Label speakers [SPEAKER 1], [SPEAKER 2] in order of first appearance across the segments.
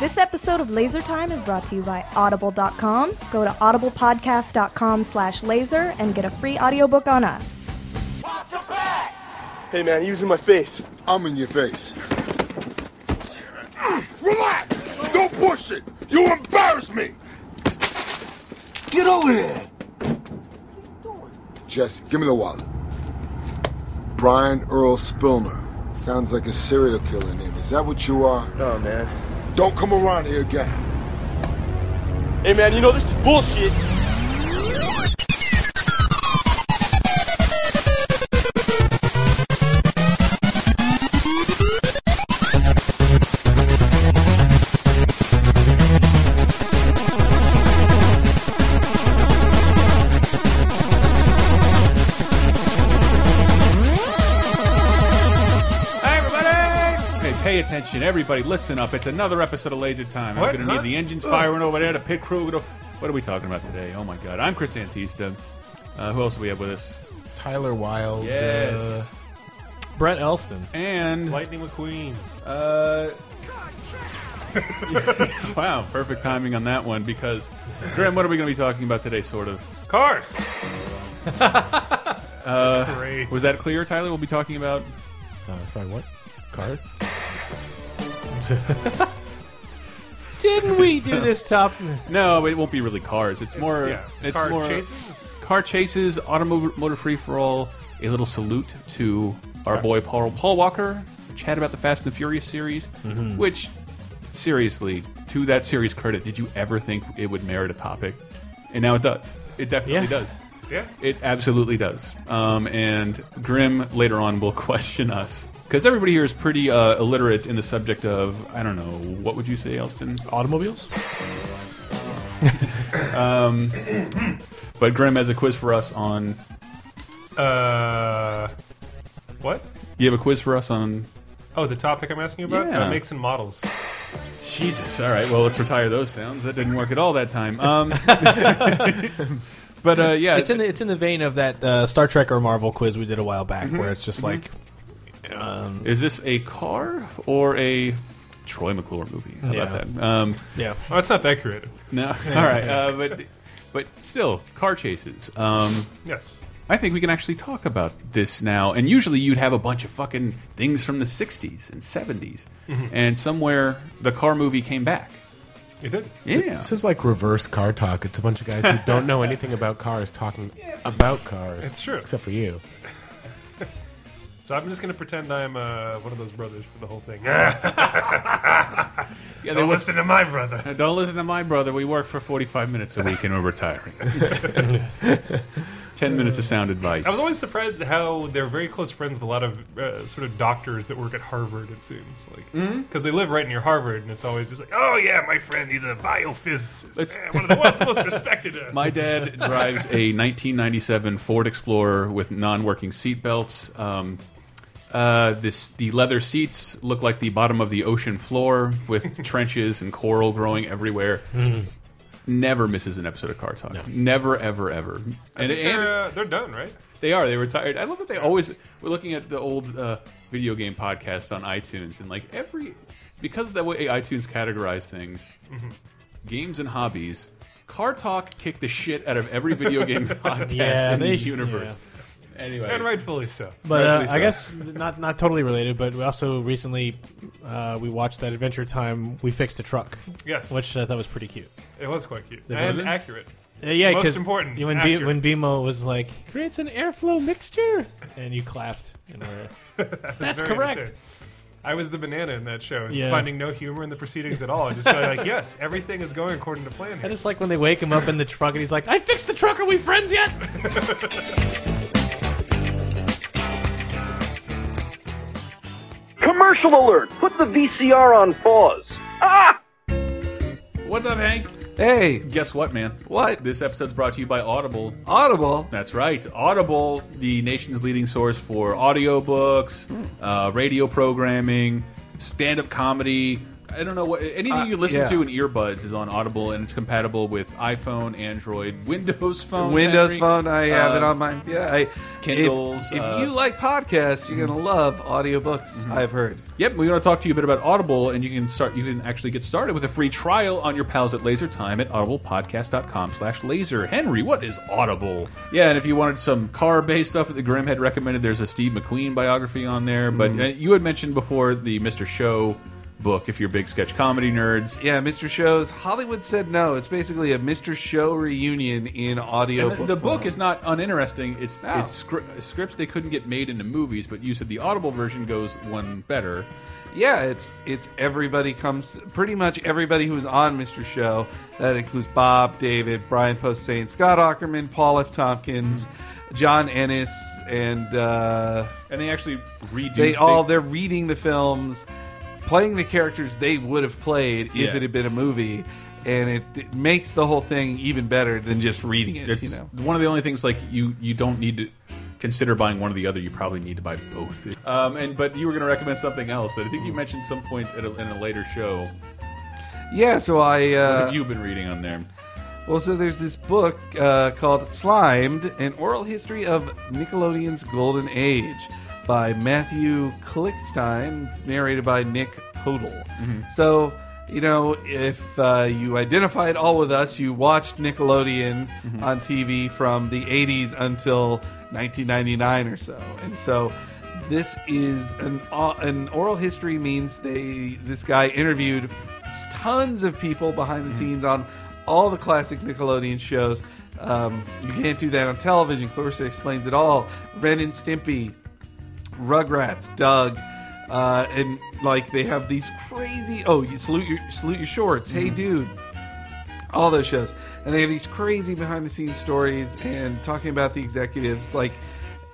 [SPEAKER 1] This episode of Laser Time is brought to you by Audible.com. Go to audiblepodcast.com slash laser and get a free audiobook on us.
[SPEAKER 2] Hey man, he was in my face.
[SPEAKER 3] I'm in your face.
[SPEAKER 4] Relax! Don't push it! You embarrass me! Get over here!
[SPEAKER 3] Jesse, give me the wallet. Brian Earl Spillner. Sounds like a serial killer name. Is that what you are?
[SPEAKER 2] No man.
[SPEAKER 3] Don't come around here again.
[SPEAKER 2] Hey man, you know this is bullshit.
[SPEAKER 5] Hey, everybody! Okay, pay attention, everybody. Listen up. It's another episode of Laser Time.
[SPEAKER 6] What?
[SPEAKER 5] I'm going to
[SPEAKER 6] Huh?
[SPEAKER 5] need the engines firing over there, the pit crew. What are we talking about today? Oh my God! I'm Chris Antista. Uh, who else do we have with us?
[SPEAKER 6] Tyler Wilde. uh,
[SPEAKER 5] Yes.
[SPEAKER 6] Brett Elston.
[SPEAKER 5] And
[SPEAKER 6] Lightning McQueen.
[SPEAKER 5] uh, wow, perfect timing on that one because Graham, what are we going to be talking about today? Sort of.
[SPEAKER 7] Cars.
[SPEAKER 6] Great.
[SPEAKER 5] Uh, Was that clear, Tyler? We'll be talking about.
[SPEAKER 6] Uh, sorry, what? Cars?
[SPEAKER 8] Didn't we do this top?
[SPEAKER 5] No, it won't be really cars. It's more.
[SPEAKER 7] yeah,
[SPEAKER 5] It's
[SPEAKER 7] car
[SPEAKER 5] more
[SPEAKER 7] chases.
[SPEAKER 5] car chases, automotive free for all. A little salute to our boy Paul Paul Walker. Chat about the Fast and the Furious series, which seriously, to that series credit, did you ever think it would merit a topic? And now it does. It definitely
[SPEAKER 6] Yeah.
[SPEAKER 5] does.
[SPEAKER 7] Yeah.
[SPEAKER 5] It absolutely does. Um, and Grimm later on will question us because everybody here is pretty uh, illiterate in the subject of I don't know what would you say, Elston?
[SPEAKER 6] Automobiles?
[SPEAKER 5] Um, But Grimm has a quiz for us on.
[SPEAKER 7] Uh, what?
[SPEAKER 5] You have a quiz for us on
[SPEAKER 7] Oh, the topic I'm asking about
[SPEAKER 5] Yeah.
[SPEAKER 7] uh, makes and models.
[SPEAKER 5] Jesus. All right. Well, let's retire those sounds. That didn't work at all that time. Um, but uh, yeah,
[SPEAKER 8] It's in the it's in the vein of that uh, Star Trek or Marvel quiz we did a while
[SPEAKER 7] Mm-hmm.
[SPEAKER 8] back, where it's just like
[SPEAKER 5] is this a car or a Troy McClure movie? How
[SPEAKER 8] Yeah.
[SPEAKER 5] about that? Um,
[SPEAKER 8] yeah.
[SPEAKER 7] Oh, it's not that creative.
[SPEAKER 5] no. All right. Uh, but but still, car chases. Um,
[SPEAKER 7] Yes.
[SPEAKER 5] I think we can actually talk about this now. And usually you'd have a bunch of fucking things from the 60s and 70s.
[SPEAKER 7] Mm-hmm.
[SPEAKER 5] And somewhere the car movie came back.
[SPEAKER 7] It did.
[SPEAKER 5] Yeah.
[SPEAKER 6] This is like reverse car talk. It's a bunch of guys who don't know anything about cars talking about cars.
[SPEAKER 7] It's true.
[SPEAKER 6] Except for you.
[SPEAKER 7] So I'm just going to pretend I'm uh, one of those brothers for the whole thing.
[SPEAKER 5] yeah they
[SPEAKER 7] Don't
[SPEAKER 5] were-
[SPEAKER 7] listen to my brother.
[SPEAKER 5] Don't listen to my brother. We work for 45 minutes a week and we're retiring. 10 minutes of sound advice.
[SPEAKER 7] I was always surprised at how they're very close friends with a lot of uh, sort of doctors that work at Harvard. It seems like because
[SPEAKER 5] Mm-hmm.
[SPEAKER 7] they live right near Harvard, and it's always just like, oh yeah, my friend, he's a biophysicist,
[SPEAKER 5] It's-
[SPEAKER 7] Eh, one of the ones most respected. uh,
[SPEAKER 5] my dad drives a 1997 Ford Explorer with non-working seat belts. Um, uh, this the leather seats look like the bottom of the ocean floor with trenches and coral growing everywhere. Never misses an episode of Car Talk. Never, ever, ever. And, and
[SPEAKER 7] they're, uh, they're done, right?
[SPEAKER 5] They are. They retired. I love that they always. We're looking at the old uh, video game podcasts on iTunes, and like every because of the way iTunes categorize things,
[SPEAKER 8] Mm-hmm.
[SPEAKER 5] games and hobbies. Car Talk kicked the shit out of every video game podcast
[SPEAKER 8] Yeah,
[SPEAKER 5] in
[SPEAKER 8] they-
[SPEAKER 5] the universe. Anyway,
[SPEAKER 7] And rightfully so.
[SPEAKER 8] But uh,
[SPEAKER 5] Rightfully so.
[SPEAKER 8] I guess not not totally related. But we also recently uh, we watched that Adventure Time. We fixed a truck,
[SPEAKER 7] Yes,
[SPEAKER 8] which I thought was pretty cute.
[SPEAKER 7] it was quite cute
[SPEAKER 8] It
[SPEAKER 7] and
[SPEAKER 8] wasn't?
[SPEAKER 7] accurate.
[SPEAKER 8] Uh, yeah,
[SPEAKER 7] Most
[SPEAKER 8] 'cause
[SPEAKER 7] important,
[SPEAKER 8] When B-
[SPEAKER 7] accurate.
[SPEAKER 8] when BMO was like creates an airflow mixture, and you clapped. And we're- That's
[SPEAKER 7] Very
[SPEAKER 8] correct.
[SPEAKER 7] understated. I was the banana in that show, and
[SPEAKER 8] Yeah.
[SPEAKER 7] finding no humor in the proceedings at all. I just felt like, yes, everything is going according to plan.
[SPEAKER 8] I
[SPEAKER 7] Here.
[SPEAKER 8] just like when they wake him up in the truck, and he's like, "I fixed the truck. Are we friends yet?"
[SPEAKER 9] Commercial alert! Put the VCR on pause. Ah!
[SPEAKER 5] what's up, Hank?
[SPEAKER 10] Hey,
[SPEAKER 5] Guess what, man?
[SPEAKER 10] What?
[SPEAKER 5] This episode's brought to you by Audible.
[SPEAKER 10] Audible.
[SPEAKER 5] That's right. Audible, the nation's leading source
[SPEAKER 10] Hmm.
[SPEAKER 5] for audiobooks, uh, radio programming, stand up comedy, I don't know what anything you listen
[SPEAKER 10] Uh, yeah.
[SPEAKER 5] to in earbuds is on Audible, and it's compatible with iPhone, Android, Windows Phone,
[SPEAKER 10] Windows
[SPEAKER 5] Henry.
[SPEAKER 10] phone. I have
[SPEAKER 5] Uh,
[SPEAKER 10] it on my yeah. I,
[SPEAKER 5] Kindles,
[SPEAKER 10] If, if
[SPEAKER 5] uh,
[SPEAKER 10] you like podcasts, you're gonna love audiobooks. I've heard.
[SPEAKER 5] Yep, we want to talk to you a bit about Audible, and you can start. You can actually get started with a free trial on your pals at Laser Time at audiblepodcast.com/laser. Henry, what is Audible? Yeah, and if you wanted some car-based stuff that the Grim had recommended, there's a Steve McQueen biography on there. But uh, you had mentioned before the Mr. Show book. If you're big sketch comedy nerds,
[SPEAKER 10] Yeah, Mr. Show's Hollywood said no. It's basically a Mr. Show reunion in audio.
[SPEAKER 5] And the, the book is not uninteresting. It's
[SPEAKER 10] No.
[SPEAKER 5] it's scri scripts they couldn't get made into movies, but you said the Audible version goes one better.
[SPEAKER 10] yeah, it's it's everybody comes pretty much everybody who's on Mr. Show. That includes Bob, David, Brian Posehn, Scott Ackerman, Paul F. Tompkins, John Ennis, and uh,
[SPEAKER 5] And they actually redo.
[SPEAKER 10] they all they're reading the films, playing the characters they would have played if
[SPEAKER 5] Yeah.
[SPEAKER 10] it had been a movie, and it, it makes the whole thing even better than just reading it.
[SPEAKER 5] It's
[SPEAKER 10] you know,
[SPEAKER 5] one of the only things like you you don't need to consider buying one or the other. You probably need to buy both. Um, and but you were going to recommend something else that I think you mentioned some point at a, in a later show.
[SPEAKER 10] yeah. So I
[SPEAKER 5] What
[SPEAKER 10] uh,
[SPEAKER 5] have you been reading on there?
[SPEAKER 10] Well, so there's this book uh, called Slimed An Oral History of Nickelodeon's Golden Age by Matthew Klickstein, narrated by Nick Podal. So, you know, if uh, you identified all with us, you watched Nickelodeon on TV from the 80s until 1999 or so. And so this is an, uh, an oral history means they this guy interviewed tons of people behind the scenes on all the classic Nickelodeon shows. Um, you can't do that on television. Clarissa explains it all. Ren and Stimpy, Rugrats, Doug, uh, and like they have these crazy. Oh, you salute your salute your shorts. Hey,
[SPEAKER 5] Mm-hmm.
[SPEAKER 10] dude. All those shows, and they have these crazy behind the scenes stories and talking about the executives. Like,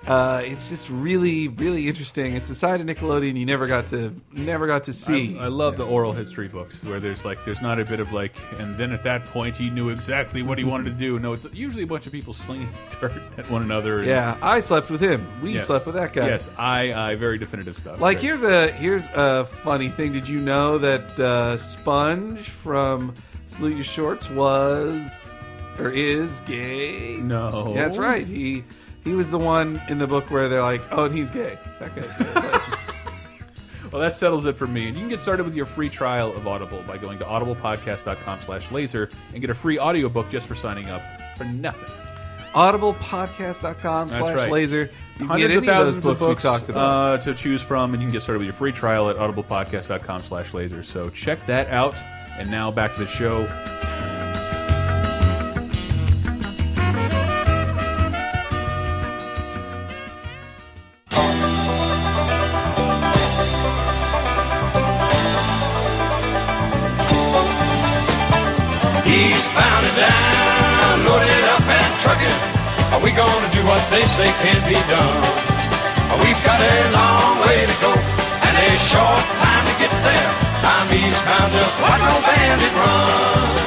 [SPEAKER 10] uh, it's just really, really interesting. It's a side of Nickelodeon you never got to, never got to see.
[SPEAKER 5] I love the oral history books where there's like there's not a bit of like and then at that point he knew exactly what he wanted to do. No, it's usually a bunch of people slinging dirt at one another. and-
[SPEAKER 10] yeah, I slept with him. We
[SPEAKER 5] Yes.
[SPEAKER 10] slept with that guy.
[SPEAKER 5] Yes, I, I very definitive stuff.
[SPEAKER 10] Like
[SPEAKER 5] Right.
[SPEAKER 10] here's a here's a funny thing. Did you know that uh, Sponge from Salute Your Shorts was or is gay?
[SPEAKER 5] No.
[SPEAKER 10] that's right. He he was the one in the book where they're like, oh, and he's gay. That guy's gay. Like,
[SPEAKER 5] Well, that settles it for me. And you can get started with your free trial of Audible by going to audiblepodcast.com slash laser and get a free audiobook just for signing up for nothing.
[SPEAKER 10] audiblepodcast.com
[SPEAKER 5] That's
[SPEAKER 10] slash
[SPEAKER 5] right.
[SPEAKER 10] laser. You can get
[SPEAKER 5] Hundreds
[SPEAKER 10] any
[SPEAKER 5] of thousands
[SPEAKER 10] of those books,
[SPEAKER 5] of books
[SPEAKER 10] we talked about.
[SPEAKER 5] Uh, to choose from, and you can get started with your free trial at audiblepodcast.com slash laser. So check that out. And now back to the show.
[SPEAKER 11] He's bound and down, loaded up and trucking. Are we gonna do what they say can't be done? We've got a long way to go and a short time to get there. I'm eastbound, just like no bandit run.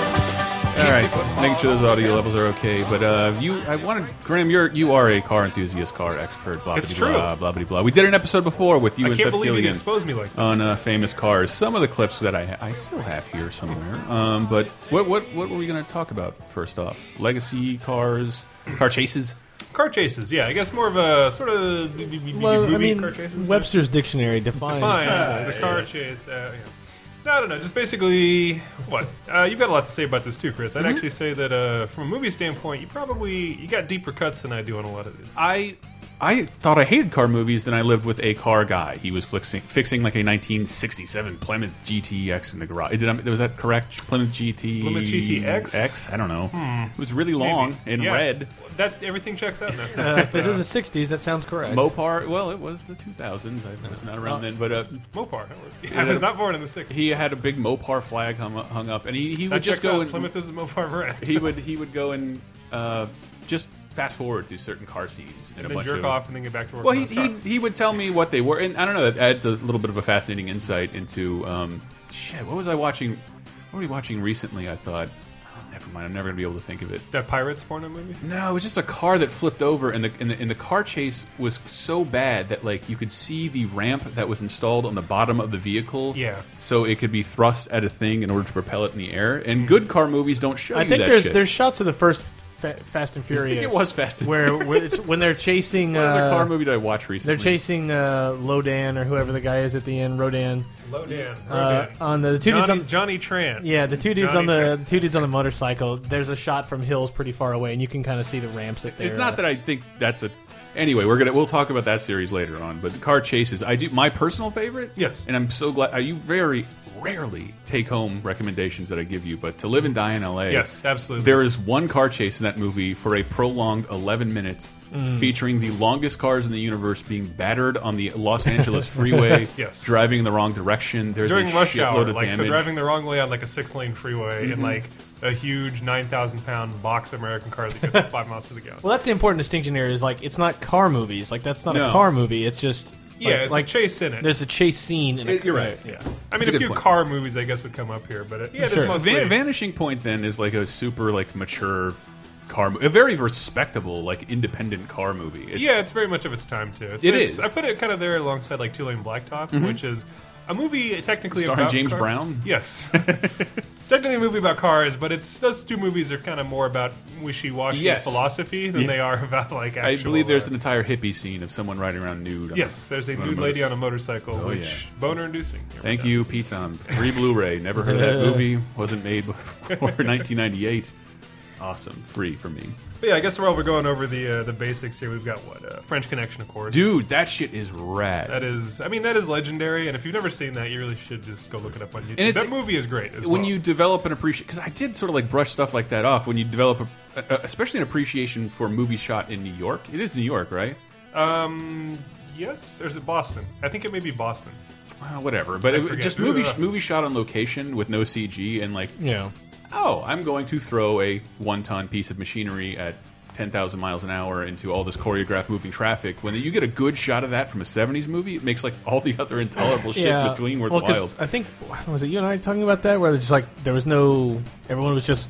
[SPEAKER 5] All right, just making sure those audio levels are okay. But uh, you, I wanted Graham. You're you are a car enthusiast, car expert. Blah,
[SPEAKER 7] It's
[SPEAKER 5] bitty
[SPEAKER 7] true.
[SPEAKER 5] Blah, blah bitty blah. We did an episode before with you
[SPEAKER 7] I
[SPEAKER 5] and
[SPEAKER 7] can't
[SPEAKER 5] Seth
[SPEAKER 7] believe
[SPEAKER 5] Killian
[SPEAKER 7] you exposed me like
[SPEAKER 8] Oh.
[SPEAKER 7] that.
[SPEAKER 5] on uh, famous cars. Some of the clips that I I still have here somewhere. Um, but what what what were we going to talk about first off? Legacy cars, car chases.
[SPEAKER 7] Car chases, yeah. I guess more of a sort of
[SPEAKER 8] Well,
[SPEAKER 7] movie
[SPEAKER 8] I mean,
[SPEAKER 7] car chases.
[SPEAKER 8] Webster's dictionary defines.
[SPEAKER 7] Fine, the car chase. Uh, yeah. No, I don't know. Just basically, what uh, you've got a lot to say about this too, Chris. I'd
[SPEAKER 8] Mm-hmm.
[SPEAKER 7] actually say that uh, from a movie standpoint, you probably you got deeper cuts than I do on a lot of these.
[SPEAKER 5] I I thought I hated car movies. Then I lived with a car guy. He was fixing fixing like a 1967 Plymouth GTX in the garage. Did I, was that correct? Plymouth GT
[SPEAKER 7] Plymouth GTX?
[SPEAKER 5] X. I don't know. It was really long and
[SPEAKER 7] Hmm. Yeah.
[SPEAKER 5] red.
[SPEAKER 7] That everything checks out. in That
[SPEAKER 8] Uh,
[SPEAKER 7] sense.
[SPEAKER 8] if this is the '60s. That sounds correct.
[SPEAKER 5] Mopar. Well, it was the 2000s. I was not around then, but uh,
[SPEAKER 7] Mopar. That works. Yeah, I was not born in the '60s.
[SPEAKER 5] he had a big Mopar flag hung, up- hung up, and he, he
[SPEAKER 7] That
[SPEAKER 5] would just
[SPEAKER 7] checks
[SPEAKER 5] go
[SPEAKER 7] out.
[SPEAKER 5] and
[SPEAKER 7] Plymouth is a Mopar brand.
[SPEAKER 5] he would he would go and uh, just fast forward through certain car scenes and, a
[SPEAKER 7] then
[SPEAKER 5] bunch
[SPEAKER 7] jerk
[SPEAKER 5] of,
[SPEAKER 7] off and then get back to work.
[SPEAKER 5] Well, he,
[SPEAKER 7] on his car.
[SPEAKER 5] he he would tell me what they were, and I don't know. That adds a little bit of a fascinating insight into um, shit. What was I watching? What were we watching recently? I thought, oh, Never mind. I'm never gonna be able to think of it.
[SPEAKER 7] That pirates porno movie?
[SPEAKER 5] No, it was just a car that flipped over, and the, and the and the car chase was so bad that like you could see the ramp that was installed on the bottom of the vehicle.
[SPEAKER 7] Yeah.
[SPEAKER 5] So it could be thrust at a thing in order to propel it in the air. And
[SPEAKER 7] Hmm.
[SPEAKER 5] good car movies don't show.
[SPEAKER 8] I
[SPEAKER 5] you
[SPEAKER 8] think
[SPEAKER 5] that
[SPEAKER 8] there's
[SPEAKER 5] shit.
[SPEAKER 8] there's shots of the first fa- Fast and Furious.
[SPEAKER 5] it was Fast and
[SPEAKER 8] where,
[SPEAKER 5] Furious.
[SPEAKER 8] where it's, when they're chasing.
[SPEAKER 5] What other
[SPEAKER 8] uh,
[SPEAKER 5] car movie did I watch recently?
[SPEAKER 8] They're chasing uh, Lodan or whoever the guy is at the end. Rodan.
[SPEAKER 7] Lodan,
[SPEAKER 8] Uh,
[SPEAKER 7] Rodan.
[SPEAKER 8] on the, the two dudes
[SPEAKER 7] Johnny-
[SPEAKER 8] on
[SPEAKER 7] Johnny Tran.
[SPEAKER 8] Yeah, the two dudes
[SPEAKER 7] Johnny
[SPEAKER 8] on the, the two dudes on the motorcycle. There's a shot from hills pretty far away, and you can kind of see the ramps that they're.
[SPEAKER 5] It's not
[SPEAKER 8] at.
[SPEAKER 5] that I think that's a. Anyway, we're gonna we'll talk about that series later on. But the car chases, I do my personal favorite. Yes, and I'm so glad. I you very rarely take home recommendations that I give you, but to live and die in L.A.
[SPEAKER 7] Yes, absolutely.
[SPEAKER 5] There is one car chase in that movie for a prolonged 11 minutes,
[SPEAKER 7] Mm.
[SPEAKER 5] featuring the longest cars in the universe being battered on the Los Angeles freeway,
[SPEAKER 7] Yes.
[SPEAKER 5] driving in the wrong direction. There's
[SPEAKER 7] during
[SPEAKER 5] a
[SPEAKER 7] rush
[SPEAKER 5] shitload
[SPEAKER 7] hour,
[SPEAKER 5] of
[SPEAKER 7] like so
[SPEAKER 5] damage.
[SPEAKER 7] driving the wrong way on like a six-lane freeway and
[SPEAKER 8] Mhm.
[SPEAKER 7] like a huge nine thousand pound box of American cars that goes five miles to the gallon.
[SPEAKER 8] Well, that's the important distinction here. Is like it's not car movies. Like that's not
[SPEAKER 7] No.
[SPEAKER 8] a car movie. It's just
[SPEAKER 7] Yeah,
[SPEAKER 8] like,
[SPEAKER 7] it's a
[SPEAKER 8] like
[SPEAKER 7] chase in it.
[SPEAKER 8] There's a chase scene. In a,
[SPEAKER 7] You're right. Yeah, I
[SPEAKER 5] It's
[SPEAKER 7] mean
[SPEAKER 5] a
[SPEAKER 7] a,
[SPEAKER 5] good
[SPEAKER 7] few
[SPEAKER 5] point.
[SPEAKER 7] car movies I guess would come up here, but uh, yeah, there's mostly
[SPEAKER 5] Van- Vanishing Point then is like a super like mature car, mo- a very respectable like independent car movie. It's,
[SPEAKER 7] yeah, it's very much of its time too. It's,
[SPEAKER 5] It
[SPEAKER 7] it's-
[SPEAKER 5] is.
[SPEAKER 7] I put it kind of there alongside like Two Lane Blacktop,
[SPEAKER 5] Mhm.
[SPEAKER 7] which is a movie technically
[SPEAKER 5] Starring
[SPEAKER 7] about
[SPEAKER 5] James
[SPEAKER 7] car-
[SPEAKER 5] Brown?
[SPEAKER 7] Yes, technically a movie about cars, but it's those two movies are kind of more about wishy-washy
[SPEAKER 5] Yes.
[SPEAKER 7] philosophy than
[SPEAKER 5] Yeah.
[SPEAKER 7] they are about like. Actual, uh,
[SPEAKER 5] I believe there's an entire hippie scene of someone riding around nude. on
[SPEAKER 7] Yes, there's a
[SPEAKER 5] on
[SPEAKER 7] nude lady
[SPEAKER 5] motorcycle.
[SPEAKER 7] on a motorcycle,
[SPEAKER 5] Oh,
[SPEAKER 7] which
[SPEAKER 5] yeah.
[SPEAKER 7] boner-inducing.
[SPEAKER 5] Thank you, Pete. On free Blu-ray. Never heard of that movie. Wasn't made before 1998. Awesome, free for me.
[SPEAKER 7] But yeah, I guess while we're going over the uh, the basics here, we've got what uh, French Connection, of course.
[SPEAKER 5] Dude, that shit is rad.
[SPEAKER 7] That is, I mean, that is legendary, and if you've never seen that, you really should just go look it up on YouTube.
[SPEAKER 5] And it's-
[SPEAKER 7] that movie is great. As
[SPEAKER 5] when
[SPEAKER 7] well.
[SPEAKER 5] you develop an appreciation because i did sort of like brush stuff like that off when you develop a, a, especially an appreciation for a movie shot in new york it is new york right
[SPEAKER 7] um, yes, or is it Boston? I think it may be Boston.
[SPEAKER 5] Uh, whatever but
[SPEAKER 7] I
[SPEAKER 5] it,
[SPEAKER 7] forget.
[SPEAKER 5] just movie
[SPEAKER 7] Ugh.
[SPEAKER 5] movie shot on location with no cg and like
[SPEAKER 8] Yeah.
[SPEAKER 5] oh i'm going to throw a one ton piece of machinery at 10,000 miles an hour into all this choreographed moving traffic. When you get a good shot of that from a 70s movie, it makes like all the other intolerable shit
[SPEAKER 8] Yeah.
[SPEAKER 5] between
[SPEAKER 8] Well,
[SPEAKER 5] worthwhile.
[SPEAKER 8] 'cause I think was it you and I talking about that where it was just like there was no everyone was just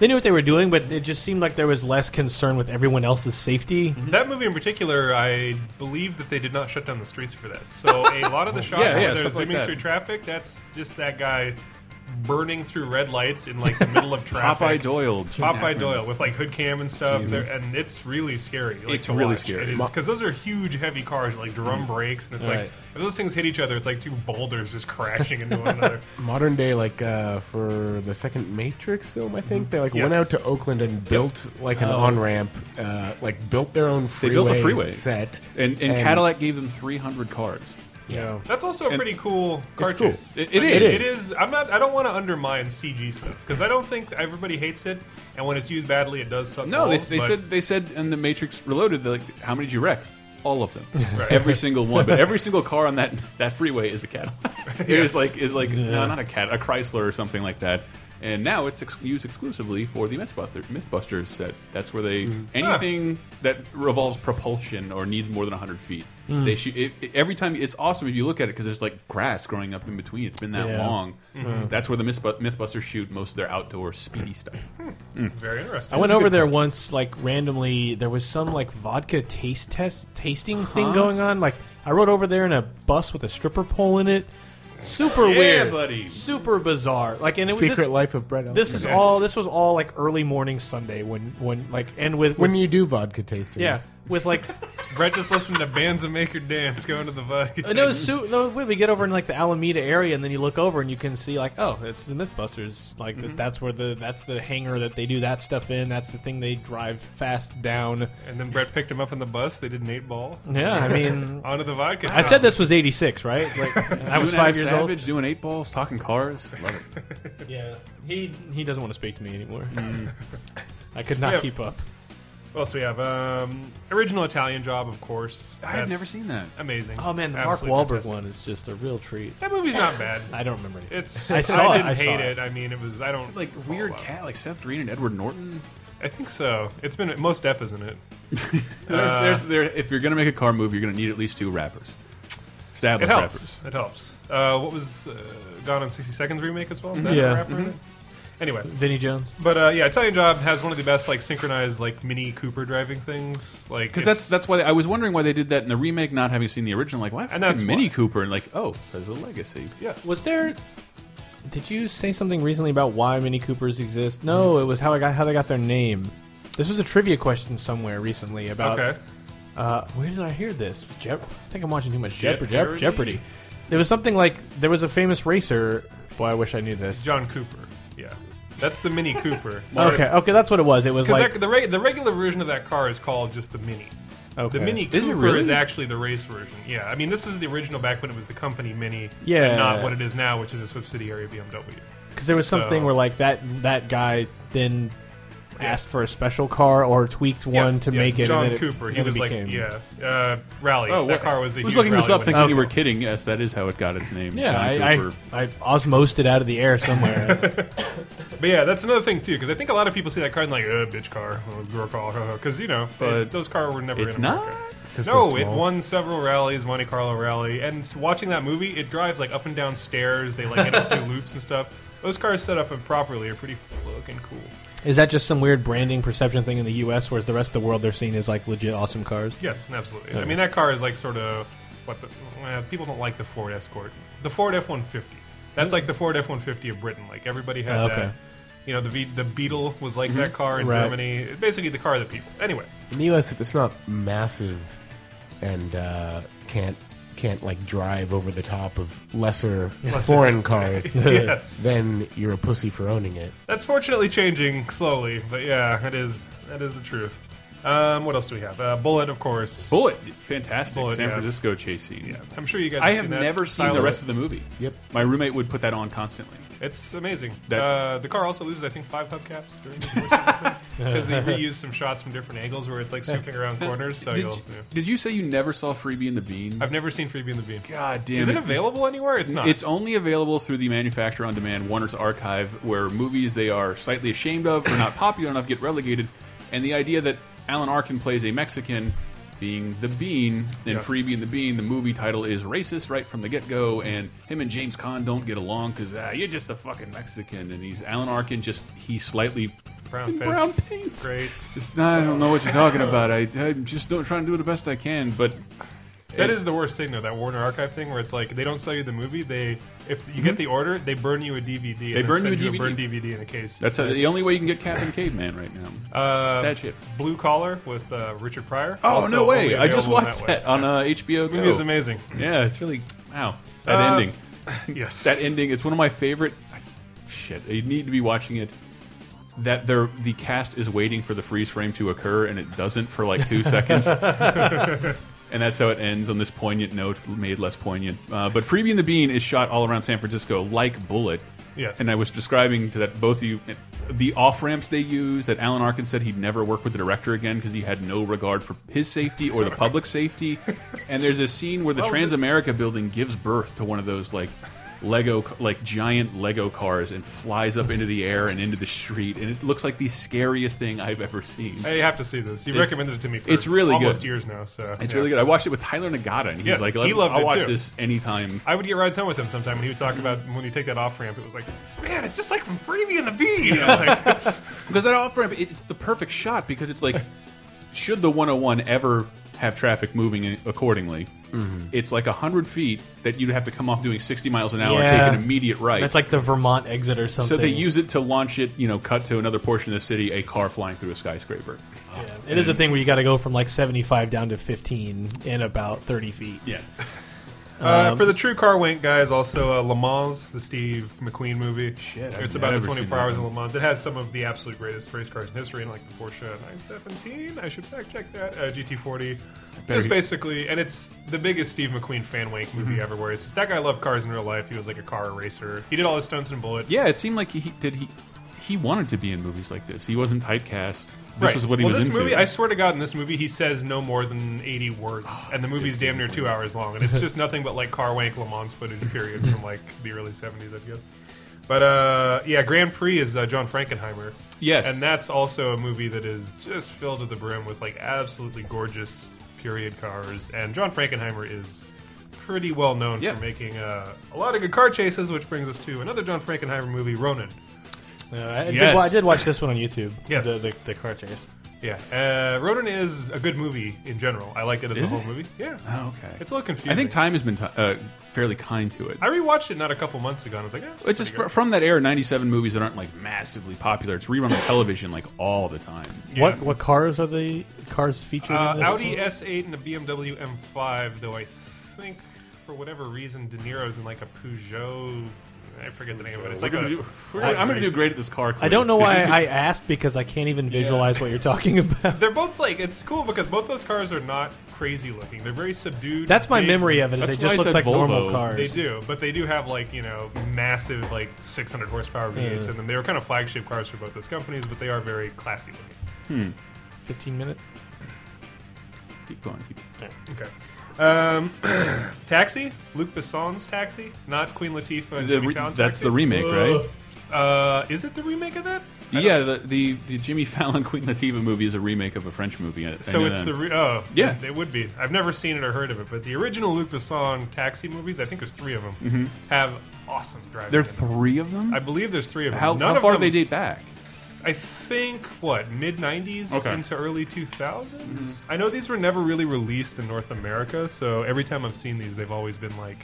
[SPEAKER 8] they knew what they were doing, but it just seemed like there was less concern with everyone else's safety.
[SPEAKER 7] That movie in particular, I believe that they did not shut down the streets for that. So a lot of the shots
[SPEAKER 5] Yeah, yeah,
[SPEAKER 7] where they're
[SPEAKER 5] stuff like
[SPEAKER 7] zooming
[SPEAKER 5] that.
[SPEAKER 7] through traffic, that's just that guy burning through red lights in like the middle of traffic.
[SPEAKER 5] Popeye Doyle. Gene
[SPEAKER 7] Popeye
[SPEAKER 5] Hackman.
[SPEAKER 7] Doyle with like hood cam and stuff,
[SPEAKER 5] Jesus.
[SPEAKER 7] there, and it's really scary. Like,
[SPEAKER 5] It's
[SPEAKER 7] to
[SPEAKER 5] really
[SPEAKER 7] watch.
[SPEAKER 5] scary.
[SPEAKER 7] It is
[SPEAKER 5] Ma- Mm.
[SPEAKER 7] because those are huge, heavy cars, like drum brakes, and it's like
[SPEAKER 8] Right.
[SPEAKER 7] if those things hit each other, it's like two boulders just crashing into one another.
[SPEAKER 6] Modern day, like uh, for the second Matrix film, I think they like
[SPEAKER 7] Yes.
[SPEAKER 6] went out to Oakland and built like an
[SPEAKER 5] Oh.
[SPEAKER 6] on ramp, uh, like built their own
[SPEAKER 5] They
[SPEAKER 6] freeway,
[SPEAKER 5] built a freeway
[SPEAKER 6] set,
[SPEAKER 5] and, and, Cadillac gave them 300 cars.
[SPEAKER 8] Yeah,
[SPEAKER 7] That's also a
[SPEAKER 5] And-
[SPEAKER 7] pretty cool car
[SPEAKER 5] It's cool.
[SPEAKER 7] chase.
[SPEAKER 5] It- it
[SPEAKER 7] I mean,
[SPEAKER 5] is.
[SPEAKER 7] It is. I'm not. I don't want to undermine CG stuff because I don't think everybody hates it, and when it's used badly, it does suck.
[SPEAKER 5] No, they,
[SPEAKER 7] balls,
[SPEAKER 5] they
[SPEAKER 7] but-
[SPEAKER 5] said they said in the Matrix Reloaded, they're like, how many did you wreck? All of them,
[SPEAKER 7] Right.
[SPEAKER 5] every single one. But every single car on that that freeway is a Cadillac. It
[SPEAKER 7] Yes.
[SPEAKER 5] is like is like no,
[SPEAKER 7] Yeah.
[SPEAKER 5] not a cat, a Chrysler or something like that. And now it's ex used exclusively for the Mythbusters, Mythbusters set. That's where they
[SPEAKER 7] Mm. Ah.
[SPEAKER 5] anything that revolves propulsion or needs more than 100 feet.
[SPEAKER 6] Mm.
[SPEAKER 5] They shoot it, it- every time. It's awesome if you look at it because there's like grass growing up in between. It's been that
[SPEAKER 6] Yeah.
[SPEAKER 5] long.
[SPEAKER 7] Mm-hmm.
[SPEAKER 6] Mhm.
[SPEAKER 5] That's where the Mythbu- Mythbusters shoot most of their outdoor speedy stuff. Mm.
[SPEAKER 7] Very interesting.
[SPEAKER 8] I went over there once, like randomly. There was some like vodka taste test tasting
[SPEAKER 5] Huh?
[SPEAKER 8] thing going on. Like I rode over there in a bus with a stripper pole in it. Super
[SPEAKER 5] Yeah,
[SPEAKER 8] weird,
[SPEAKER 5] buddy.
[SPEAKER 8] Super bizarre. Like and it was
[SPEAKER 6] Secret
[SPEAKER 8] this-
[SPEAKER 6] Life of Brett
[SPEAKER 8] This is
[SPEAKER 6] Elsner.
[SPEAKER 8] all. This was all like early morning Sunday when when like and with,
[SPEAKER 6] when
[SPEAKER 8] with-
[SPEAKER 6] you do vodka tastings.
[SPEAKER 8] yeah with like
[SPEAKER 7] Brett just listened to bands that make her dance going to the vodka.
[SPEAKER 8] Uh, No, it's su- no, wait, we get over in like the Alameda area, and then you look over and you can see like, oh, it's the MythBusters. Like th-
[SPEAKER 7] Mhm.
[SPEAKER 8] that's where the that's the hangar that they do that stuff in. That's the thing they drive fast down.
[SPEAKER 7] And then Brett picked him up on the bus. They did an eight ball.
[SPEAKER 8] Yeah, I mean,
[SPEAKER 7] onto the vodka.
[SPEAKER 8] I said this was '86, right? Like I was
[SPEAKER 5] Doing Adam
[SPEAKER 8] five years old.
[SPEAKER 5] Savage, doing eight balls, talking cars. Love it.
[SPEAKER 8] Yeah, Mm. he he doesn't want to speak to me anymore. I could not
[SPEAKER 7] Yeah.
[SPEAKER 8] keep up.
[SPEAKER 7] What else do we have? Um, original Italian Job, of course.
[SPEAKER 8] I had
[SPEAKER 7] That's
[SPEAKER 8] never seen
[SPEAKER 5] that.
[SPEAKER 7] Amazing.
[SPEAKER 8] Oh man, the Mark
[SPEAKER 7] Absolutely
[SPEAKER 8] Wahlberg
[SPEAKER 7] fantastic.
[SPEAKER 8] one is just a real treat.
[SPEAKER 7] That movie's not bad.
[SPEAKER 8] I don't remember it.
[SPEAKER 7] It's
[SPEAKER 8] I saw it,
[SPEAKER 7] didn't
[SPEAKER 8] I saw
[SPEAKER 7] hate
[SPEAKER 8] it.
[SPEAKER 7] it. I mean, it was. I don't
[SPEAKER 5] Is it like weird cat, like Seth Green and Edward Norton.
[SPEAKER 7] I think so. It's been most F is in it.
[SPEAKER 5] There's,
[SPEAKER 7] Uh,
[SPEAKER 5] there's, there, if you're gonna make a car movie, you're gonna need at least two rappers,
[SPEAKER 7] it
[SPEAKER 5] established
[SPEAKER 7] helps.
[SPEAKER 5] rappers.
[SPEAKER 7] It helps. Uh, what was uh, Gone in sixty seconds remake as well? Did that
[SPEAKER 5] Yeah.
[SPEAKER 7] have a rapper in
[SPEAKER 5] Mhm.
[SPEAKER 7] it? Anyway,
[SPEAKER 8] Vinnie Jones.
[SPEAKER 7] But uh, yeah, Italian Job has one of the best like synchronized like Mini Cooper driving things. Like
[SPEAKER 5] Because
[SPEAKER 7] it's-
[SPEAKER 5] that's that's why I was wondering why they did that in the remake, not having seen the original. Like, why
[SPEAKER 7] And that's
[SPEAKER 5] fucking Mini Cooper? And like, oh, there's a legacy.
[SPEAKER 7] Yes.
[SPEAKER 8] Was there? Did you say something recently about why Mini Coopers exist? No,
[SPEAKER 7] Mm-hmm.
[SPEAKER 8] it was how I got how they got their name. This was a trivia question somewhere recently about.
[SPEAKER 7] Okay.
[SPEAKER 8] Uh, where did I hear this? Jep- I think I'm watching too much Jeopardy.
[SPEAKER 7] Jeopardy?
[SPEAKER 8] Jeopardy. Jeopardy. There was something like there was a famous racer. Boy, I wish I knew this.
[SPEAKER 7] John Cooper. Yeah, that's the Mini Cooper.
[SPEAKER 8] Okay, okay, that's what it was. It was
[SPEAKER 7] Because
[SPEAKER 8] like
[SPEAKER 7] that- the, reg- the regular version of that car is called just the Mini.
[SPEAKER 8] Okay.
[SPEAKER 7] The Mini Cooper
[SPEAKER 8] Is
[SPEAKER 7] is,
[SPEAKER 8] it really?
[SPEAKER 7] actually the race version. Yeah, I mean this is the original back when it was the company Mini,
[SPEAKER 8] Yeah.
[SPEAKER 7] and not what it is now, which is a subsidiary of BMW.
[SPEAKER 8] because there was something
[SPEAKER 7] So-
[SPEAKER 8] where like that that guy then asked for a special car or tweaked one to
[SPEAKER 7] yeah,
[SPEAKER 8] make it.
[SPEAKER 7] John
[SPEAKER 8] and then it-
[SPEAKER 7] Cooper. He
[SPEAKER 8] then it
[SPEAKER 7] was
[SPEAKER 8] became-
[SPEAKER 7] like, yeah, uh, rally. that
[SPEAKER 5] Oh, what-
[SPEAKER 7] car was a
[SPEAKER 5] I was
[SPEAKER 7] huge
[SPEAKER 5] looking this
[SPEAKER 7] rally
[SPEAKER 5] up,
[SPEAKER 7] when it
[SPEAKER 5] thinking
[SPEAKER 7] came
[SPEAKER 5] you
[SPEAKER 7] out.
[SPEAKER 5] were kidding. Yes, that is how it got its name.
[SPEAKER 8] Yeah,
[SPEAKER 5] John
[SPEAKER 8] I,
[SPEAKER 5] Cooper.
[SPEAKER 8] I, I osmosed it out of the air somewhere.
[SPEAKER 7] But yeah, that's another thing too, because I think a lot of people see that car and like, uh, bitch car, uh, girl car, because you know,
[SPEAKER 5] But
[SPEAKER 7] those cars were never.
[SPEAKER 5] it's
[SPEAKER 7] in America.
[SPEAKER 5] not?
[SPEAKER 7] No,
[SPEAKER 5] They're
[SPEAKER 7] it
[SPEAKER 5] small.
[SPEAKER 7] won several rallies, Monte Carlo rally, and s- watching that movie, it drives like up and down stairs. They like get into loops and stuff. Those cars set up improperly are pretty fucking cool.
[SPEAKER 8] is that just some weird branding perception thing in the U.S., whereas the rest of the world they're seeing as like legit awesome cars?
[SPEAKER 7] Yes, absolutely. I
[SPEAKER 8] Okay.
[SPEAKER 7] mean, that car is like sort of what the uh, people don't like the Ford Escort, the Ford F one fifty. That's like the Ford F one fifty of Britain. Like everybody had
[SPEAKER 8] Okay.
[SPEAKER 7] that. You know, the v- the Beetle was like that
[SPEAKER 8] Mhm.
[SPEAKER 7] car in
[SPEAKER 8] Right.
[SPEAKER 7] Germany. Basically, the car of the people. Anyway.
[SPEAKER 6] In the U.S., if it's not massive and uh, can't can't like drive over the top of lesser
[SPEAKER 7] Lesser-
[SPEAKER 6] foreign cars,
[SPEAKER 7] Yes.
[SPEAKER 6] then you're a pussy for owning it.
[SPEAKER 7] That's fortunately changing slowly, but yeah, that is that is the truth. Um, what else do we have? Uh, Bullet, of course.
[SPEAKER 5] Bullet, fantastic San
[SPEAKER 7] yeah.
[SPEAKER 5] Francisco chase scene.
[SPEAKER 7] Yeah, I'm sure you guys.
[SPEAKER 5] I
[SPEAKER 7] have
[SPEAKER 5] have
[SPEAKER 7] seen that.
[SPEAKER 5] never seen the
[SPEAKER 7] Silent-
[SPEAKER 5] rest of the movie.
[SPEAKER 6] Yep.
[SPEAKER 5] My roommate would put that on constantly.
[SPEAKER 7] It's amazing.
[SPEAKER 5] That-
[SPEAKER 7] uh, the car also loses, I think, five hubcaps during the because they reuse some shots from different angles where it's like swooping around corners. So
[SPEAKER 5] did,
[SPEAKER 7] you'll.
[SPEAKER 5] you, did you say you never saw Freebie and the Bean?
[SPEAKER 7] I've never seen Freebie and the Bean.
[SPEAKER 5] God damn
[SPEAKER 7] Is it
[SPEAKER 5] it.
[SPEAKER 7] available anywhere? It's not.
[SPEAKER 5] It's only available through the manufacturer on demand Warner's archive, where movies they are slightly ashamed of or not popular enough get relegated. And the idea that Alan Arkin plays a Mexican being the bean, and
[SPEAKER 7] Yes.
[SPEAKER 5] Freebie and the Bean, the movie title is racist right from the get go, and him and James Caan don't get along because ah, you're just a fucking Mexican, and he's Alan Arkin just he's slightly
[SPEAKER 7] brown paint.
[SPEAKER 5] brown
[SPEAKER 7] Great.
[SPEAKER 5] It's not, I don't know what you're talking about. I, I'm just don't, trying to do the best I can, but it-
[SPEAKER 7] That is the worst thing though. That Warner Archive thing where it's like they don't sell you the movie. They if you get the order, they burn you a DVD. and
[SPEAKER 5] Hmm? They
[SPEAKER 7] then
[SPEAKER 5] burn
[SPEAKER 7] send
[SPEAKER 5] you a
[SPEAKER 7] burned
[SPEAKER 5] DVD.
[SPEAKER 7] DVD in the case.
[SPEAKER 5] that's, how- the only way you can get Captain Caveman right now.
[SPEAKER 7] Uh,
[SPEAKER 5] Sad shit.
[SPEAKER 7] Blue Collar with uh, Richard Pryor.
[SPEAKER 5] Oh
[SPEAKER 7] Also
[SPEAKER 5] no
[SPEAKER 7] only
[SPEAKER 5] way! I just
[SPEAKER 7] available
[SPEAKER 5] watched that,
[SPEAKER 7] way.
[SPEAKER 5] on uh, HBO. Go.
[SPEAKER 7] Movie is amazing.
[SPEAKER 5] Yeah, it's really wow. That
[SPEAKER 7] Uh,
[SPEAKER 5] ending.
[SPEAKER 7] Yes.
[SPEAKER 5] That ending. It's one of my favorite. Shit, you need to be watching it. That they're, the cast is waiting for the freeze frame to occur, and it doesn't for like two seconds. And that's how it ends on this poignant note, made less poignant. Uh, but Freebie and the Bean is shot all around San Francisco like Bullet.
[SPEAKER 7] Yes.
[SPEAKER 5] And I was describing to that both of you the off ramps they use. That Alan Arkin said he'd never work with the director again because he had no regard for his safety or the public safety. And there's a scene where the
[SPEAKER 7] Well,
[SPEAKER 5] Transamerica building gives birth to one of those like Lego, like giant Lego cars, and flies up into the air and into the street, and it looks like the scariest thing I've ever seen.
[SPEAKER 7] I have to see this. Uh, You
[SPEAKER 5] It's-
[SPEAKER 7] recommended it to me for
[SPEAKER 5] it's really
[SPEAKER 7] almost
[SPEAKER 5] good.
[SPEAKER 7] years now. So
[SPEAKER 5] It's
[SPEAKER 7] yeah.
[SPEAKER 5] really good. I watched it with Tyler Nagata, and he's
[SPEAKER 7] Yes,
[SPEAKER 5] like,
[SPEAKER 7] he
[SPEAKER 5] "I'll-
[SPEAKER 7] loved
[SPEAKER 5] I'll
[SPEAKER 7] it,
[SPEAKER 5] watch
[SPEAKER 7] too."
[SPEAKER 5] this anytime."
[SPEAKER 7] I would get rides home with him sometime, and he would talk about when you take that off ramp. It was like, man, it's just like from Freebie and the Bee. You know, like,
[SPEAKER 5] Because that off ramp, it's the perfect shot because it's like, should the 101 ever have traffic moving in- accordingly?
[SPEAKER 7] Mm-hmm.
[SPEAKER 5] It's like 100 feet that you'd have to come off doing 60 miles an hour,
[SPEAKER 8] Yeah.
[SPEAKER 5] take an immediate right.
[SPEAKER 8] That's like the Vermont exit or something.
[SPEAKER 5] so they use it to launch it, you know, cut to another portion of the city, a car flying through a skyscraper.
[SPEAKER 8] It
[SPEAKER 7] Mm.
[SPEAKER 8] is a thing where you got to go from like 75 down to 15 in about 30 feet.
[SPEAKER 5] Yeah.
[SPEAKER 7] Uh,
[SPEAKER 8] Um,
[SPEAKER 7] for the true car wink guys, also uh, Le Mans, the Steve McQueen movie. Shit,
[SPEAKER 5] I've
[SPEAKER 7] it's about the
[SPEAKER 5] never seen
[SPEAKER 7] 24
[SPEAKER 5] that
[SPEAKER 7] hours of
[SPEAKER 5] one.
[SPEAKER 7] Le Mans. It has some of the absolute greatest race cars in history, and like the Porsche 917. I should fact check that. Uh, GT40.
[SPEAKER 5] Better
[SPEAKER 7] Just
[SPEAKER 5] get-
[SPEAKER 7] basically, and it's the biggest Steve McQueen fan wink movie
[SPEAKER 5] Mm-hmm.
[SPEAKER 7] ever. Where it's just, that guy loved cars in real life. He was like a car racer. He did all his stunts and bullet.
[SPEAKER 5] Yeah, it seemed like he did he he wanted to be in movies like this. He wasn't typecast. This
[SPEAKER 7] Right.
[SPEAKER 5] was what he
[SPEAKER 7] well,
[SPEAKER 5] was
[SPEAKER 7] this
[SPEAKER 5] into.
[SPEAKER 7] movie, I swear to God, in this movie, he says no more than 80 words,
[SPEAKER 5] Oh,
[SPEAKER 7] and the movie's damn near two hours long, and it's just nothing but like car wank Le Mans footage, period, from like the early 70s, I guess. But uh, yeah, Grand Prix is uh, John Frankenheimer.
[SPEAKER 5] Yes.
[SPEAKER 7] and that's also a movie that is just filled to the brim with like absolutely gorgeous period cars, and John Frankenheimer is pretty well known
[SPEAKER 5] Yeah.
[SPEAKER 7] for making uh, a lot of good car chases, which brings us to another John Frankenheimer movie, Ronin.
[SPEAKER 8] No, I, did,
[SPEAKER 7] Yes.
[SPEAKER 8] wa- I did watch this one on YouTube.
[SPEAKER 7] Yes.
[SPEAKER 8] the, the, the car chase.
[SPEAKER 7] Yeah, uh, Rodin is a good movie in general. I like it as
[SPEAKER 5] Is
[SPEAKER 7] a whole
[SPEAKER 5] it?
[SPEAKER 7] movie. Yeah.
[SPEAKER 5] Oh, okay.
[SPEAKER 7] It's a little confusing.
[SPEAKER 5] I think time has been ti uh, fairly kind to it.
[SPEAKER 7] I rewatched it not a couple months ago, and I was like, eh, it's
[SPEAKER 5] It's just
[SPEAKER 7] pretty
[SPEAKER 5] fr from that era, '97 movies that aren't like massively popular. It's rerun on television like all the time.
[SPEAKER 8] What what cars are the cars featured?
[SPEAKER 7] good.
[SPEAKER 8] in
[SPEAKER 7] uh,
[SPEAKER 8] this
[SPEAKER 7] Audi
[SPEAKER 8] film?
[SPEAKER 7] S8 and a BMW M5, though I think for whatever reason De Niro's in like a Peugeot. I forget the name of it. It's
[SPEAKER 5] We're
[SPEAKER 7] like
[SPEAKER 5] gonna
[SPEAKER 7] a,
[SPEAKER 5] do- we're- I'm gonna do great at this car
[SPEAKER 8] I don't know why I asked because I can't even visualize what you're talking about.
[SPEAKER 7] They're both like it's cool because both those cars are not crazy looking. They're very subdued.
[SPEAKER 8] That's my
[SPEAKER 7] big-
[SPEAKER 8] memory of it, is they
[SPEAKER 7] That's
[SPEAKER 8] just
[SPEAKER 7] why I
[SPEAKER 8] look
[SPEAKER 7] said
[SPEAKER 8] like normal
[SPEAKER 7] Volvo.
[SPEAKER 8] cars.
[SPEAKER 7] They do, but they do have like you know massive like 600 horsepower V8s
[SPEAKER 8] Yeah.
[SPEAKER 5] Mm.
[SPEAKER 7] in them. They were kind of flagship cars for both those companies, but they are very classy looking.
[SPEAKER 5] Hmm.
[SPEAKER 8] Fifteen minutes.
[SPEAKER 5] Keep going. Keep
[SPEAKER 7] Okay. Um, Taxi, Luc Besson's Taxi, not Queen Latifah. and
[SPEAKER 5] The
[SPEAKER 7] Jimmy
[SPEAKER 5] re-
[SPEAKER 7] Fallon's
[SPEAKER 5] that's
[SPEAKER 7] Taxi.
[SPEAKER 5] the remake, right?
[SPEAKER 7] Uh, is it the remake of that?
[SPEAKER 5] Yeah, the, the the Jimmy Fallon Queen Latifah movie is a remake of a French movie. I- I
[SPEAKER 7] So
[SPEAKER 5] know
[SPEAKER 7] it's
[SPEAKER 5] that.
[SPEAKER 7] the re- oh
[SPEAKER 5] Yeah.
[SPEAKER 7] it would be. I've never seen it or heard of it, but the original Luc Besson Taxi movies, I think there's three of them,
[SPEAKER 5] Mhm.
[SPEAKER 7] have awesome driving.
[SPEAKER 5] There are
[SPEAKER 7] in them.
[SPEAKER 5] three of them.
[SPEAKER 7] I believe there's three of them.
[SPEAKER 5] How,
[SPEAKER 7] None
[SPEAKER 5] how
[SPEAKER 7] of
[SPEAKER 5] far do
[SPEAKER 7] them-
[SPEAKER 5] they date back?
[SPEAKER 7] I think what mid '90s
[SPEAKER 5] Okay.
[SPEAKER 7] into early 2000s. I know these were never really released in North America, so every time I've seen these, they've always been like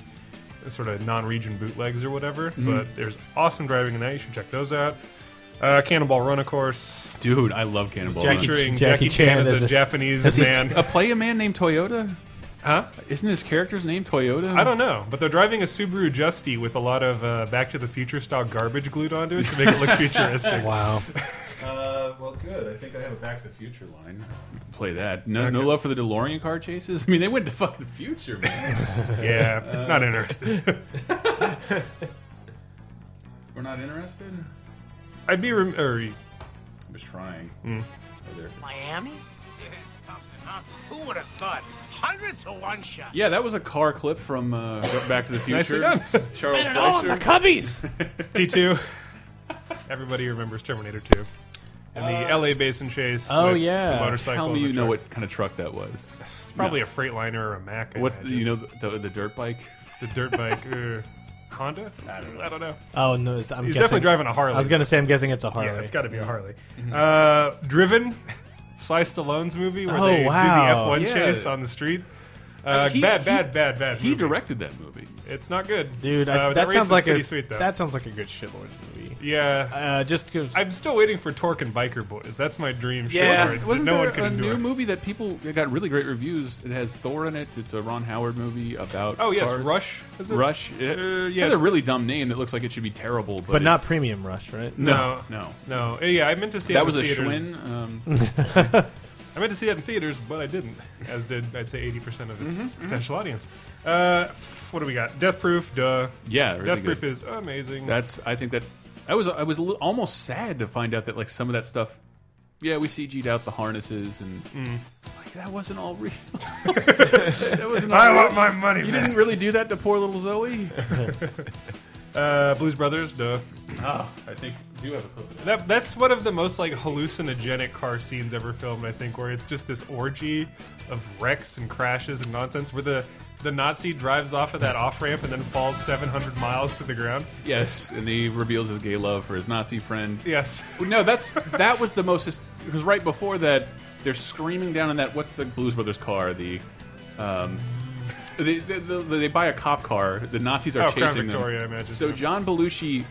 [SPEAKER 7] sort of non-region bootlegs or whatever.
[SPEAKER 5] Mhm.
[SPEAKER 7] But there's awesome driving in that. You should check those out. Uh, Cannonball Run, of course.
[SPEAKER 5] Dude, I love Cannonball Run.
[SPEAKER 7] Featuring Jackie, Chan as a, Japanese
[SPEAKER 5] Is he
[SPEAKER 7] man.
[SPEAKER 5] A play a man named Toyota?
[SPEAKER 7] Huh?
[SPEAKER 5] Isn't his character's name Toyota?
[SPEAKER 7] I don't know, but they're driving a Subaru Justy with a lot of uh, Back to the Future style garbage glued onto it to make it look futuristic.
[SPEAKER 8] Oh.
[SPEAKER 5] Uh, well, good. I think I have a Back to the Future line. Play that. No, no love for the DeLorean car chases. I mean, they went to fuck the future, man.
[SPEAKER 7] Yeah, not interested.
[SPEAKER 5] We're not interested.
[SPEAKER 7] I'd be rem- or,
[SPEAKER 5] I was trying.
[SPEAKER 7] Mm.
[SPEAKER 5] Oh, there.
[SPEAKER 12] Miami? Yeah, something, huh? Who would have thought? Hundred to one shot.
[SPEAKER 5] Yeah, that was a car clip from uh, Back to the Future.
[SPEAKER 7] Nicely done.
[SPEAKER 5] Charles
[SPEAKER 12] Better know
[SPEAKER 5] Fleischer.
[SPEAKER 12] the Cubbies.
[SPEAKER 7] T2. Everybody remembers Terminator 2. And the LA Basin chase.
[SPEAKER 5] Oh,
[SPEAKER 7] with
[SPEAKER 5] yeah.
[SPEAKER 7] The motorcycle.
[SPEAKER 5] Tell me
[SPEAKER 7] and the
[SPEAKER 5] you know
[SPEAKER 7] truck.
[SPEAKER 5] what kind of truck that was.
[SPEAKER 7] It's probably a Freightliner or a Mack. I
[SPEAKER 5] What's the,
[SPEAKER 7] imagine.
[SPEAKER 5] you know the, the, the dirt bike?
[SPEAKER 7] The dirt bike. uh, Honda? I don't know. I don't know.
[SPEAKER 8] Oh no! it's- I'm
[SPEAKER 7] He's
[SPEAKER 8] guessing-
[SPEAKER 7] definitely driving a Harley.
[SPEAKER 8] I was gonna say Mm-hmm. I'm guessing it's a Harley.
[SPEAKER 7] Yeah, it's got to be a Harley. Uh, Driven, Sly Stallone's movie where
[SPEAKER 8] Oh,
[SPEAKER 7] they
[SPEAKER 8] wow.
[SPEAKER 7] do the F1
[SPEAKER 8] Yeah.
[SPEAKER 7] chase on the street. Uh,
[SPEAKER 8] He-
[SPEAKER 7] bad,
[SPEAKER 8] he-
[SPEAKER 7] bad, bad, bad.
[SPEAKER 5] He
[SPEAKER 7] movie.
[SPEAKER 5] directed that movie.
[SPEAKER 7] It's not good,
[SPEAKER 8] Dude, I,
[SPEAKER 7] Uh,
[SPEAKER 8] that,
[SPEAKER 7] race
[SPEAKER 8] sounds
[SPEAKER 7] is
[SPEAKER 8] like
[SPEAKER 7] pretty
[SPEAKER 8] a
[SPEAKER 7] sweet though.
[SPEAKER 8] that sounds like a good shitlord movie.
[SPEAKER 7] yeah.
[SPEAKER 8] Uh, just cause
[SPEAKER 7] I'm still waiting for Torque and Biker Boys. That's my dream show.
[SPEAKER 5] Yeah,
[SPEAKER 7] where it's-
[SPEAKER 5] wasn't
[SPEAKER 7] no
[SPEAKER 5] there
[SPEAKER 7] one can
[SPEAKER 5] a
[SPEAKER 7] endure.
[SPEAKER 5] new movie that people it got really great reviews? It has Thor in it. It's a Ron Howard movie about.
[SPEAKER 7] Oh, yes,
[SPEAKER 5] cars.
[SPEAKER 7] Rush, is it?
[SPEAKER 5] Rush. It
[SPEAKER 7] Uh, yeah,
[SPEAKER 5] has a
[SPEAKER 7] it's-
[SPEAKER 5] really dumb name that looks like it should be terrible, but,
[SPEAKER 8] but, not Premium Rush, right?
[SPEAKER 5] No, no,
[SPEAKER 7] no. Uh, Yeah, I meant to see
[SPEAKER 5] That
[SPEAKER 7] it in
[SPEAKER 5] was a
[SPEAKER 7] theaters.
[SPEAKER 5] Schwinn, um.
[SPEAKER 7] I meant to see that in theaters, but I didn't. As did I'd say eighty percent of its
[SPEAKER 5] Mm-hmm,
[SPEAKER 7] potential audience. Uh, f- what do we got? Death Proof, duh.
[SPEAKER 5] Yeah, really
[SPEAKER 7] Death Proof
[SPEAKER 5] good.
[SPEAKER 7] is amazing.
[SPEAKER 5] That's. I think that. I was. I was a little, almost sad to find out that like some of that stuff. Yeah, we CG'd out the harnesses and
[SPEAKER 7] Mm.
[SPEAKER 5] like that wasn't all real. that wasn't. all
[SPEAKER 7] I
[SPEAKER 5] real.
[SPEAKER 7] want my money
[SPEAKER 5] You
[SPEAKER 7] back.
[SPEAKER 5] didn't really do that to poor little Zoe.
[SPEAKER 7] uh, Blues Brothers, duh.
[SPEAKER 5] Ah, I think do have a clip.
[SPEAKER 7] That, that's one of the most like hallucinogenic car scenes ever filmed, I think, where it's just this orgy of wrecks and crashes and nonsense. Where the the Nazi drives off of that off ramp and then falls 700 miles to the ground.
[SPEAKER 5] Yes, and he reveals his gay love for his Nazi friend.
[SPEAKER 7] Yes.
[SPEAKER 5] No, that's that was the most because right before that they're screaming down in that what's the Blues Brothers car the. Um, they, they, they, they buy a cop car. The Nazis are
[SPEAKER 7] Oh, Crown
[SPEAKER 5] chasing
[SPEAKER 7] Victoria, I
[SPEAKER 5] them.
[SPEAKER 7] imagine,
[SPEAKER 5] So
[SPEAKER 7] yeah.
[SPEAKER 5] John Belushi,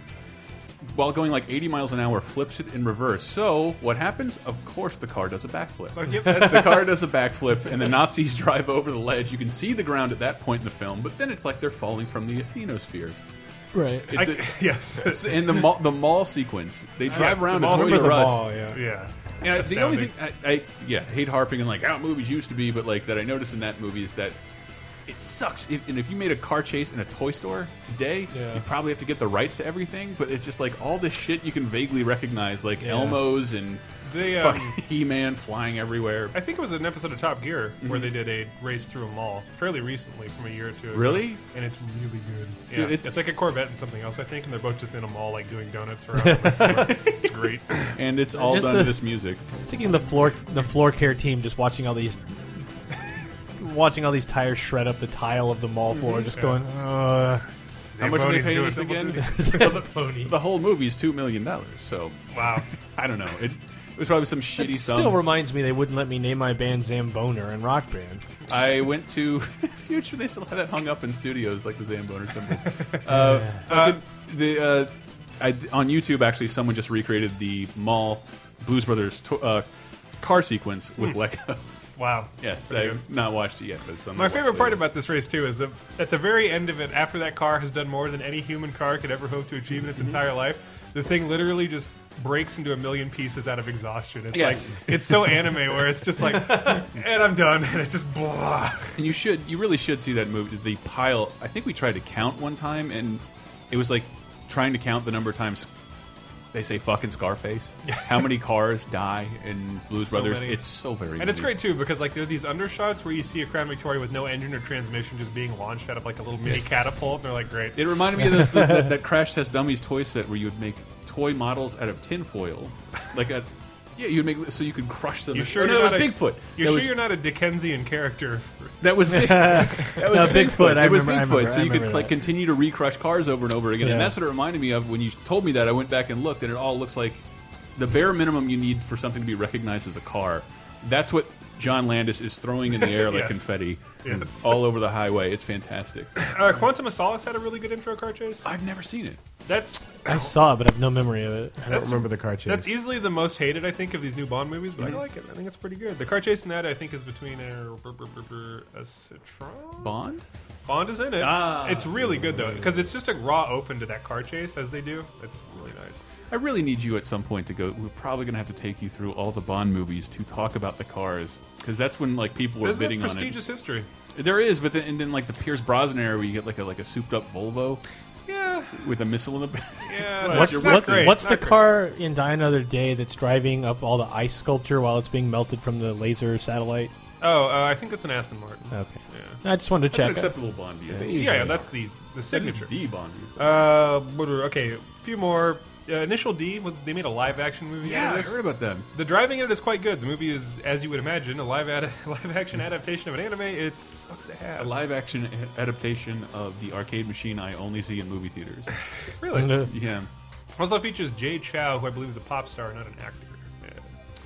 [SPEAKER 5] while going like 80 miles an hour, flips it in reverse. So what happens? Of course, the car does a backflip.
[SPEAKER 7] Like, Oh, yep, that's-
[SPEAKER 5] the car does a backflip, and the Nazis drive over the ledge. You can see the ground at that point in the film, but then it's like they're falling from the asthenosphere.
[SPEAKER 8] Right.
[SPEAKER 5] It's
[SPEAKER 7] I-
[SPEAKER 5] a-
[SPEAKER 7] yes.
[SPEAKER 5] it's in the mall, the mall sequence, they drive
[SPEAKER 7] Yes,
[SPEAKER 5] around
[SPEAKER 7] the
[SPEAKER 5] to
[SPEAKER 7] mall
[SPEAKER 5] Toys
[SPEAKER 7] scene.
[SPEAKER 5] R Us.
[SPEAKER 7] yeah.
[SPEAKER 5] And it's the only
[SPEAKER 7] Astounding.
[SPEAKER 5] thing I, I yeah hate harping on like how movies used to be, but like that I noticed in that movie is that it sucks. If, and if you made a car chase in a toy store today,
[SPEAKER 8] Yeah.
[SPEAKER 5] you probably have to get the rights to everything. But it's just like all this shit you can vaguely recognize, like
[SPEAKER 7] Yeah.
[SPEAKER 5] Elmos and
[SPEAKER 7] They, um,
[SPEAKER 5] fucking He-Man flying everywhere.
[SPEAKER 7] I think it was an episode of Top Gear where they did a race through a mall fairly recently, from a year or two. ago.
[SPEAKER 5] Really?
[SPEAKER 7] And it's really good. Yeah.
[SPEAKER 5] Dude,
[SPEAKER 7] it's,
[SPEAKER 5] it's-
[SPEAKER 7] like a Corvette and something else, I think, and they're both just in a mall, like doing donuts around. on the floor. it's great.
[SPEAKER 5] And it's all
[SPEAKER 8] Just
[SPEAKER 5] done
[SPEAKER 8] the-
[SPEAKER 5] to this music.
[SPEAKER 8] I was thinking the floor the floor care team just watching all these watching all these tires shred up the tile of the mall floor,
[SPEAKER 7] Mhm.
[SPEAKER 8] just
[SPEAKER 7] Yeah.
[SPEAKER 8] going. Uh,
[SPEAKER 5] How much are they
[SPEAKER 7] Zamboni's
[SPEAKER 5] paying
[SPEAKER 7] doing
[SPEAKER 5] this again?
[SPEAKER 7] double duty.
[SPEAKER 5] the whole movie's two million dollars. So
[SPEAKER 7] wow,
[SPEAKER 5] I don't know. It, it was probably some shitty
[SPEAKER 8] It
[SPEAKER 5] sum.
[SPEAKER 8] still reminds me they wouldn't let me name my band Zamboner and Rock Band.
[SPEAKER 5] I went to Future. They still have that hung up in studios, like the Zamboner symbols. Uh, fucking- the uh, I, on YouTube, actually, someone just recreated the mall Blues Brothers to uh, car sequence with
[SPEAKER 7] Hmm.
[SPEAKER 5] Legos.
[SPEAKER 7] Wow.
[SPEAKER 5] Yes,
[SPEAKER 7] Pretty
[SPEAKER 5] I've not watched it yet, but it's on
[SPEAKER 7] My favorite part about this race too is that at the very end of it, after that car has done more than any human car could ever hope to achieve in its entire life, the thing literally just breaks into a million pieces out of exhaustion. It's
[SPEAKER 5] Yes.
[SPEAKER 7] like it's so anime where it's just like, and I'm done, and it just blah.
[SPEAKER 5] And you should, you really should see that movie. The pile. I think we tried to count one time, and it was like trying to count the number of times they say "fucking Scarface." How many cars die in Blues
[SPEAKER 7] So
[SPEAKER 5] Brothers?
[SPEAKER 7] many.
[SPEAKER 5] It's so very.
[SPEAKER 7] and it's
[SPEAKER 5] many.
[SPEAKER 7] great too because like there are these undershots where you see a Crown Victoria with no engine or transmission just being launched out of like a little mini catapult. And they're like, great.
[SPEAKER 5] It reminded me of those, that, that, that Crash Test Dummies toy set where you would make toy models out of tinfoil, like a yeah, you'd make so you could crush them.
[SPEAKER 7] You
[SPEAKER 5] and-
[SPEAKER 7] sure
[SPEAKER 5] oh, no,
[SPEAKER 7] you're
[SPEAKER 5] that
[SPEAKER 7] not
[SPEAKER 5] was
[SPEAKER 7] a-
[SPEAKER 5] Bigfoot. that
[SPEAKER 7] You're sure
[SPEAKER 5] was,
[SPEAKER 7] you're not a Dickensian character?
[SPEAKER 5] that was that was
[SPEAKER 8] No, Bigfoot, I
[SPEAKER 5] It was
[SPEAKER 8] remember-
[SPEAKER 5] Bigfoot.
[SPEAKER 8] I remember-
[SPEAKER 5] so
[SPEAKER 8] I
[SPEAKER 5] you could
[SPEAKER 8] remember
[SPEAKER 5] like
[SPEAKER 8] that.
[SPEAKER 5] continue to recrush cars over and over again, and
[SPEAKER 8] Yeah.
[SPEAKER 5] that's what it reminded me of when you told me that. I went back and looked, and it all looks like the bare minimum you need for something to be recognized as a car. That's what John Landis is throwing in the air like
[SPEAKER 7] Yes.
[SPEAKER 5] confetti
[SPEAKER 7] Yes.
[SPEAKER 5] all over the highway. It's fantastic.
[SPEAKER 7] Uh, Quantum of Solace had a really good intro car chase.
[SPEAKER 5] I've never seen it.
[SPEAKER 7] That's
[SPEAKER 8] I saw it, but I have no memory of it. I don't
[SPEAKER 7] That's-
[SPEAKER 8] remember the car chase.
[SPEAKER 7] That's easily the most hated, I think, of these new Bond movies, but
[SPEAKER 8] Mhm.
[SPEAKER 5] Mm-hmm.
[SPEAKER 7] I like it. I think it's pretty good. The car chase in that, I think, is between a, br- br- br- br- a Citroen.
[SPEAKER 5] Bond?
[SPEAKER 7] Bond is in it.
[SPEAKER 5] Ah.
[SPEAKER 7] It's really good though, because it's just a raw open to that car chase as they do. It's really nice.
[SPEAKER 5] I really need you at some point to go. We're probably going to have to take you through all the Bond movies to talk about the cars because that's when like people were
[SPEAKER 7] There's a
[SPEAKER 5] bidding on it.
[SPEAKER 7] prestigious history.
[SPEAKER 5] There is, but then and then like the Pierce Brosnan era where you get like a like a souped up Volvo.
[SPEAKER 7] Yeah.
[SPEAKER 5] With a missile in the back.
[SPEAKER 7] Yeah.
[SPEAKER 5] That's
[SPEAKER 8] What's,
[SPEAKER 5] your
[SPEAKER 8] what's,
[SPEAKER 5] weapon.
[SPEAKER 8] what's the car in Die Another Day that's driving up all the ice sculpture while it's being melted from the laser satellite?
[SPEAKER 7] Oh, uh, I think that's an Aston Martin.
[SPEAKER 5] Oh,
[SPEAKER 8] Okay.
[SPEAKER 7] Yeah.
[SPEAKER 8] I just wanted to
[SPEAKER 5] That's an
[SPEAKER 8] check.
[SPEAKER 5] acceptable Bond view.
[SPEAKER 8] Yeah,
[SPEAKER 5] They
[SPEAKER 8] usually
[SPEAKER 7] Yeah, yeah,
[SPEAKER 8] are.
[SPEAKER 7] that's the the signature.
[SPEAKER 5] D Bond.
[SPEAKER 7] Uh, what are- okay, a few more. Uh, Initial D was they made a live action movie.
[SPEAKER 5] Yeah,
[SPEAKER 7] out
[SPEAKER 5] I
[SPEAKER 7] of this.
[SPEAKER 5] heard about them.
[SPEAKER 7] The driving in it is quite good. The movie is, as you would imagine, a live ad- live action adaptation of an anime. It sucks ass.
[SPEAKER 5] A live action adaptation of the arcade machine I only see in movie theaters.
[SPEAKER 7] Really?
[SPEAKER 5] Yeah.
[SPEAKER 7] Also features Jay Chow, who I believe is a pop star, not an actor. Yeah.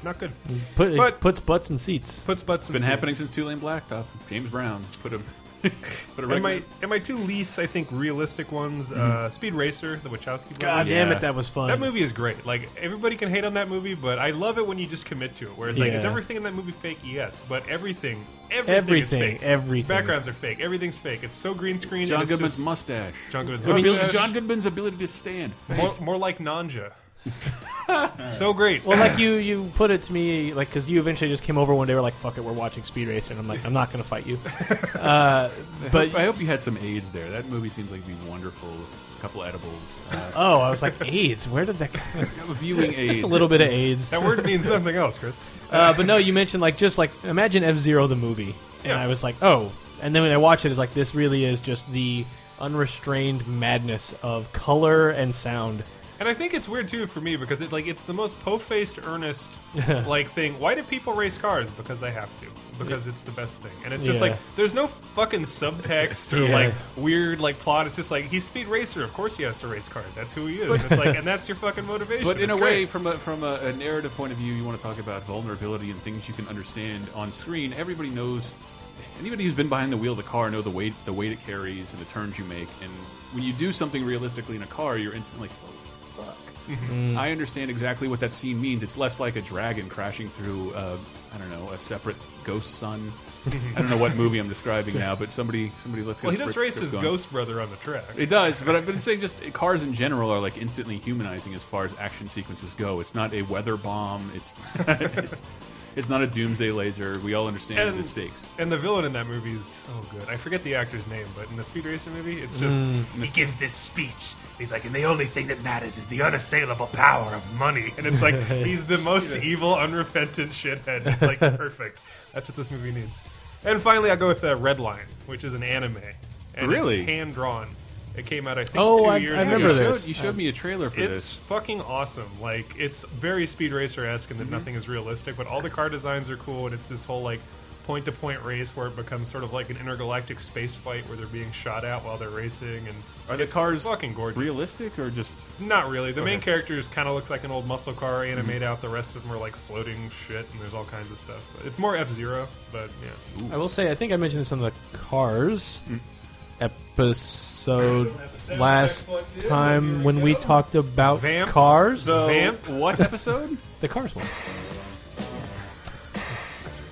[SPEAKER 7] Not good.
[SPEAKER 8] Put,
[SPEAKER 7] but
[SPEAKER 8] it puts butts in seats.
[SPEAKER 7] Puts butts
[SPEAKER 5] It's been happening since Tulane Blacktop. James Brown put a put a
[SPEAKER 7] and my
[SPEAKER 5] record.
[SPEAKER 7] and my two least, I think, realistic
[SPEAKER 8] Mm.
[SPEAKER 7] ones: uh,
[SPEAKER 5] Mhm.
[SPEAKER 7] Speed Racer, the Wachowski.
[SPEAKER 8] God
[SPEAKER 7] brothers.
[SPEAKER 8] damn it, Yeah. that was fun.
[SPEAKER 7] That movie is great. Like everybody can hate on that movie, but I love it when you just commit to it. Where it's like, is
[SPEAKER 8] Yeah.
[SPEAKER 7] everything in that movie fake? Yes, but everything, everything,
[SPEAKER 8] Everything,
[SPEAKER 7] is fake.
[SPEAKER 8] everything is-
[SPEAKER 7] Backgrounds are fake. Everything's fake. It's so green screen.
[SPEAKER 5] John
[SPEAKER 7] and it's
[SPEAKER 5] Goodman's
[SPEAKER 7] just-
[SPEAKER 5] mustache.
[SPEAKER 7] John Goodman's
[SPEAKER 5] I mean,
[SPEAKER 7] mustache.
[SPEAKER 5] John Goodman's ability to stand.
[SPEAKER 7] More, more like Nanja. so great.
[SPEAKER 8] Well, like you, you put it to me, like because you eventually just came over one day. We're like, "Fuck it, we're watching Speed Racer," and I'm like, "I'm not gonna fight you." Uh,
[SPEAKER 5] I
[SPEAKER 8] but
[SPEAKER 5] hope, I hope you had some AIDS there. That movie seems like it'd be wonderful. A couple edibles. Uh,
[SPEAKER 8] oh, I was like, "AIDS? Where did that?" Come?
[SPEAKER 5] Viewing AIDS.
[SPEAKER 8] Just a little bit of AIDS.
[SPEAKER 7] That word means something else, Chris.
[SPEAKER 8] Uh, but no, you mentioned like just like imagine F Zero the movie, and
[SPEAKER 7] Yeah.
[SPEAKER 8] I was like, "Oh," and then when I watched it, it's like this really is just the unrestrained madness of color and sound.
[SPEAKER 7] And I think it's weird too for me because it like it's the most po-faced, earnest like thing. Why do people race cars? Because they have to. Because it's the best thing. And it's just
[SPEAKER 8] Yeah.
[SPEAKER 7] like there's no fucking subtext or
[SPEAKER 8] Yeah.
[SPEAKER 7] like weird like plot. It's just like he's speed racer. Of course he has to race cars. That's who he is. And it's like and that's your fucking motivation.
[SPEAKER 5] But in
[SPEAKER 7] It's
[SPEAKER 5] a
[SPEAKER 7] great.
[SPEAKER 5] way, from a, from a, a narrative point of view, you want to talk about vulnerability and things you can understand on screen. Everybody knows. Anybody who's been behind the wheel of the car know the weight the weight it carries and the turns you make. And when you do something realistically in a car, you're instantly oh, fuck.
[SPEAKER 11] Mhm.
[SPEAKER 5] I understand exactly what that scene means. It's less like a dragon crashing through, uh, I don't know, a separate ghost sun. I don't know what movie I'm describing now, but somebody, somebody, let's go.
[SPEAKER 7] Well, he does
[SPEAKER 5] script-
[SPEAKER 7] race his
[SPEAKER 5] script going.
[SPEAKER 7] ghost brother on the track.
[SPEAKER 5] It does, but I've been saying just cars in general are like instantly humanizing as far as action sequences go. It's not a weather bomb. It's it's not a doomsday laser. We all understand the stakes.
[SPEAKER 7] And the villain in that movie is so good. I forget the actor's name, but in the Speed Racer movie, it's just
[SPEAKER 8] Mm.
[SPEAKER 7] he gives this speech. He's like, and the only thing that matters is the unassailable power of money. And it's like he's the most
[SPEAKER 5] Yes.
[SPEAKER 7] evil, unrepentant shithead. It's like perfect. That's what this movie needs. And finally, I go with uh, Red Line, which is an anime. And
[SPEAKER 5] Really?
[SPEAKER 7] it's hand drawn. It came out, I think,
[SPEAKER 8] Oh,
[SPEAKER 7] two
[SPEAKER 8] I-
[SPEAKER 7] years
[SPEAKER 8] I
[SPEAKER 7] ago.
[SPEAKER 8] remember
[SPEAKER 5] You showed-
[SPEAKER 8] this.
[SPEAKER 5] you showed me a trailer for
[SPEAKER 7] it's
[SPEAKER 5] this.
[SPEAKER 7] fucking awesome. Like it's very speed racer esque, and that
[SPEAKER 5] Mhm.
[SPEAKER 7] nothing is realistic, but all the car designs are cool, and it's this whole like point to point race where it becomes sort of like an intergalactic space fight where they're being shot at while they're racing and
[SPEAKER 5] Are the
[SPEAKER 7] it's
[SPEAKER 5] cars
[SPEAKER 7] fucking gorgeous.
[SPEAKER 5] realistic or just
[SPEAKER 7] Not really. The main
[SPEAKER 5] Okay.
[SPEAKER 7] characters kind of looks like an old muscle car animate
[SPEAKER 5] Mhm.
[SPEAKER 7] out. The rest of them are like floating shit, and there's all kinds of stuff. But it's more F Zero, but yeah.
[SPEAKER 8] I will say, I think I mentioned this on the Cars
[SPEAKER 7] Mm.
[SPEAKER 8] episode last time when we talked about
[SPEAKER 7] Vamp?
[SPEAKER 8] Cars.
[SPEAKER 7] The Vamp? what
[SPEAKER 5] episode?
[SPEAKER 8] the Cars one.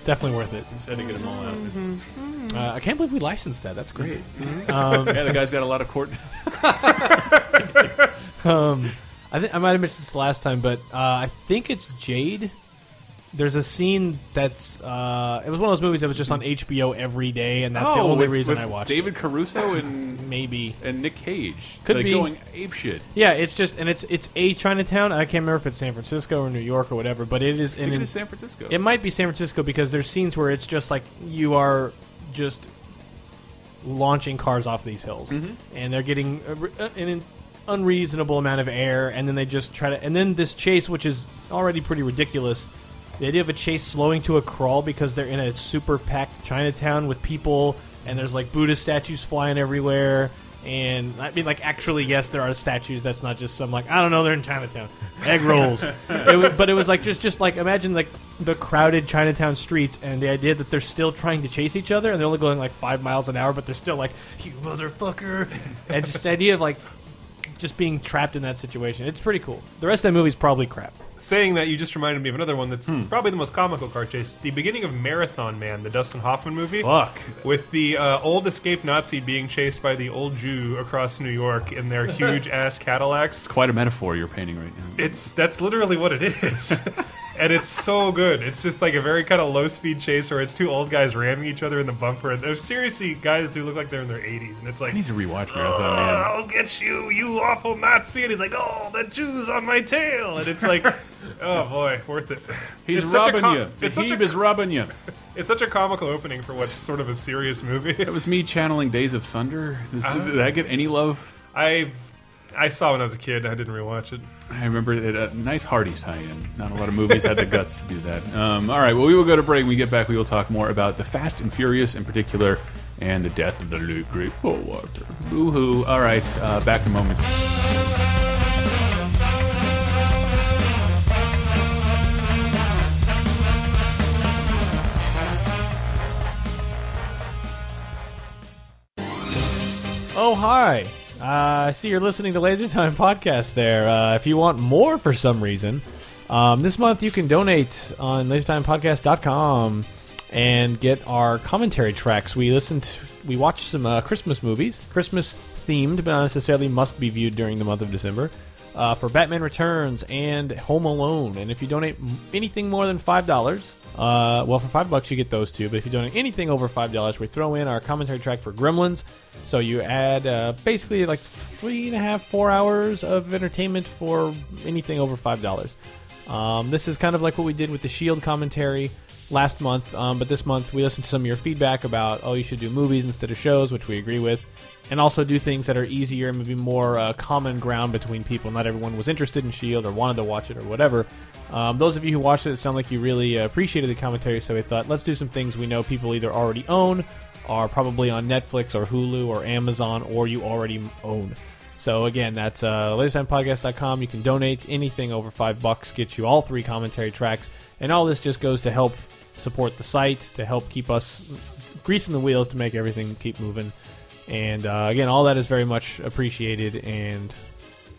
[SPEAKER 8] Definitely worth it.
[SPEAKER 5] Just had to get them all out.
[SPEAKER 7] Mm.
[SPEAKER 8] Uh, I can't believe we licensed that. That's great.
[SPEAKER 5] Mhm. Yeah, the guy's got a lot of court-
[SPEAKER 8] um, I think I might have mentioned this last time, but uh, I think it's Jade. There's a scene that's uh, it was one of those movies that was just on HBO every day, and that's the
[SPEAKER 5] Oh,
[SPEAKER 8] only
[SPEAKER 5] with-
[SPEAKER 8] reason
[SPEAKER 5] with
[SPEAKER 8] I watched.
[SPEAKER 5] David Caruso and
[SPEAKER 8] maybe
[SPEAKER 5] and Nick Cage.
[SPEAKER 8] it. Could
[SPEAKER 5] like
[SPEAKER 8] be
[SPEAKER 5] going ape shit.
[SPEAKER 8] Yeah, it's just and it's it's a Chinatown. I can't remember if it's San Francisco or New York or whatever, but it is.
[SPEAKER 5] think
[SPEAKER 8] in-
[SPEAKER 5] it is San Francisco.
[SPEAKER 8] It might be San Francisco because there's scenes where it's just like you are just launching cars off these hills,
[SPEAKER 5] Mhm.
[SPEAKER 8] and they're getting a re- uh, an unreasonable amount of air, and then they just try to. And then this chase, which is already pretty ridiculous, the idea of a chase slowing to a crawl because they're in a super packed Chinatown with people, and there's like Buddhist statues flying everywhere. And I mean, like, actually, yes, there are statues. That's not just some like I don't know. They're in Chinatown, egg rolls. it was, but it was like just, just like imagine like the crowded Chinatown streets and the idea that they're still trying to chase each other and they're only going like five miles an hour, but they're still like you motherfucker, and just the idea of like just being trapped in that situation. It's pretty cool. The rest of that movie's probably crap.
[SPEAKER 7] Saying that, you just reminded me of another one that's
[SPEAKER 5] Hmm.
[SPEAKER 7] probably the most comical car chase. The beginning of Marathon Man, the Dustin Hoffman movie.
[SPEAKER 5] Oh,
[SPEAKER 8] Fuck.
[SPEAKER 7] With the uh, old escaped Nazi being chased by the old Jew across New York in their huge ass Cadillacs.
[SPEAKER 5] It's quite a metaphor you're painting right now.
[SPEAKER 7] It's that's literally what it is. and it's so good. It's just like a very kind of low speed chase where it's two old guys ramming each other in the bumper. And they're seriously guys who look like they're in their 80s. And it's like,
[SPEAKER 5] I need to rewatch Marathon
[SPEAKER 7] "Ugh,
[SPEAKER 5] Man.
[SPEAKER 7] I'll get you, you awful Nazi. And he's like, oh, the Jew's on my tail. And it's like, oh boy, worth it.
[SPEAKER 5] He's
[SPEAKER 7] It's such a
[SPEAKER 5] robbing
[SPEAKER 7] com-
[SPEAKER 5] you. The
[SPEAKER 7] It's such,
[SPEAKER 5] Heeb
[SPEAKER 7] a,
[SPEAKER 5] is robbing you.
[SPEAKER 7] it's such a comical opening for what's sort of a serious movie.
[SPEAKER 5] That was me channeling Days of Thunder. This-
[SPEAKER 7] Ah.
[SPEAKER 5] did I get any love?
[SPEAKER 7] I I saw when I was a kid. I didn't rewatch it.
[SPEAKER 5] I remember it, a nice Hardee's tie-in. Not a lot of movies had the guts to do that. Um, all right, well, we will go to break. When we get back, we will talk more about the Fast and Furious in particular and the death of the late great Paul Walker. Boo-hoo. All right, uh, back in a moment.
[SPEAKER 8] Oh, hi. Uh, I see you're listening to Laser Time Podcast there. Uh, if you want more for some reason, um, this month you can donate on lasertimepodcast.com and get our commentary tracks. We listened, we watched some uh, Christmas movies, Christmas themed, but not necessarily must be viewed during the month of December. Uh, for Batman Returns and Home Alone, and if you donate m- anything more than five dollars, uh, well, for five bucks you get those two. But if you donate anything over five dollars, we throw in our commentary track for Gremlins. So you add uh, basically like three and a half, four hours of entertainment for anything over five dollars. Um, this is kind of like what we did with the Shield E commentary last month, um, but this month we listened to some of your feedback about oh you should do movies instead of shows, which we agree with, and also do things that are easier and maybe more uh, common ground between people. Not everyone was interested in Shield E or wanted to watch it or whatever. Um, those of you who watched it, it sound like you really uh, appreciated the commentary, so we thought let's do some things we know people either already own, are probably on Netflix or Hulu or Amazon, or you already own. So again, that's uh, lasertimepodcast.com. You can donate anything over five bucks, gets you all three commentary tracks, and all this just goes to help support the site, to help keep us greasing the wheels to make everything keep moving. And uh, again, all that is very much appreciated. And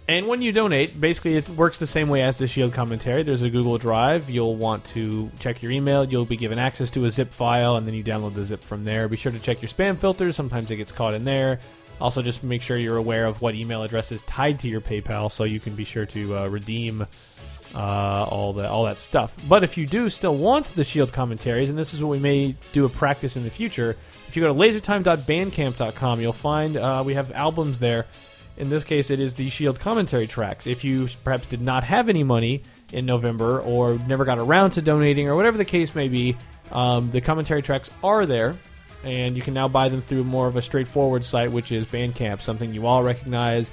[SPEAKER 8] and when you donate, basically it works the same way as the Shield commentary. There's a Google Drive. You'll want to check your email. You'll be given access to a zip file, and then you download the zip from there. Be sure to check your spam filters. Sometimes it gets caught in there. Also, just make sure you're aware of what email address is tied to your PayPal, so you can be sure to uh, redeem uh, all the all that stuff. But if you do still want the Shield commentaries, and this is what we may do a practice in the future, if you go to lasertime.bandcamp.com, you'll find uh, we have albums there. In this case, it is the Shield E commentary tracks. If you perhaps did not have any money in November or never got around to donating or whatever the case may be, um, the commentary tracks are there, and you can now buy them through more of a straightforward site, which is Bandcamp, something you all recognize.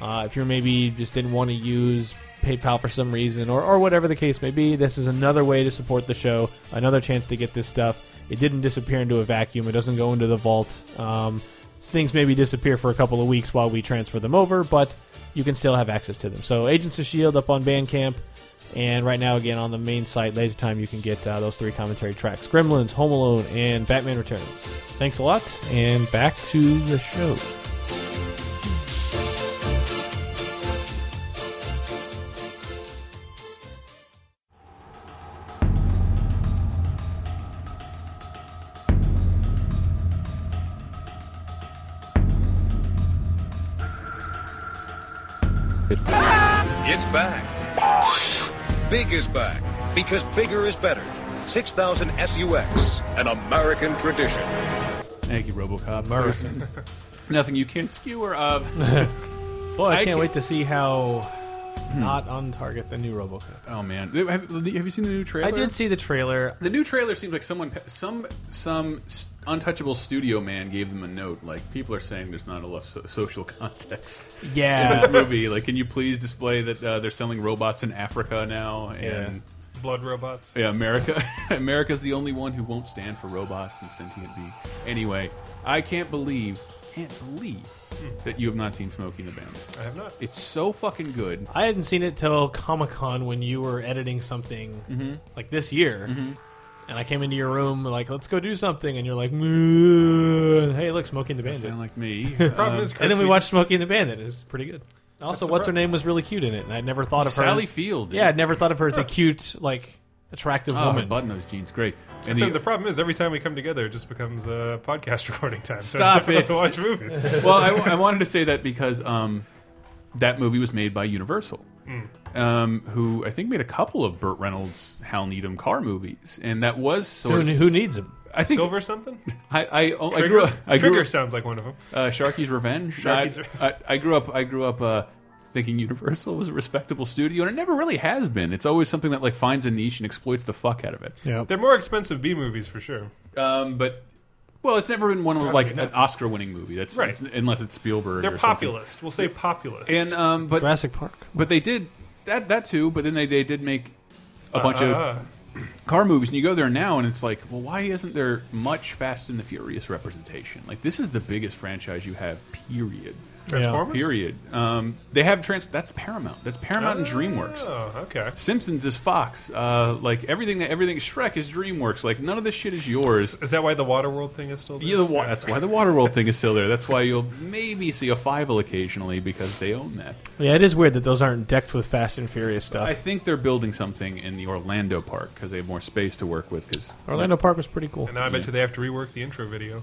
[SPEAKER 8] Uh, if you're maybe just didn't want to use PayPal for some reason, or, or whatever the case may be, this is another way to support the show, another chance to get this stuff. It didn't disappear into a vacuum, it doesn't go into the vault. Um, things maybe disappear for a couple of weeks while we transfer them over, but you can still have access to them. So, Agents of S.H.I.E.L.D. E up on Bandcamp, and right now, again, on the main site, Laser Time, you can get uh, those three commentary tracks Gremlins, Home Alone, and Batman Returns. Thanks a lot, and back to the show.
[SPEAKER 11] It's back. Big is back because bigger is better. 6000 SUX, an American tradition.
[SPEAKER 5] Thank you, RoboCop. Person. Nothing you can skewer of.
[SPEAKER 8] Boy, I, Hmm. can't wait to see how not on target the new RoboCop.
[SPEAKER 5] Oh man, have, have you seen the new trailer?
[SPEAKER 8] I did see the trailer.
[SPEAKER 5] The new trailer seems like someone, some, some s- untouchable studio man gave them a note. Like people are saying, there's not enough so social context.
[SPEAKER 8] Yeah.
[SPEAKER 5] in this movie. Like, can you please display that uh, they're selling robots in Africa now? And
[SPEAKER 7] Blood robots.
[SPEAKER 5] yeah, America, America's the only one who won't stand for robots and sentient beings. Anyway, I can't believe, can't believe that you have not seen Smokey and the Bandit.
[SPEAKER 7] I have not.
[SPEAKER 5] It's so fucking good.
[SPEAKER 8] I hadn't seen it till Comic Con when you were editing something like this year, and I came into your room like, "Let's go do something," and you're like, "Meh." "Hey, look, Smoking the
[SPEAKER 5] That
[SPEAKER 8] Bandit."
[SPEAKER 5] sound like me.
[SPEAKER 8] Um,
[SPEAKER 5] Problem is, Chris,
[SPEAKER 8] and then we,
[SPEAKER 5] Uh, we
[SPEAKER 8] watched
[SPEAKER 5] just-
[SPEAKER 8] Smoking the Bandit. It's pretty good. Also,
[SPEAKER 5] That's the
[SPEAKER 8] what's her
[SPEAKER 5] prob-
[SPEAKER 8] name was really cute in it, and I'd never thought of her.
[SPEAKER 5] Sally Field, dude.
[SPEAKER 8] Yeah, I'd never thought of her as a cute, like, attractive
[SPEAKER 5] Oh, her
[SPEAKER 8] woman.
[SPEAKER 5] button-nose jeans, great. And
[SPEAKER 7] so
[SPEAKER 5] the-
[SPEAKER 7] the problem is, every time we come together, it just becomes uh, podcast recording time.
[SPEAKER 5] Stop
[SPEAKER 7] so it's difficult
[SPEAKER 5] it.
[SPEAKER 7] to watch movies.
[SPEAKER 5] well, I, I wanted to say that because um, that movie was made by Universal,
[SPEAKER 7] Mm.
[SPEAKER 5] um, who I think made a couple of Burt Reynolds, Hal Needham car movies, and that was sort
[SPEAKER 8] Who, who needs him?
[SPEAKER 5] I think
[SPEAKER 7] Silver something?
[SPEAKER 5] I I, oh, I
[SPEAKER 7] Trigger?
[SPEAKER 5] grew up. I grew
[SPEAKER 7] Trigger
[SPEAKER 5] up,
[SPEAKER 7] sounds like one of them.
[SPEAKER 5] Uh, Sharky's Revenge.
[SPEAKER 7] Sharky's
[SPEAKER 5] No, I, I, I grew up. I grew up uh, thinking Universal was a respectable studio, and it never really has been. It's always something that like finds a niche and exploits the fuck out of it.
[SPEAKER 7] They're more expensive B movies for sure.
[SPEAKER 5] Um, but well, it's never been one
[SPEAKER 7] It's
[SPEAKER 5] of
[SPEAKER 7] gotta
[SPEAKER 5] like
[SPEAKER 7] be
[SPEAKER 5] an
[SPEAKER 7] nuts.
[SPEAKER 5] Oscar-winning movie. That's
[SPEAKER 7] Right.
[SPEAKER 5] it's- unless it's Spielberg.
[SPEAKER 7] They're
[SPEAKER 5] or something.
[SPEAKER 7] populist. We'll say populist.
[SPEAKER 5] And um, but
[SPEAKER 8] Jurassic Park.
[SPEAKER 5] But they did that that too. But then they they did make a bunch
[SPEAKER 7] Uh-uh.
[SPEAKER 5] of car movies, and you go there now, and it's like, well, why isn't there much Fast and the Furious representation? Like this is the biggest franchise you have, period.
[SPEAKER 7] Transformers?
[SPEAKER 5] Period. Um, they have trans. That's Paramount. That's Paramount and DreamWorks.
[SPEAKER 7] Oh, okay.
[SPEAKER 5] Simpsons is Fox. Uh, like everything that everything Shrek is DreamWorks. Like none of this shit is yours.
[SPEAKER 7] Is that why the Waterworld thing is still there?
[SPEAKER 5] Yeah, the wa- that's why the Waterworld thing is still there. That's why you'll maybe see a Fivel occasionally because they own that.
[SPEAKER 8] Yeah, it is weird that those aren't decked with Fast and Furious stuff.
[SPEAKER 5] I think they're building something in the Orlando park because they have more space to work with. Because
[SPEAKER 8] Orlando Park was pretty cool.
[SPEAKER 7] And now I bet you they have to rework the intro video.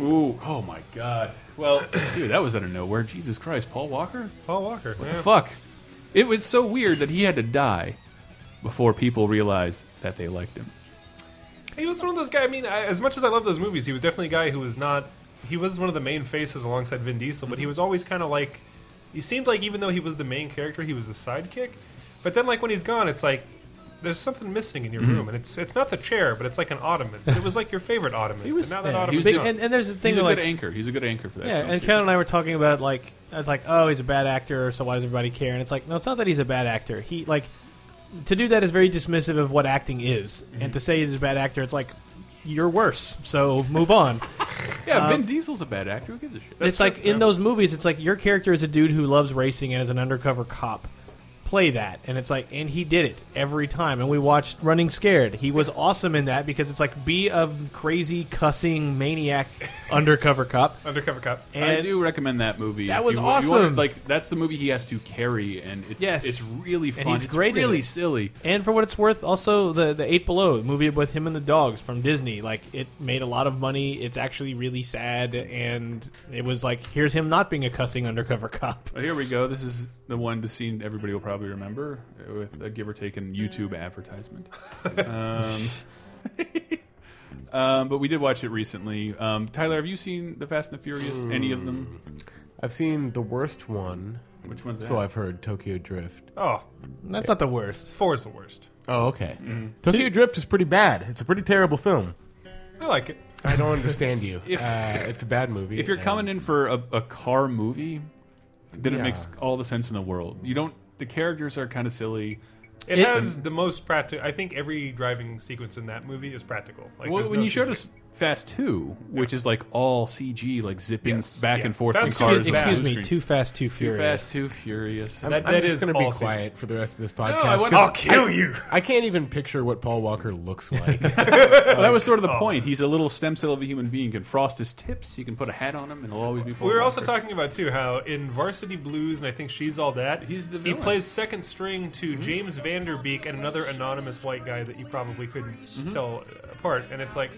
[SPEAKER 5] Ooh, oh my God! Well, dude, that was out of nowhere. Jesus Christ, Paul Walker.
[SPEAKER 7] Paul Walker.
[SPEAKER 5] What
[SPEAKER 7] yeah.
[SPEAKER 5] the fuck? It was so weird that he had to die before people realized that they liked him.
[SPEAKER 7] He was one of those guys. I mean, I, as much as I love those movies, he was definitely a guy who was not. He was one of the main faces alongside Vin Diesel, but he was always kind of like. He seemed like even though he was the main character, he was the sidekick. But then, like when he's gone, it's like there's something missing in your
[SPEAKER 5] Mhm.
[SPEAKER 7] room, and it's it's not the chair, but it's like an ottoman. it was like your favorite ottoman. He was now that
[SPEAKER 8] yeah,
[SPEAKER 7] ottoman's
[SPEAKER 8] he was-
[SPEAKER 7] gone.
[SPEAKER 8] and- and there's the thing
[SPEAKER 5] He's a
[SPEAKER 8] like-
[SPEAKER 5] good anchor. He's a good anchor for that.
[SPEAKER 8] Yeah,
[SPEAKER 5] film,
[SPEAKER 8] and
[SPEAKER 5] too.
[SPEAKER 8] Ken and I were talking about like I was like, oh, he's a bad actor, so why does everybody care? And it's like, no, it's not that he's a bad actor. He like to do that is very dismissive of what acting is, and to say he's a bad actor, it's like you're worse. So move on.
[SPEAKER 5] yeah,
[SPEAKER 8] Um,
[SPEAKER 5] Vin Diesel's a bad actor. Who gives a shit?
[SPEAKER 8] it's like in those movies, it's like your character is a dude who loves racing and is an undercover cop. Play that, and it's like, and he did it every time. And we watched Running Scared. He was awesome in that because it's like be a crazy cussing maniac undercover cop.
[SPEAKER 7] Undercover cop.
[SPEAKER 5] I do recommend that movie.
[SPEAKER 8] That
[SPEAKER 5] If
[SPEAKER 8] was
[SPEAKER 5] you wa- if you wanna-
[SPEAKER 8] awesome.
[SPEAKER 5] like that's the movie he has to carry, and it's
[SPEAKER 8] Yes.
[SPEAKER 5] it's really fun.
[SPEAKER 8] And he's
[SPEAKER 5] it's
[SPEAKER 8] great in
[SPEAKER 5] really
[SPEAKER 8] it.
[SPEAKER 5] silly.
[SPEAKER 8] And for what it's worth, also the the Eight Below the movie with him and the dogs from Disney, like it made a lot of money. It's actually really sad, and it was like here's him not being a cussing undercover cop.
[SPEAKER 5] Well, Here we go. This is the one the scene everybody will probably remember uh, with a give or take an YouTube advertisement. um, um, but we did watch it recently. Um, Tyler, have you seen The Fast and the Furious? Any of them?
[SPEAKER 6] I've seen the worst one.
[SPEAKER 5] Which one's
[SPEAKER 6] So
[SPEAKER 5] that?
[SPEAKER 6] I've heard Tokyo Drift.
[SPEAKER 7] Oh,
[SPEAKER 8] That's not the worst.
[SPEAKER 7] Four is the worst.
[SPEAKER 6] Oh, okay. Tokyo Drift is pretty bad. It's a pretty terrible film.
[SPEAKER 7] I like it.
[SPEAKER 6] I don't understand you.
[SPEAKER 5] If-
[SPEAKER 6] uh, it's a bad movie.
[SPEAKER 5] If you're
[SPEAKER 6] and-
[SPEAKER 5] coming in for a, a car movie, then it
[SPEAKER 6] Yeah.
[SPEAKER 5] makes all the sense in the world. You don't. the characters are kind of silly.
[SPEAKER 7] It, has the most practical. I think every driving sequence in that movie is practical. Like
[SPEAKER 5] well,
[SPEAKER 7] there's
[SPEAKER 5] when
[SPEAKER 7] no
[SPEAKER 5] you showed us Fast Two, which is like all CG, like zipping back
[SPEAKER 7] yeah.
[SPEAKER 5] and forth
[SPEAKER 7] Fast
[SPEAKER 5] in
[SPEAKER 7] Two
[SPEAKER 5] cars.
[SPEAKER 7] is bad.
[SPEAKER 5] on the
[SPEAKER 7] Excuse me,
[SPEAKER 5] screen.
[SPEAKER 8] Too Fast, Too
[SPEAKER 5] Too
[SPEAKER 8] Furious.
[SPEAKER 5] Fast, Too Furious.
[SPEAKER 6] I'm,
[SPEAKER 5] That-
[SPEAKER 6] I'm
[SPEAKER 5] that
[SPEAKER 6] just
[SPEAKER 5] is
[SPEAKER 6] going to
[SPEAKER 5] all
[SPEAKER 6] be
[SPEAKER 5] CG.
[SPEAKER 6] quiet for the rest of this
[SPEAKER 5] No, I
[SPEAKER 6] podcast. 'cause
[SPEAKER 5] want- I'll kill
[SPEAKER 6] I-
[SPEAKER 5] you.
[SPEAKER 6] I can't even picture what Paul Walker looks like.
[SPEAKER 5] Well, that was sort of
[SPEAKER 7] Oh.
[SPEAKER 5] the point. He's a little stem cell of a human being. You can frost his tips. You can put a hat on him, and he'll always be.
[SPEAKER 7] We were also talking about too how in Varsity Blues, and I think she's all that. He's the he
[SPEAKER 5] villain. Mm-hmm.
[SPEAKER 7] plays second string to James Vanderbeek and another anonymous white guy that you probably couldn't
[SPEAKER 5] Mm-hmm.
[SPEAKER 7] tell apart. And it's like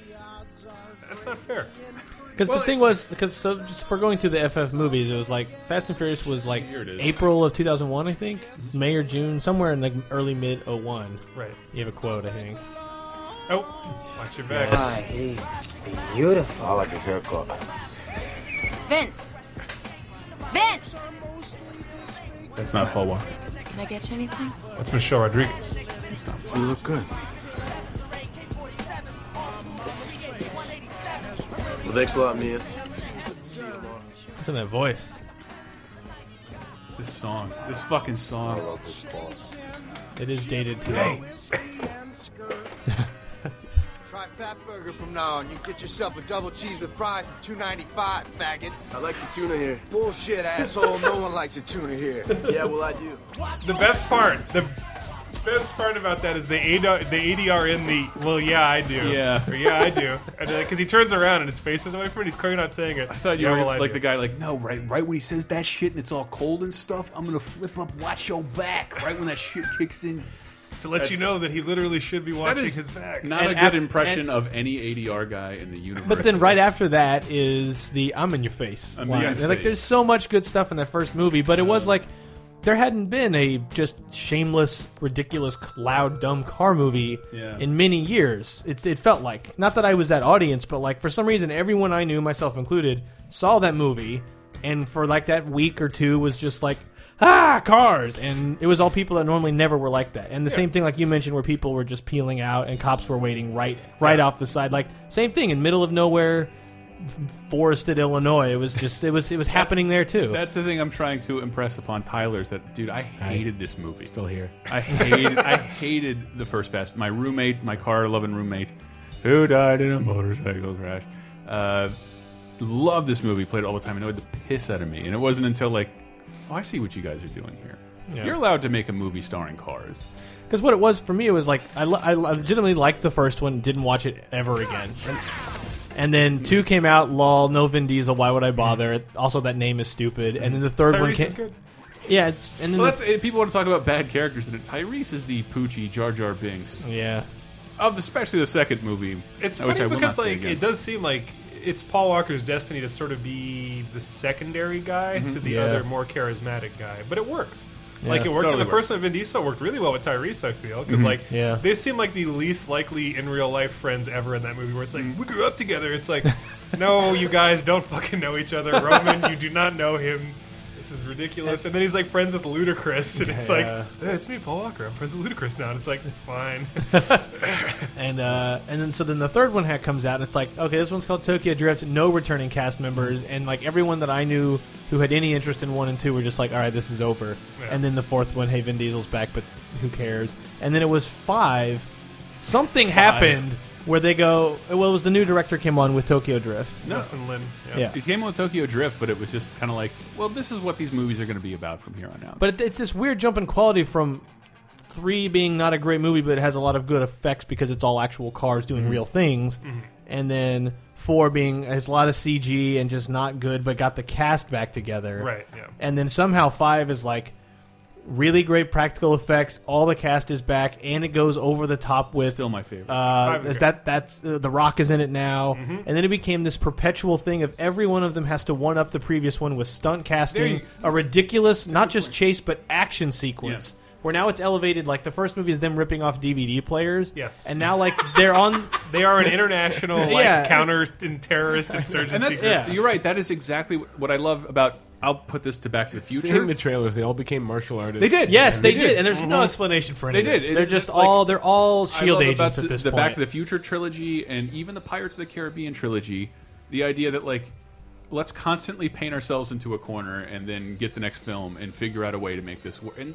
[SPEAKER 7] that's not fair.
[SPEAKER 8] Because the thing was, because so just for going through the FF movies, it was like Fast and Furious was like
[SPEAKER 7] Here it is.
[SPEAKER 8] April of 2001, I think, May or June, somewhere in like early mid 01.
[SPEAKER 7] Right.
[SPEAKER 8] You have a quote, I think.
[SPEAKER 7] Oh, watch your back.
[SPEAKER 8] Yes. Why,
[SPEAKER 13] he's beautiful.
[SPEAKER 14] I like his haircut.
[SPEAKER 13] Vince! Vince!
[SPEAKER 5] That's not Paul Walker.
[SPEAKER 13] Can I get you anything?
[SPEAKER 7] That's Michelle Rodriguez.
[SPEAKER 5] Stop. You look good.
[SPEAKER 15] Well, thanks a lot, Mia.
[SPEAKER 8] What's in that voice?
[SPEAKER 5] This song, this fucking song.
[SPEAKER 8] It is dated today.
[SPEAKER 14] Hey! Try Fat Burger from now on. You can get yourself a double cheese with fries for two ninety five, faggot.
[SPEAKER 15] I like the tuna here.
[SPEAKER 14] Bullshit, asshole. no one likes a tuna here.
[SPEAKER 15] Yeah, well, I do.
[SPEAKER 7] The best part, the best part about that is the ADR, the ADR in the well, yeah, I do.
[SPEAKER 5] Yeah.
[SPEAKER 7] Or, yeah, I do. Because he turns around and his face is away from it. He's clearly not saying it. I
[SPEAKER 5] thought you
[SPEAKER 7] yeah,
[SPEAKER 5] were
[SPEAKER 7] well, I
[SPEAKER 5] like
[SPEAKER 7] do.
[SPEAKER 5] the guy, like no, right, right when he says that shit and it's all cold and stuff, I'm gonna flip up, watch your back, right when that shit kicks in.
[SPEAKER 7] to let you
[SPEAKER 5] That's-
[SPEAKER 7] know that he literally should be watching
[SPEAKER 5] is
[SPEAKER 7] his back.
[SPEAKER 5] Not a good impression of any ADR guy in the universe.
[SPEAKER 8] But then right after that is the I'm in your face.
[SPEAKER 5] I'm in
[SPEAKER 8] line.
[SPEAKER 5] your
[SPEAKER 8] And,
[SPEAKER 5] face.
[SPEAKER 8] like
[SPEAKER 5] Um,
[SPEAKER 8] there's so much good stuff in that first movie, but it was like there hadn't been a just shameless, ridiculous, loud, dumb car movie
[SPEAKER 5] Yeah.
[SPEAKER 8] in many years. It's it felt like not that I was that audience, but like for some reason everyone I knew, myself included, saw that movie, and for like that week or two was just like ah cars, and it was all people that normally never were like that. And the same thing like you mentioned, where people were just peeling out and cops were waiting right right off the side, like same thing in middle of nowhere. f- Forested Illinois. It was just it was it was happening there too.
[SPEAKER 5] That's the thing I'm trying to impress upon Tyler's that dude, I hated this movie. Still
[SPEAKER 6] here.
[SPEAKER 5] I hated I hated the first Fast. My roommate, my car loving roommate, who died in a motorcycle crash. Uh loved this movie, played it all the time, annoyed the piss out of me. And it wasn't until like, oh I see what you guys are doing here.
[SPEAKER 8] Yeah.
[SPEAKER 5] You're allowed to make a movie starring cars.
[SPEAKER 8] Because what it was for me, it was like I, lo- I legitimately liked the first one, didn't watch it ever again. And, and then two came out, lol, no Vin Diesel, why would I bother? Also, that name is stupid. And then the third one
[SPEAKER 5] Tyrese
[SPEAKER 8] came.
[SPEAKER 5] is good.
[SPEAKER 8] Yeah, it's and then
[SPEAKER 5] well,
[SPEAKER 8] the-
[SPEAKER 5] that's, it, people want to talk about bad characters, and Tyrese is the Poochie Jar Jar Binks.
[SPEAKER 8] Yeah,
[SPEAKER 5] of especially the second movie.
[SPEAKER 7] It's
[SPEAKER 5] which I
[SPEAKER 7] funny
[SPEAKER 5] will
[SPEAKER 7] because
[SPEAKER 5] not see
[SPEAKER 7] like
[SPEAKER 5] again.
[SPEAKER 7] it does seem like it's Paul Walker's destiny to sort of be the secondary guy
[SPEAKER 5] Mhm.
[SPEAKER 7] to the
[SPEAKER 5] Yeah.
[SPEAKER 7] other more charismatic guy, but it works.
[SPEAKER 5] Yeah.
[SPEAKER 7] Like it worked
[SPEAKER 5] Totally
[SPEAKER 7] in the first one. Vin Diesel worked really well with Tyrese. I feel because
[SPEAKER 5] Mhm.
[SPEAKER 7] like
[SPEAKER 5] Yeah.
[SPEAKER 7] they seem like the least likely in real life friends ever in that movie. Where it's
[SPEAKER 5] Mm-hmm.
[SPEAKER 7] like we grew up together. It's like no, you guys don't fucking know each other. Roman, you do not know him. This is ridiculous. And then he's like friends with Ludacris, and it's like
[SPEAKER 8] Yeah.
[SPEAKER 7] "Hey, it's me, Paul Walker. I'm friends with Ludacris now. And it's like fine.
[SPEAKER 8] and uh, and then so then the third one ha- comes out, and it's like, okay, this one's called Tokyo Drift. No returning cast members, and like everyone that I knew who had any interest in one and two were just like, all right, this is over.
[SPEAKER 7] Yeah.
[SPEAKER 8] And then the fourth one, hey, Vin Diesel's back, but who cares? And then it was five. Something happened where they go. Well, it was the new director came on with Tokyo Drift.
[SPEAKER 7] Justin Lin. Yeah.
[SPEAKER 8] Yeah.
[SPEAKER 5] It came with Tokyo Drift, but it was just kind of like, well, this is what these movies are going to be about from here on out.
[SPEAKER 8] But it, it's this weird jump in quality from three being not a great movie, but it has a lot of good effects because it's all actual cars doing
[SPEAKER 5] Mhm.
[SPEAKER 8] real things, and then four being has a lot of CG and just not good, but got the cast back together.
[SPEAKER 7] Right, yeah.
[SPEAKER 8] And then somehow five is like really great practical effects. All the cast is back, and it goes over the top with
[SPEAKER 5] still my favorite.
[SPEAKER 8] Uh,
[SPEAKER 5] Five is Mm-hmm.
[SPEAKER 8] is
[SPEAKER 5] great.
[SPEAKER 8] that that's uh, the Rock is in it now, and then it became this perpetual thing of every one of them has to one up the previous one with stunt casting,
[SPEAKER 5] you-
[SPEAKER 8] a ridiculous not just chase but action sequence.
[SPEAKER 5] Yeah.
[SPEAKER 8] Where now it's elevated, like the first movie is them ripping off DVD players.
[SPEAKER 7] Yes.
[SPEAKER 8] and now like they're on.
[SPEAKER 7] They are an international like
[SPEAKER 8] Yeah.
[SPEAKER 7] counter and terrorist insurgency.
[SPEAKER 5] and that's
[SPEAKER 7] group.
[SPEAKER 5] you're right. That is exactly what what I love about. I'll put this to Back to the Future.
[SPEAKER 6] Seeing the trailers, they all became martial artists.
[SPEAKER 5] They did. Mm-hmm.
[SPEAKER 8] Yes, they did, and there's no explanation for any
[SPEAKER 5] They
[SPEAKER 8] of
[SPEAKER 5] did.
[SPEAKER 8] this.
[SPEAKER 5] It-
[SPEAKER 8] They're
[SPEAKER 5] it's
[SPEAKER 8] just
[SPEAKER 5] like-
[SPEAKER 8] all- they're all
[SPEAKER 5] I
[SPEAKER 8] S.H.I.E.L.D.
[SPEAKER 5] love about
[SPEAKER 8] agents at
[SPEAKER 5] the-
[SPEAKER 8] this
[SPEAKER 5] the Back
[SPEAKER 8] point.
[SPEAKER 5] to the Future trilogy and even the Pirates of the Caribbean trilogy. The idea that like let's constantly paint ourselves into a corner and then get the next film and figure out a way to make this work. And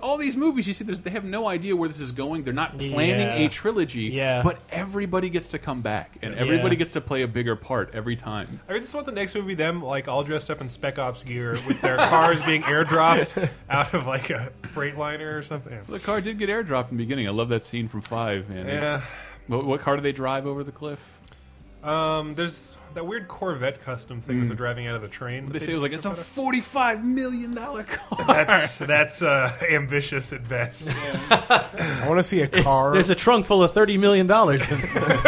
[SPEAKER 5] all these movies you see, there's, they have no idea where this is going. They're not planning
[SPEAKER 8] Yeah.
[SPEAKER 5] a trilogy.
[SPEAKER 8] Yeah.
[SPEAKER 5] But everybody gets to come back, and
[SPEAKER 7] Yeah.
[SPEAKER 5] everybody gets to play a bigger part every time.
[SPEAKER 7] I just want the next movie them like all dressed up in Spec Ops gear with their cars being airdropped out of like a freightliner or something.
[SPEAKER 5] The car did get airdropped in the beginning. I love that scene from Five. And
[SPEAKER 7] Yeah.
[SPEAKER 5] What, what car do they drive over the cliff?
[SPEAKER 7] Um, there's that weird Corvette custom thing that they're driving out of the train.
[SPEAKER 5] Mm. They
[SPEAKER 7] that
[SPEAKER 5] say it was like it's a
[SPEAKER 7] out of-
[SPEAKER 5] forty-five million dollar car.
[SPEAKER 7] that's that's uh, ambitious at best.
[SPEAKER 6] I want to see a car.
[SPEAKER 7] There's
[SPEAKER 8] a trunk full of thirty million dollars.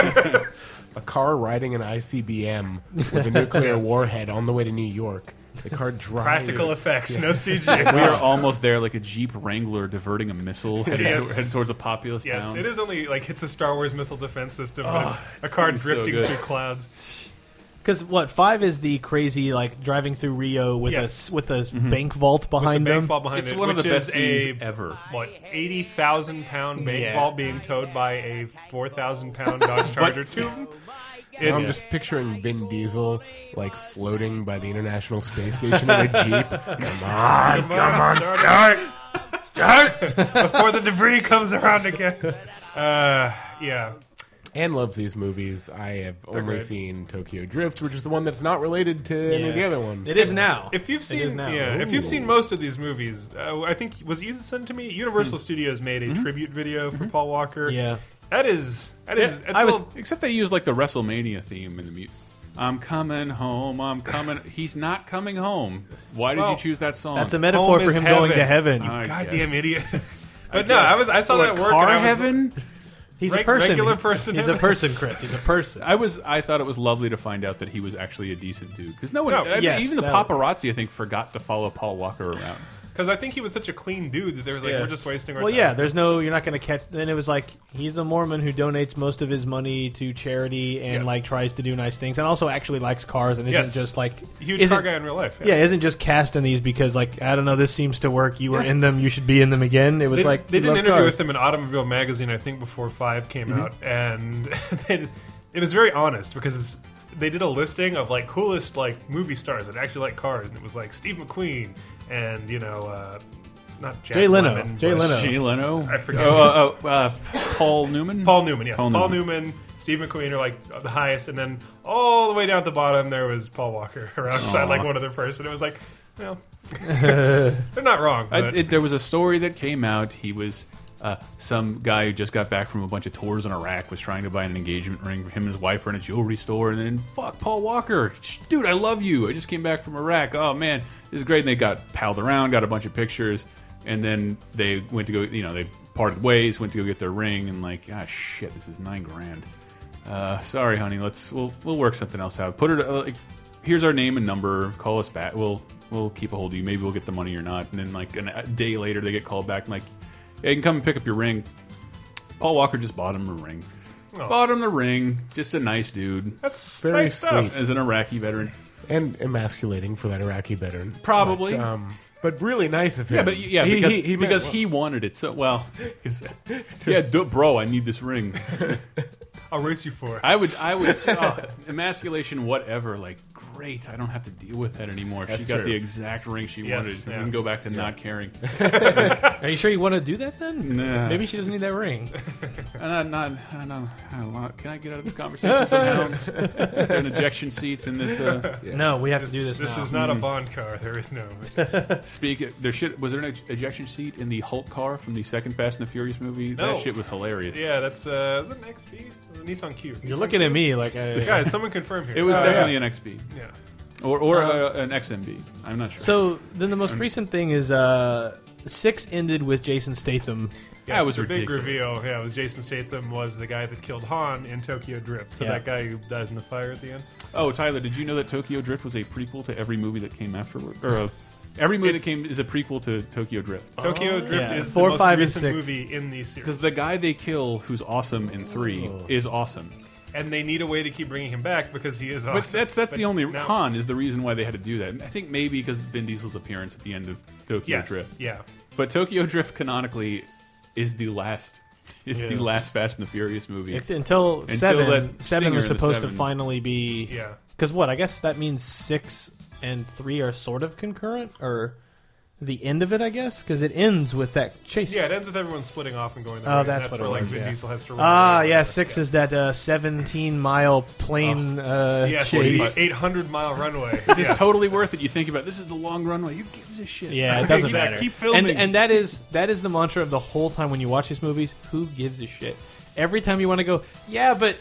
[SPEAKER 6] a car riding an ICBM with a nuclear
[SPEAKER 7] Yes.
[SPEAKER 6] warhead on the way to New York. The car drives.
[SPEAKER 7] Practical effects, no CG.
[SPEAKER 5] we are almost there, like a Jeep Wrangler diverting a missile headed,
[SPEAKER 7] Yes.
[SPEAKER 5] to- headed towards a populous
[SPEAKER 7] Yes,
[SPEAKER 5] town.
[SPEAKER 7] it is only like it's a Star Wars missile defense system, but
[SPEAKER 5] Oh,
[SPEAKER 7] it's a
[SPEAKER 5] it's
[SPEAKER 7] car
[SPEAKER 5] gonna be so
[SPEAKER 7] drifting
[SPEAKER 5] good.
[SPEAKER 7] through clouds.
[SPEAKER 8] Because what five is the crazy like driving through Rio with a s- with a
[SPEAKER 5] Mm-hmm.
[SPEAKER 8] bank vault behind
[SPEAKER 7] with the
[SPEAKER 8] them.
[SPEAKER 7] bank vault behind
[SPEAKER 5] It's
[SPEAKER 7] it,
[SPEAKER 5] one of
[SPEAKER 7] which
[SPEAKER 5] the best
[SPEAKER 7] is a,
[SPEAKER 5] scenes ever.
[SPEAKER 7] What eighty thousand pound bank
[SPEAKER 8] Yeah.
[SPEAKER 7] vault being towed by a four thousand pound Dodge Charger two.
[SPEAKER 6] Now I'm
[SPEAKER 7] It's-
[SPEAKER 6] just picturing Vin Diesel like floating by the International Space Station in a jeep. Come on,
[SPEAKER 7] Come
[SPEAKER 6] come
[SPEAKER 7] on,
[SPEAKER 6] on,
[SPEAKER 7] start
[SPEAKER 6] start, start
[SPEAKER 7] Before the debris comes around again. Uh, yeah.
[SPEAKER 6] Anne loves these movies. I have
[SPEAKER 7] They're
[SPEAKER 6] only
[SPEAKER 7] great.
[SPEAKER 6] seen Tokyo Drift, which is the one that's not related to any of the other ones.
[SPEAKER 7] If you've seen, yeah, if you've seen most of these movies, uh, I think was you that sent to me. Universal Studios made a tribute video for Paul Walker.
[SPEAKER 8] Yeah.
[SPEAKER 7] that is that is. that's
[SPEAKER 5] I
[SPEAKER 7] a
[SPEAKER 5] was
[SPEAKER 7] little-
[SPEAKER 5] except they use like the WrestleMania theme in the music. I'm coming home. I'm coming. He's not coming home. Why did
[SPEAKER 7] Well,
[SPEAKER 5] you choose that song?
[SPEAKER 8] that's a metaphor
[SPEAKER 7] Home
[SPEAKER 8] for
[SPEAKER 7] is
[SPEAKER 8] him going to heaven.
[SPEAKER 7] You
[SPEAKER 5] I
[SPEAKER 7] goddamn
[SPEAKER 5] guess.
[SPEAKER 7] idiot. But no, I was I saw
[SPEAKER 5] Or
[SPEAKER 7] that work.
[SPEAKER 5] car
[SPEAKER 7] and I was-
[SPEAKER 5] heaven?
[SPEAKER 8] He's
[SPEAKER 7] Reg-
[SPEAKER 8] a person.
[SPEAKER 7] Regular person.
[SPEAKER 8] He's a
[SPEAKER 7] heaven.
[SPEAKER 8] person, Chris. He's a person.
[SPEAKER 5] I was. I thought it was lovely to find out that he was actually a decent dude because no one,
[SPEAKER 7] No,
[SPEAKER 5] I mean,
[SPEAKER 7] yes,
[SPEAKER 5] even the
[SPEAKER 7] no.
[SPEAKER 5] paparazzi, I think, forgot to follow Paul Walker around.
[SPEAKER 7] Because I think he was such a clean dude that there was like we're just wasting our
[SPEAKER 8] well,
[SPEAKER 7] time.
[SPEAKER 8] yeah. There's no. You're not going to catch. Then it was like he's a Mormon who donates most of his money to charity and like tries to do nice things and also actually likes cars and
[SPEAKER 7] Yes.
[SPEAKER 8] isn't just like
[SPEAKER 7] Huge
[SPEAKER 8] isn't-
[SPEAKER 7] car guy in real life, yeah.
[SPEAKER 8] Yeah. isn't just cast in these because like I don't know. This seems to work. You were
[SPEAKER 7] Yeah.
[SPEAKER 8] in them. You should be in them again. It was
[SPEAKER 7] they,
[SPEAKER 8] like
[SPEAKER 7] they
[SPEAKER 8] he
[SPEAKER 7] did an
[SPEAKER 8] loves
[SPEAKER 7] interview
[SPEAKER 8] cars.
[SPEAKER 7] with him in Automobile Magazine, I think, before Five came
[SPEAKER 8] Mhm.
[SPEAKER 7] out, and they, it was very honest because they did a listing of like coolest like movie stars that actually like cars, and it was like Steve McQueen and you know. Uh, not Jack
[SPEAKER 8] Jay Leno.
[SPEAKER 7] Lemmon,
[SPEAKER 8] Jay
[SPEAKER 7] but-
[SPEAKER 8] Leno.
[SPEAKER 5] Jay Leno?
[SPEAKER 7] I forget.
[SPEAKER 5] Oh, oh, oh, uh, Paul Newman.
[SPEAKER 7] Paul Newman. Yes. Paul,
[SPEAKER 5] Paul
[SPEAKER 7] Newman. Steve McQueen are like the highest, and then all the way down at the bottom there was Paul Walker around beside
[SPEAKER 5] Aw.
[SPEAKER 7] like one other person. It was like, well, they're not wrong.
[SPEAKER 5] I,
[SPEAKER 7] But.
[SPEAKER 5] it, there was a story that came out. He was uh, some guy who just got back from a bunch of tours in Iraq, was trying to buy an engagement ring. Him and his wife were in a jewelry store, and then fuck Paul Walker, Sh- dude, I love you. I just came back from Iraq. Oh man, this is great. And they got palled around, got a bunch of pictures, and then they went to go. You know, they parted ways, went to go get their ring, and like, ah, shit, this is nine grand. Uh, sorry, honey. Let's we'll we'll work something else out. Put her. To, uh, like, here's our name and number. Call us back. We'll we'll keep a hold of you. Maybe we'll get the money or not. And then like an, a day later, they get called back. And, like, hey, you can come and pick up your ring. Paul Walker just bought him a ring.
[SPEAKER 7] Oh.
[SPEAKER 5] Bought him the ring. Just a nice dude.
[SPEAKER 7] That's
[SPEAKER 6] Very nice stuff. sweet.
[SPEAKER 5] As an Iraqi veteran,
[SPEAKER 6] and emasculating for that Iraqi veteran,
[SPEAKER 5] Probably.
[SPEAKER 6] But, um, but really nice of him.
[SPEAKER 5] yeah, but yeah,
[SPEAKER 6] He-
[SPEAKER 5] because
[SPEAKER 6] he-
[SPEAKER 5] he,
[SPEAKER 6] he meant
[SPEAKER 5] because
[SPEAKER 6] well.
[SPEAKER 5] he wanted it so well. 'Cause- yeah, dude, bro, I need this ring.
[SPEAKER 7] I'll race you for it.
[SPEAKER 5] I would, I would, oh, emasculation, whatever. Like, great, I don't have to deal with that anymore.
[SPEAKER 6] That's
[SPEAKER 5] she got
[SPEAKER 6] true.
[SPEAKER 5] the exact ring she
[SPEAKER 7] Yes,
[SPEAKER 5] wanted
[SPEAKER 7] yeah.
[SPEAKER 5] and go back to not caring.
[SPEAKER 8] Are you sure you want to do that then?
[SPEAKER 5] Nah.
[SPEAKER 8] Maybe she doesn't need that ring.
[SPEAKER 5] Uh, not, I don't know. I don't want- Can I get out of this conversation somehow? Is there an ejection seat in this? Uh,
[SPEAKER 8] No, we have to do this.
[SPEAKER 7] This
[SPEAKER 8] now. Mm-hmm.
[SPEAKER 7] is not a
[SPEAKER 5] Mm.
[SPEAKER 7] Bond car. There is no.
[SPEAKER 5] Speak. There should was there an ej- ejection seat in the Hulk car from the second Fast and the Furious movie?
[SPEAKER 7] No.
[SPEAKER 5] That shit was hilarious.
[SPEAKER 7] Yeah, that's uh, is it an XP? It was a Nissan Q.
[SPEAKER 8] You're
[SPEAKER 7] Nissan
[SPEAKER 8] looking
[SPEAKER 7] Q?
[SPEAKER 8] at me like I-
[SPEAKER 7] guys. Someone confirm here.
[SPEAKER 5] It was
[SPEAKER 7] Uh,
[SPEAKER 5] definitely
[SPEAKER 7] yeah. Uh-huh.
[SPEAKER 5] an XB.
[SPEAKER 7] Yeah.
[SPEAKER 5] Or or
[SPEAKER 8] Uh,
[SPEAKER 5] uh, an XMB. I'm not sure.
[SPEAKER 8] So then the most
[SPEAKER 5] I'm-
[SPEAKER 8] recent thing is uh, six ended with Jason Statham.
[SPEAKER 7] Yes, the big reveal. Yeah, was Jason Statham was the guy that killed Han in Tokyo Drift. So
[SPEAKER 8] Yeah.
[SPEAKER 7] that guy who dies in the fire at the end.
[SPEAKER 5] Oh, Tyler, did you know that Tokyo Drift was a prequel to every movie that came afterward? Or uh, every movie
[SPEAKER 7] It's-
[SPEAKER 5] that came is a prequel to Tokyo Drift.
[SPEAKER 7] Tokyo Drift
[SPEAKER 8] Oh, Yeah.
[SPEAKER 7] is
[SPEAKER 8] Four,
[SPEAKER 7] the most
[SPEAKER 8] five, and
[SPEAKER 7] recent
[SPEAKER 8] six.
[SPEAKER 7] movie in the series,
[SPEAKER 5] Because Oh. the guy they kill, who's awesome in three, is awesome.
[SPEAKER 7] and they need a way to keep bringing him back because he is. Awesome.
[SPEAKER 5] But that's that's
[SPEAKER 7] But
[SPEAKER 5] the only
[SPEAKER 7] now-
[SPEAKER 5] Han is the reason why they had to do that. I think maybe because Vin Diesel's appearance at the end of Tokyo
[SPEAKER 7] Yes,
[SPEAKER 5] Drift.
[SPEAKER 7] yeah.
[SPEAKER 5] But Tokyo Drift canonically is the last is
[SPEAKER 8] Yeah.
[SPEAKER 5] the last Fast and the Furious movie
[SPEAKER 8] It's- until, seven.
[SPEAKER 5] that
[SPEAKER 8] Seven was
[SPEAKER 5] stinger in the
[SPEAKER 8] supposed to
[SPEAKER 5] seven-
[SPEAKER 8] finally be.
[SPEAKER 7] Yeah.
[SPEAKER 8] Because what? I guess that means six and three are sort of concurrent, or the end of it, I guess, because it ends with that chase.
[SPEAKER 7] Yeah, it ends with everyone splitting off and going. Their way,
[SPEAKER 8] Oh,
[SPEAKER 7] and
[SPEAKER 8] that's,
[SPEAKER 7] that's
[SPEAKER 8] what
[SPEAKER 7] where
[SPEAKER 8] it
[SPEAKER 7] like
[SPEAKER 8] was,
[SPEAKER 7] Vin
[SPEAKER 8] yeah.
[SPEAKER 7] Diesel has to run.
[SPEAKER 8] Ah, yeah, six is that uh, seventeen-mile plane
[SPEAKER 7] Oh.
[SPEAKER 8] uh,
[SPEAKER 7] yes,
[SPEAKER 8] chase.
[SPEAKER 7] eight hundred mile runway.
[SPEAKER 5] It is totally worth it. You think about it. this is the long runway. Who gives a shit?
[SPEAKER 8] Yeah, it doesn't
[SPEAKER 5] Keep-
[SPEAKER 8] matter.
[SPEAKER 5] Keep filming.
[SPEAKER 8] And, and that is that is the mantra of the whole time when you watch these movies. Who gives a shit? Every time you want to go, yeah, but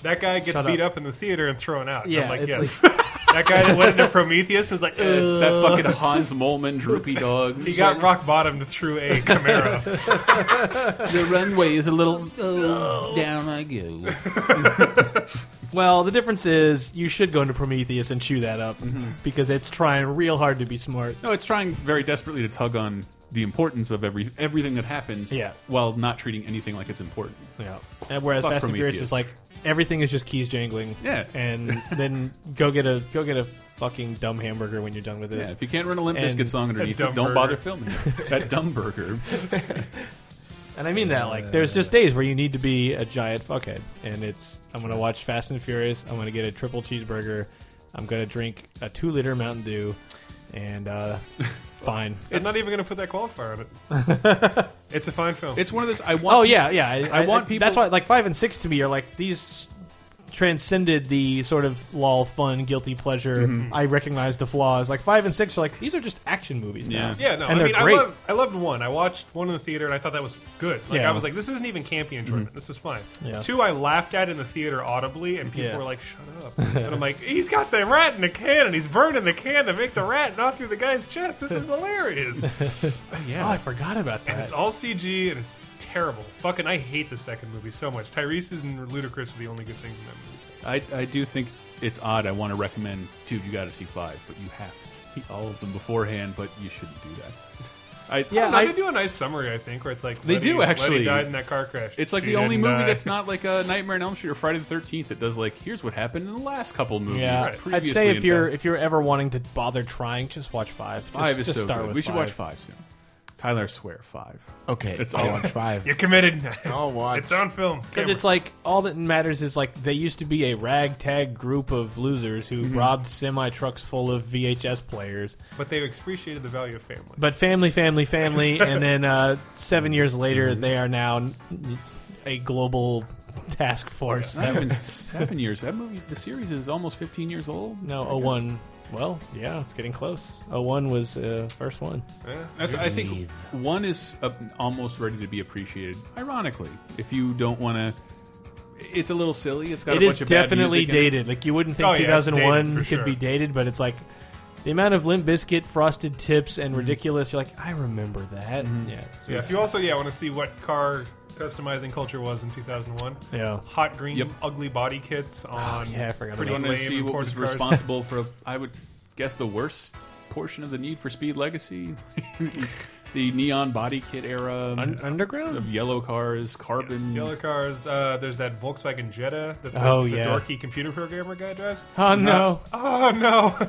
[SPEAKER 7] that guy gets
[SPEAKER 8] Shut
[SPEAKER 7] beat
[SPEAKER 8] up.
[SPEAKER 7] up. in the theater and thrown out. And
[SPEAKER 8] Yeah,
[SPEAKER 7] I'm like
[SPEAKER 8] it's
[SPEAKER 7] yes.
[SPEAKER 8] like-
[SPEAKER 7] that guy that went into Prometheus was like "Ugh,
[SPEAKER 5] It's that
[SPEAKER 7] fucking
[SPEAKER 5] fucking Hans Molman droopy dog.
[SPEAKER 7] He got rock bottomed through a Camaro.
[SPEAKER 5] the runway is a little oh, down. I go.
[SPEAKER 8] Well, the difference is you should go into Prometheus and chew that up
[SPEAKER 5] Mm-hmm.
[SPEAKER 8] because it's trying real hard to be smart.
[SPEAKER 5] No, it's trying very desperately to tug on the importance of every everything that happens.
[SPEAKER 8] Yeah.
[SPEAKER 5] while not treating anything like it's important.
[SPEAKER 8] Yeah. And whereas
[SPEAKER 5] Fuck
[SPEAKER 8] Fast and Furious is
[SPEAKER 5] Prometheus.
[SPEAKER 8] like everything is just keys jangling.
[SPEAKER 5] Yeah.
[SPEAKER 8] And then go get a go get a fucking dumb hamburger when you're done with this.
[SPEAKER 5] Yeah, if you can't run a Limp
[SPEAKER 8] And-
[SPEAKER 5] Bizkit song underneath it, don't bother filming it. That dumb burger.
[SPEAKER 8] And I mean that like there's just days where you need to be a giant fuckhead, and it's I'm gonna watch Fast and Furious. I'm gonna get a triple cheeseburger. I'm gonna drink a two liter Mountain Dew, and uh, fine.
[SPEAKER 7] I'm not even going to put that qualifier on it. it's a fine film.
[SPEAKER 5] It's one of those. I
[SPEAKER 8] oh yeah, yeah.
[SPEAKER 5] I, want people.
[SPEAKER 8] That's why like five and six to me are like these transcended the sort of lol fun guilty pleasure.
[SPEAKER 7] Mhm.
[SPEAKER 8] I recognize the flaws. Like five and six are like these are just action movies now.
[SPEAKER 7] Yeah, no.
[SPEAKER 8] and
[SPEAKER 7] I
[SPEAKER 8] they're
[SPEAKER 7] mean,
[SPEAKER 8] great.
[SPEAKER 7] I loved, I loved one. I watched one in the theater and I thought that was good. Like
[SPEAKER 8] Yeah. Mm-hmm.
[SPEAKER 7] I was like, this isn't even campy enjoyment. This is fine.
[SPEAKER 8] Yeah.
[SPEAKER 7] Two, I laughed at in the theater audibly, and people
[SPEAKER 8] Yeah.
[SPEAKER 7] were like, "Shut up!" and I'm like, "He's got the rat in the can, and he's burning the can to make the rat not through the guy's chest. This is hilarious."
[SPEAKER 8] yeah. Oh, I forgot about
[SPEAKER 7] And
[SPEAKER 8] that.
[SPEAKER 7] it's all CG, and it's terrible. Fucking, I hate the second movie so much. Tyrese and Ludacris are the only good things in that movie.
[SPEAKER 5] I, I do think it's odd. I want to recommend, dude, you got to see five, but you have to see all of them beforehand. But you shouldn't do that. I,
[SPEAKER 7] I don't know, they do a nice summary, I think, where it's like
[SPEAKER 5] They
[SPEAKER 7] Letty-
[SPEAKER 5] do actually.
[SPEAKER 7] Letty died in that car crash.
[SPEAKER 5] It's like
[SPEAKER 7] She uh,
[SPEAKER 5] the only
[SPEAKER 7] didn't
[SPEAKER 5] movie
[SPEAKER 7] die.
[SPEAKER 5] that's not like a Nightmare on Elm Street or Friday the Thirteenth that does like here's what happened in the last couple movies.
[SPEAKER 8] Yeah, I'd
[SPEAKER 5] previously
[SPEAKER 8] say
[SPEAKER 5] in
[SPEAKER 8] if you're if you're ever wanting to bother trying, just watch five. Just-
[SPEAKER 5] Five is
[SPEAKER 8] just
[SPEAKER 5] so
[SPEAKER 8] start
[SPEAKER 5] good.
[SPEAKER 8] with
[SPEAKER 5] We should
[SPEAKER 8] five.
[SPEAKER 5] watch five soon. Tyler, I swear five.
[SPEAKER 6] Okay,
[SPEAKER 5] it's
[SPEAKER 6] I'll
[SPEAKER 5] all
[SPEAKER 6] watch five.
[SPEAKER 7] You're committed.
[SPEAKER 6] I'll watch.
[SPEAKER 7] It's on film.
[SPEAKER 8] Because it's like all that matters is like they used to be a ragtag group of losers who
[SPEAKER 5] Mm-hmm.
[SPEAKER 7] Mhm.
[SPEAKER 8] robbed semi trucks full of VHS players.
[SPEAKER 7] But they appreciated the value of family.
[SPEAKER 8] But family, family, family, and then uh, seven years later, they are now n- a global task force.
[SPEAKER 5] It's not even seven years. That movie, the series is almost fifteen years old.
[SPEAKER 8] No,
[SPEAKER 5] I guess.
[SPEAKER 8] 01. Well, yeah, it's getting close. 01 was uh, first one.
[SPEAKER 5] That's, I think one is uh, almost ready to be appreciated. Ironically, if you don't want to, it's a little silly. It's got
[SPEAKER 8] It
[SPEAKER 5] a
[SPEAKER 8] is
[SPEAKER 5] bunch of bad
[SPEAKER 8] definitely
[SPEAKER 5] music in it.
[SPEAKER 8] dated. Like you wouldn't think
[SPEAKER 5] Oh, yeah, it's
[SPEAKER 8] 2001
[SPEAKER 5] dated for
[SPEAKER 8] could
[SPEAKER 5] sure.
[SPEAKER 8] be dated, but it's like the amount of Limp Biscuit, Frosted Tips,
[SPEAKER 5] Mm-hmm.
[SPEAKER 8] and ridiculous. You're like, I remember that. Yeah. so
[SPEAKER 7] yeah,
[SPEAKER 8] it's-
[SPEAKER 7] if you also yeah want to see what car customizing culture was in 2001.
[SPEAKER 8] Yeah.
[SPEAKER 7] Hot green
[SPEAKER 5] Yep. Oh,
[SPEAKER 7] ugly body kits on.
[SPEAKER 8] yeah, I forgot
[SPEAKER 5] Pretty
[SPEAKER 7] pretty
[SPEAKER 5] want
[SPEAKER 7] lame
[SPEAKER 5] to see what was
[SPEAKER 7] imported cars.
[SPEAKER 5] responsible for. I would guess the worst portion of the Need for Speed legacy, the neon body kit era,
[SPEAKER 8] underground
[SPEAKER 5] of yellow cars, carbon.
[SPEAKER 7] Yellow cars. Uh, there's that Volkswagen Jetta that the,
[SPEAKER 5] Oh,
[SPEAKER 7] the
[SPEAKER 5] yeah.
[SPEAKER 7] dorky computer programmer guy drives.
[SPEAKER 5] Oh, no.
[SPEAKER 7] Uh, oh no!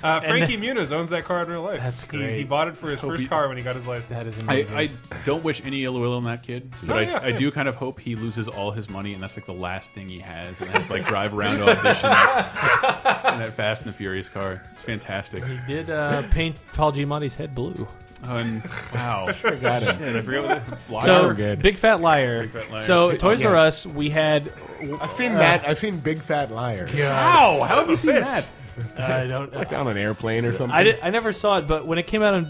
[SPEAKER 7] Uh,
[SPEAKER 5] And
[SPEAKER 7] Frankie Muniz owns that car in real life.
[SPEAKER 5] That's
[SPEAKER 7] He-
[SPEAKER 5] great.
[SPEAKER 7] He, bought it for his
[SPEAKER 5] Hope
[SPEAKER 7] first
[SPEAKER 5] he-
[SPEAKER 7] car when he got his license. That is
[SPEAKER 5] I, I don't wish any ill will on that kid, but
[SPEAKER 7] No,
[SPEAKER 5] I,
[SPEAKER 7] yeah,
[SPEAKER 5] I
[SPEAKER 7] same.
[SPEAKER 5] do kind of hope he loses all his money and that's like the last thing he has and has to like drive around to auditions in that Fast and the Furious car. It's fantastic.
[SPEAKER 8] He did uh, paint Paul Giamatti's head blue.
[SPEAKER 5] Um, wow.
[SPEAKER 8] Sure got him.
[SPEAKER 5] Shit, I forgot what the-
[SPEAKER 8] So
[SPEAKER 5] Liar? Good.
[SPEAKER 8] big fat liar.
[SPEAKER 5] Big Fat Liar.
[SPEAKER 8] So
[SPEAKER 5] Big-
[SPEAKER 8] Toys R
[SPEAKER 5] yes.
[SPEAKER 8] Us, we had.
[SPEAKER 6] I've seen
[SPEAKER 8] uh,
[SPEAKER 6] that. I've seen Big Fat Liars.
[SPEAKER 8] God. How? How have you seen that? Uh, I don't-
[SPEAKER 6] like on an airplane or something.
[SPEAKER 8] I, did, I never saw it, but when it came out on,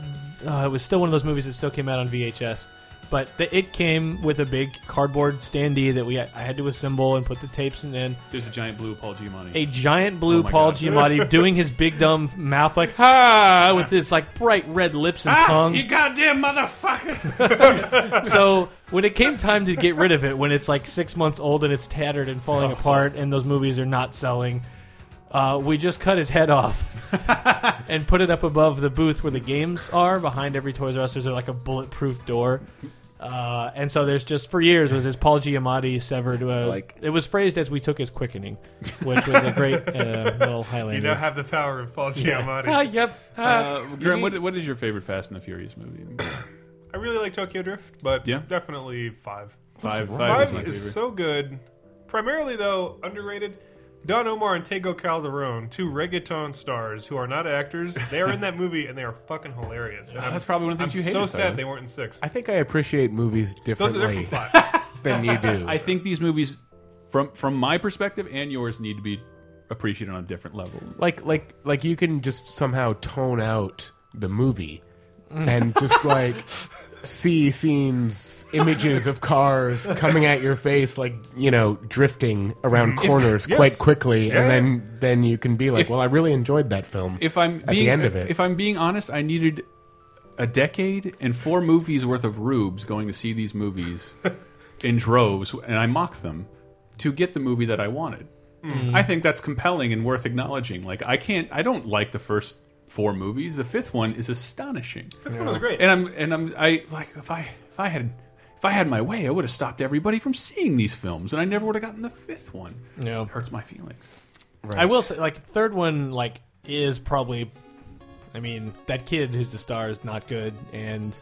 [SPEAKER 8] uh, it was still one of those movies that still came out on VHS. But the, it came with a big cardboard standee that we I had to assemble and put the tapes in. and
[SPEAKER 5] There's a giant blue Paul Giamatti.
[SPEAKER 8] A giant blue
[SPEAKER 5] Oh my
[SPEAKER 8] Paul
[SPEAKER 5] God.
[SPEAKER 8] Giamatti doing his big dumb mouth like ha with his like bright red lips
[SPEAKER 5] Ah,
[SPEAKER 8] and tongue.
[SPEAKER 5] goddamn motherfuckers!
[SPEAKER 8] so when it came time to get rid of it, when it's like six months old and it's tattered and falling apart, and those movies are not selling, uh, we just cut his head off and put it up above the booth where the games are. Behind every Toys R Us, there's like a bulletproof door. Uh, and so there's just for years was this Paul Giamatti severed. Uh,
[SPEAKER 6] Like-
[SPEAKER 8] it was phrased as "we took his quickening," which was a great uh, little Highlander.
[SPEAKER 7] You now have the power of Paul
[SPEAKER 8] Yeah.
[SPEAKER 7] Giamatti.
[SPEAKER 8] Ah, yep.
[SPEAKER 5] Uh, Graham, what, what is your favorite Fast and the Furious movie?
[SPEAKER 7] I really like Tokyo Drift, but
[SPEAKER 5] Yeah.
[SPEAKER 7] definitely five.
[SPEAKER 5] Five-
[SPEAKER 7] five,
[SPEAKER 5] five is my
[SPEAKER 7] is
[SPEAKER 5] favorite.
[SPEAKER 7] so good. Primarily though, underrated. Don Omar and Tego Calderon, two reggaeton stars who are not actors, they are in that movie and they are fucking hilarious. And
[SPEAKER 5] Yeah,
[SPEAKER 7] I'm-
[SPEAKER 5] Oh, that's probably one of the things
[SPEAKER 7] I'm
[SPEAKER 5] you
[SPEAKER 7] so
[SPEAKER 5] hated,
[SPEAKER 7] sad
[SPEAKER 5] though.
[SPEAKER 7] they weren't in six.
[SPEAKER 6] I think I appreciate movies
[SPEAKER 7] Those are
[SPEAKER 6] differently
[SPEAKER 7] different five.
[SPEAKER 6] than you do.
[SPEAKER 5] I think these movies, from from my perspective and yours, need to be appreciated on a different level.
[SPEAKER 6] like like like you can just somehow tone out the movie and just like see scenes images of cars coming at your face like you know drifting around
[SPEAKER 5] If-
[SPEAKER 6] corners
[SPEAKER 5] yes.
[SPEAKER 6] quite quickly
[SPEAKER 5] Yeah.
[SPEAKER 6] and then then you can be like
[SPEAKER 5] If-
[SPEAKER 6] well i really enjoyed that film
[SPEAKER 5] If I'm
[SPEAKER 6] at
[SPEAKER 5] being,
[SPEAKER 6] the end of it
[SPEAKER 5] if I'm being honest, I needed a decade and four movies worth of rubes going to see these movies in droves, and I mocked them to get the movie that I wanted.
[SPEAKER 7] Mm.
[SPEAKER 5] I think that's compelling and worth acknowledging. Like I can't, I don't like the first four movies. The fifth one is astonishing. Fifth
[SPEAKER 7] one was great.
[SPEAKER 5] and I'm and I'm I like if I if I had. If I had my way, I would have stopped everybody from seeing these films, and I never would have gotten the fifth one.
[SPEAKER 16] Yeah.
[SPEAKER 5] It hurts my feelings.
[SPEAKER 16] I will say, like, the third one, like, is probably. I mean, that kid who's the star is not good, and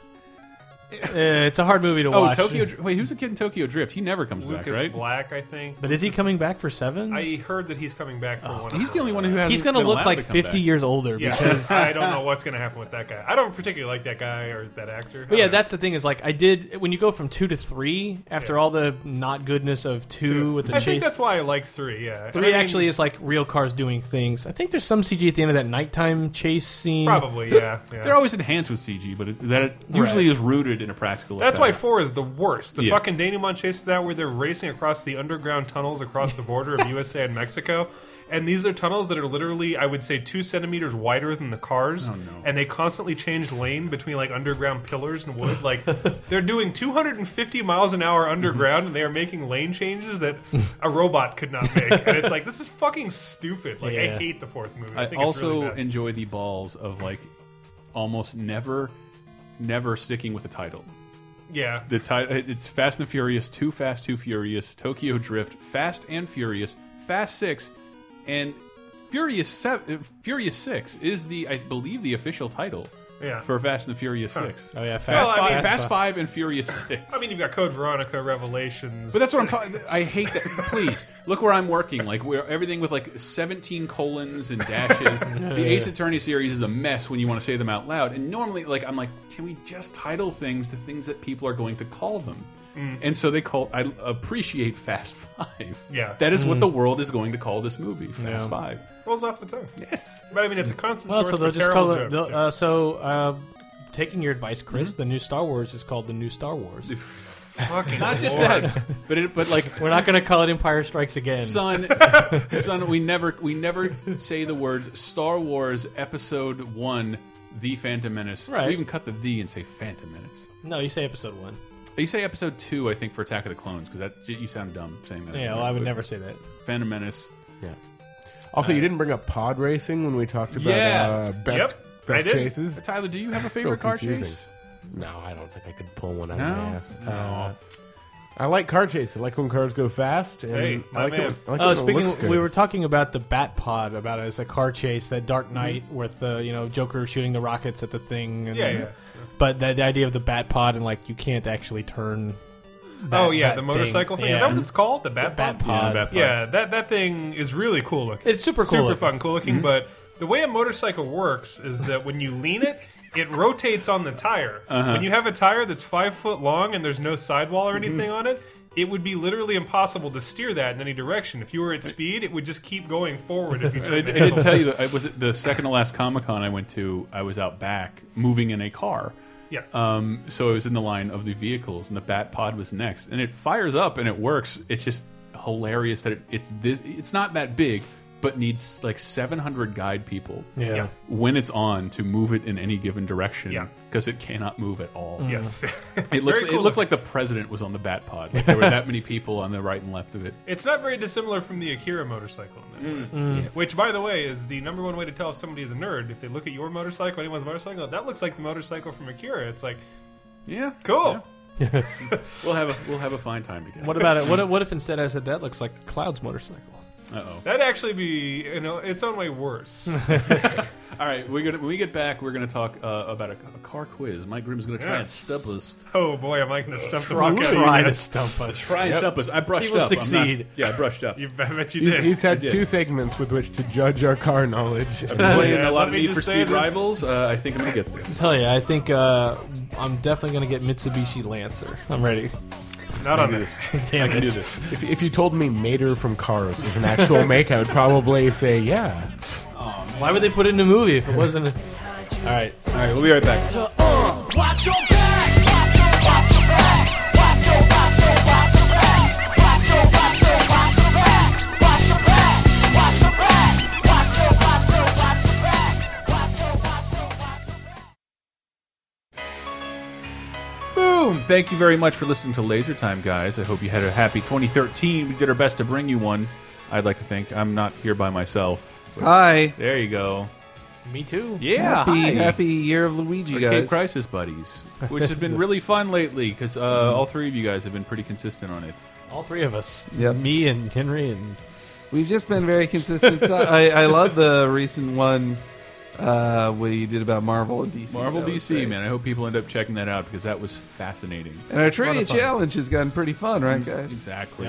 [SPEAKER 16] uh, it's a hard movie to
[SPEAKER 5] oh,
[SPEAKER 16] watch.
[SPEAKER 5] Tokyo. Dr- Wait, who's the kid in Tokyo Drift? He never comes back,
[SPEAKER 7] Lucas
[SPEAKER 5] right?
[SPEAKER 7] Black, I think.
[SPEAKER 16] But is he coming back for seven?
[SPEAKER 7] I heard that he's coming back for one.
[SPEAKER 5] Oh, He's the only one who
[SPEAKER 16] He's
[SPEAKER 5] hasn't
[SPEAKER 16] gonna
[SPEAKER 5] been
[SPEAKER 16] look
[SPEAKER 5] allowed
[SPEAKER 16] like
[SPEAKER 5] to come
[SPEAKER 16] 50
[SPEAKER 5] back.
[SPEAKER 16] years older
[SPEAKER 7] Yeah,
[SPEAKER 16] because
[SPEAKER 7] I don't know what's going to happen with that guy. I don't particularly like that guy or that actor.
[SPEAKER 16] But yeah, that's the thing is like I did when you go from two to three after all the not goodness of two, with the
[SPEAKER 7] I
[SPEAKER 16] chase.
[SPEAKER 7] think that's why I like three. Yeah, And
[SPEAKER 16] Three
[SPEAKER 7] I mean,
[SPEAKER 16] actually is like real cars doing things. I think there's some CG at the end of that nighttime chase scene.
[SPEAKER 7] Probably, yeah, yeah.
[SPEAKER 5] They're always enhanced with CG, but it, that it usually is rooted in a practical.
[SPEAKER 7] That's why
[SPEAKER 5] effect.
[SPEAKER 7] four is the worst. The
[SPEAKER 5] Yeah.
[SPEAKER 7] fucking denouement chase to that where they're racing across the underground tunnels across the border of USA and Mexico. And these are tunnels that are literally, I would say, two centimeters wider than the cars.
[SPEAKER 5] Oh, no.
[SPEAKER 7] And they constantly change lane between like underground pillars and wood. Like they're doing 250 miles an hour
[SPEAKER 5] Mhm.
[SPEAKER 7] underground, and they are making lane changes that a robot could not make. And it's like this is fucking stupid. Like I
[SPEAKER 5] Yeah.
[SPEAKER 7] hate the fourth movie. I,
[SPEAKER 5] I,
[SPEAKER 7] think it's
[SPEAKER 5] also
[SPEAKER 7] really bad.
[SPEAKER 5] enjoy the balls of like almost never, never sticking with the title.
[SPEAKER 7] Yeah.
[SPEAKER 5] the title. It's Fast and Furious, Too Fast, Too Furious, Tokyo Drift, Fast and Furious, Fast Six, and Furious Seven. Furious Six is the, I believe, the official title.
[SPEAKER 7] Yeah.
[SPEAKER 5] For Fast and the Furious
[SPEAKER 7] Huh.
[SPEAKER 5] Six.
[SPEAKER 7] Oh, yeah,
[SPEAKER 5] Fast,
[SPEAKER 7] Fast-
[SPEAKER 5] Five,
[SPEAKER 7] Fast
[SPEAKER 5] Fast
[SPEAKER 7] Five.
[SPEAKER 5] Five and Furious Six.
[SPEAKER 7] I mean, you've got Code Veronica, Revelations.
[SPEAKER 5] But that's what I'm talking. I hate that. Please look where I'm working. Like where everything with like 17 colons and dashes. the Ace Attorney series is a mess when you want to say them out loud. And normally, like I'm like, can we just title things the things that people are going to call them?
[SPEAKER 7] Mm.
[SPEAKER 5] And so they call. I appreciate Fast Five.
[SPEAKER 7] Yeah.
[SPEAKER 5] that is what
[SPEAKER 7] Mm.
[SPEAKER 5] the world is going to call this movie, Fast
[SPEAKER 16] Yeah.
[SPEAKER 5] Five.
[SPEAKER 7] Rolls off the tongue.
[SPEAKER 5] Yes.
[SPEAKER 7] But I mean, it's a constant
[SPEAKER 16] Well,
[SPEAKER 7] source
[SPEAKER 16] so they'll
[SPEAKER 7] for
[SPEAKER 16] just call
[SPEAKER 7] terrible
[SPEAKER 16] it.
[SPEAKER 7] jokes.
[SPEAKER 16] they'll- Uh, so, uh, taking your advice, Chris,
[SPEAKER 5] Mhm.
[SPEAKER 16] the new Star Wars is called the new Star Wars.
[SPEAKER 7] Fucking
[SPEAKER 5] Not just
[SPEAKER 7] Lord.
[SPEAKER 5] that, but it, but like
[SPEAKER 16] we're not going to call it Empire Strikes Again.
[SPEAKER 5] son son we never we never say the words star wars episode one the phantom menace
[SPEAKER 16] Right.
[SPEAKER 5] we even cut the the and say phantom menace
[SPEAKER 16] No, you say Episode One.
[SPEAKER 5] you say episode two i think for attack of the clones because that you sound dumb saying that
[SPEAKER 16] Yeah, well, I would never say that.
[SPEAKER 5] phantom menace
[SPEAKER 6] yeah also you didn't bring up pod racing when we talked about
[SPEAKER 5] uh, Yeah.
[SPEAKER 6] uh, best
[SPEAKER 5] Yep, I
[SPEAKER 6] best
[SPEAKER 5] did.
[SPEAKER 6] chases
[SPEAKER 5] Tyler, do you have a
[SPEAKER 6] Real
[SPEAKER 5] favorite car
[SPEAKER 6] confusing.
[SPEAKER 5] chase?
[SPEAKER 6] no i don't think i could pull one out
[SPEAKER 5] No?
[SPEAKER 6] of my ass
[SPEAKER 5] No.
[SPEAKER 6] Uh, I like car chase. I like when cars go fast. And
[SPEAKER 5] Hey,
[SPEAKER 6] I like
[SPEAKER 5] my man.
[SPEAKER 6] it. I like
[SPEAKER 16] oh,
[SPEAKER 6] it when it
[SPEAKER 16] speaking,
[SPEAKER 6] looks
[SPEAKER 16] of-
[SPEAKER 6] good.
[SPEAKER 16] we were talking about the Bat Pod about it as a car chase, that
[SPEAKER 7] Mm-hmm.
[SPEAKER 16] Dark Knight with the you know Joker shooting the rockets at the thing. And,
[SPEAKER 7] Yeah, yeah, yeah.
[SPEAKER 16] But the, the idea of the Bat Pod and like you can't actually turn. that-
[SPEAKER 7] oh yeah,
[SPEAKER 16] that
[SPEAKER 7] the motorcycle thing. Is that what it's called? The Bat Pod.
[SPEAKER 16] Pod. Yeah, the Bat Pod.
[SPEAKER 7] Yeah, that that thing is really cool looking.
[SPEAKER 16] It's super cool
[SPEAKER 7] super
[SPEAKER 16] looking.
[SPEAKER 7] fucking cool looking.
[SPEAKER 16] Mhm.
[SPEAKER 7] But the way a motorcycle works is that when you lean it. It rotates on the tire.
[SPEAKER 5] Uh-huh.
[SPEAKER 7] When you have a tire that's five foot long and there's no sidewall or anything on it, it would be literally impossible to steer that in any direction. If you were at speed, it would just keep going forward. If you
[SPEAKER 5] I, I
[SPEAKER 7] turned it
[SPEAKER 5] didn't
[SPEAKER 7] out.
[SPEAKER 5] tell you that I was at the second to last Comic Con I went to. I was out back moving in a car.
[SPEAKER 7] Yeah.
[SPEAKER 5] Um, so I was in the line of the vehicles, and the Bat Pod was next, and it fires up and it works. It's just hilarious that it, it's this. It's not that big, but needs like 700 guide people.
[SPEAKER 16] Yeah. Yeah.
[SPEAKER 5] When it's on to move it in any given direction.
[SPEAKER 7] Yeah.
[SPEAKER 5] Because it cannot move at all.
[SPEAKER 7] Mm. Yes.
[SPEAKER 5] it looks.
[SPEAKER 7] Very
[SPEAKER 5] It
[SPEAKER 7] cool
[SPEAKER 5] looked like the president was on the Bat Pod. Like, there were that many people on the right and left of it.
[SPEAKER 7] It's not very dissimilar from the Akira motorcycle in that way.
[SPEAKER 5] Mm. Yeah.
[SPEAKER 7] Which, by the way, is the number one way to tell if somebody is a nerd. If they look at your motorcycle, anyone's motorcycle, that looks like the motorcycle from Akira. It's like,
[SPEAKER 5] yeah,
[SPEAKER 7] cool.
[SPEAKER 5] we'll have a we'll have a fine time together.
[SPEAKER 16] What about it? What, if- what if instead I said that looks like Cloud's motorcycle?
[SPEAKER 5] Uh-oh.
[SPEAKER 7] That'd actually be, you know, its own way worse.
[SPEAKER 5] All right, we're gonna, when we get back, we're going to talk uh, about a, a car quiz. Mike Grimm's going to try
[SPEAKER 7] Yes.
[SPEAKER 5] and stump us.
[SPEAKER 7] Oh boy, am I going to stump the
[SPEAKER 5] Try-
[SPEAKER 7] fuck out of you
[SPEAKER 5] try to
[SPEAKER 7] guys.
[SPEAKER 5] stump us. Try and stump us. I brushed He will up. I'm not- succeed. yeah, I brushed up.
[SPEAKER 7] You, I bet you
[SPEAKER 6] He-
[SPEAKER 7] did.
[SPEAKER 6] He's had
[SPEAKER 5] I did.
[SPEAKER 6] two segments with which to judge our car knowledge.
[SPEAKER 5] I've been playing a lot
[SPEAKER 7] let
[SPEAKER 5] of
[SPEAKER 7] me
[SPEAKER 5] Need for
[SPEAKER 7] just say
[SPEAKER 5] Speed
[SPEAKER 7] that-
[SPEAKER 5] Rivals. Uh, I think I'm going to get this.
[SPEAKER 8] tell you, I think uh, I'm definitely going to get Mitsubishi Lancer. I'm ready.
[SPEAKER 7] Not
[SPEAKER 5] on it.
[SPEAKER 8] Damn it.
[SPEAKER 6] If, if you told me Mater from Cars was an actual make, I would probably say yeah.
[SPEAKER 8] Why would they put it in a movie if it wasn't? A... All right, all
[SPEAKER 5] right, we'll be right back.
[SPEAKER 17] Watch your back. Watch your watch your watch your back. Watch your watch your watch your back. Watch your back. Watch your back. Watch your watch your watch your back. Watch your watch your watch your
[SPEAKER 5] Boom! Thank you very much for listening to Laser Time, guys. I hope you had a happy 2013. We did our best to bring you one. I'd like to think I'm not here by myself.
[SPEAKER 10] Hi.
[SPEAKER 5] There you go.
[SPEAKER 8] Me too.
[SPEAKER 5] Yeah.
[SPEAKER 10] Happy,
[SPEAKER 5] hi.
[SPEAKER 10] happy year of Luigi,
[SPEAKER 5] Arcade
[SPEAKER 10] guys.
[SPEAKER 5] Crisis Buddies, which has been really fun lately because uh,
[SPEAKER 10] Mm-hmm.
[SPEAKER 5] all three of you guys have been pretty consistent on it.
[SPEAKER 8] All three of us.
[SPEAKER 10] Yep.
[SPEAKER 8] Me and Henry and
[SPEAKER 10] We've just been very consistent. I, I love the recent one uh, we did about Marvel and DC.
[SPEAKER 5] Marvel
[SPEAKER 10] That was
[SPEAKER 5] DC, man. I hope people end up checking that out because that was fascinating.
[SPEAKER 10] And our
[SPEAKER 5] A lot
[SPEAKER 10] trivia
[SPEAKER 5] of fun. Mm-hmm.
[SPEAKER 10] challenge has gotten pretty fun, right, guys?
[SPEAKER 5] Exactly.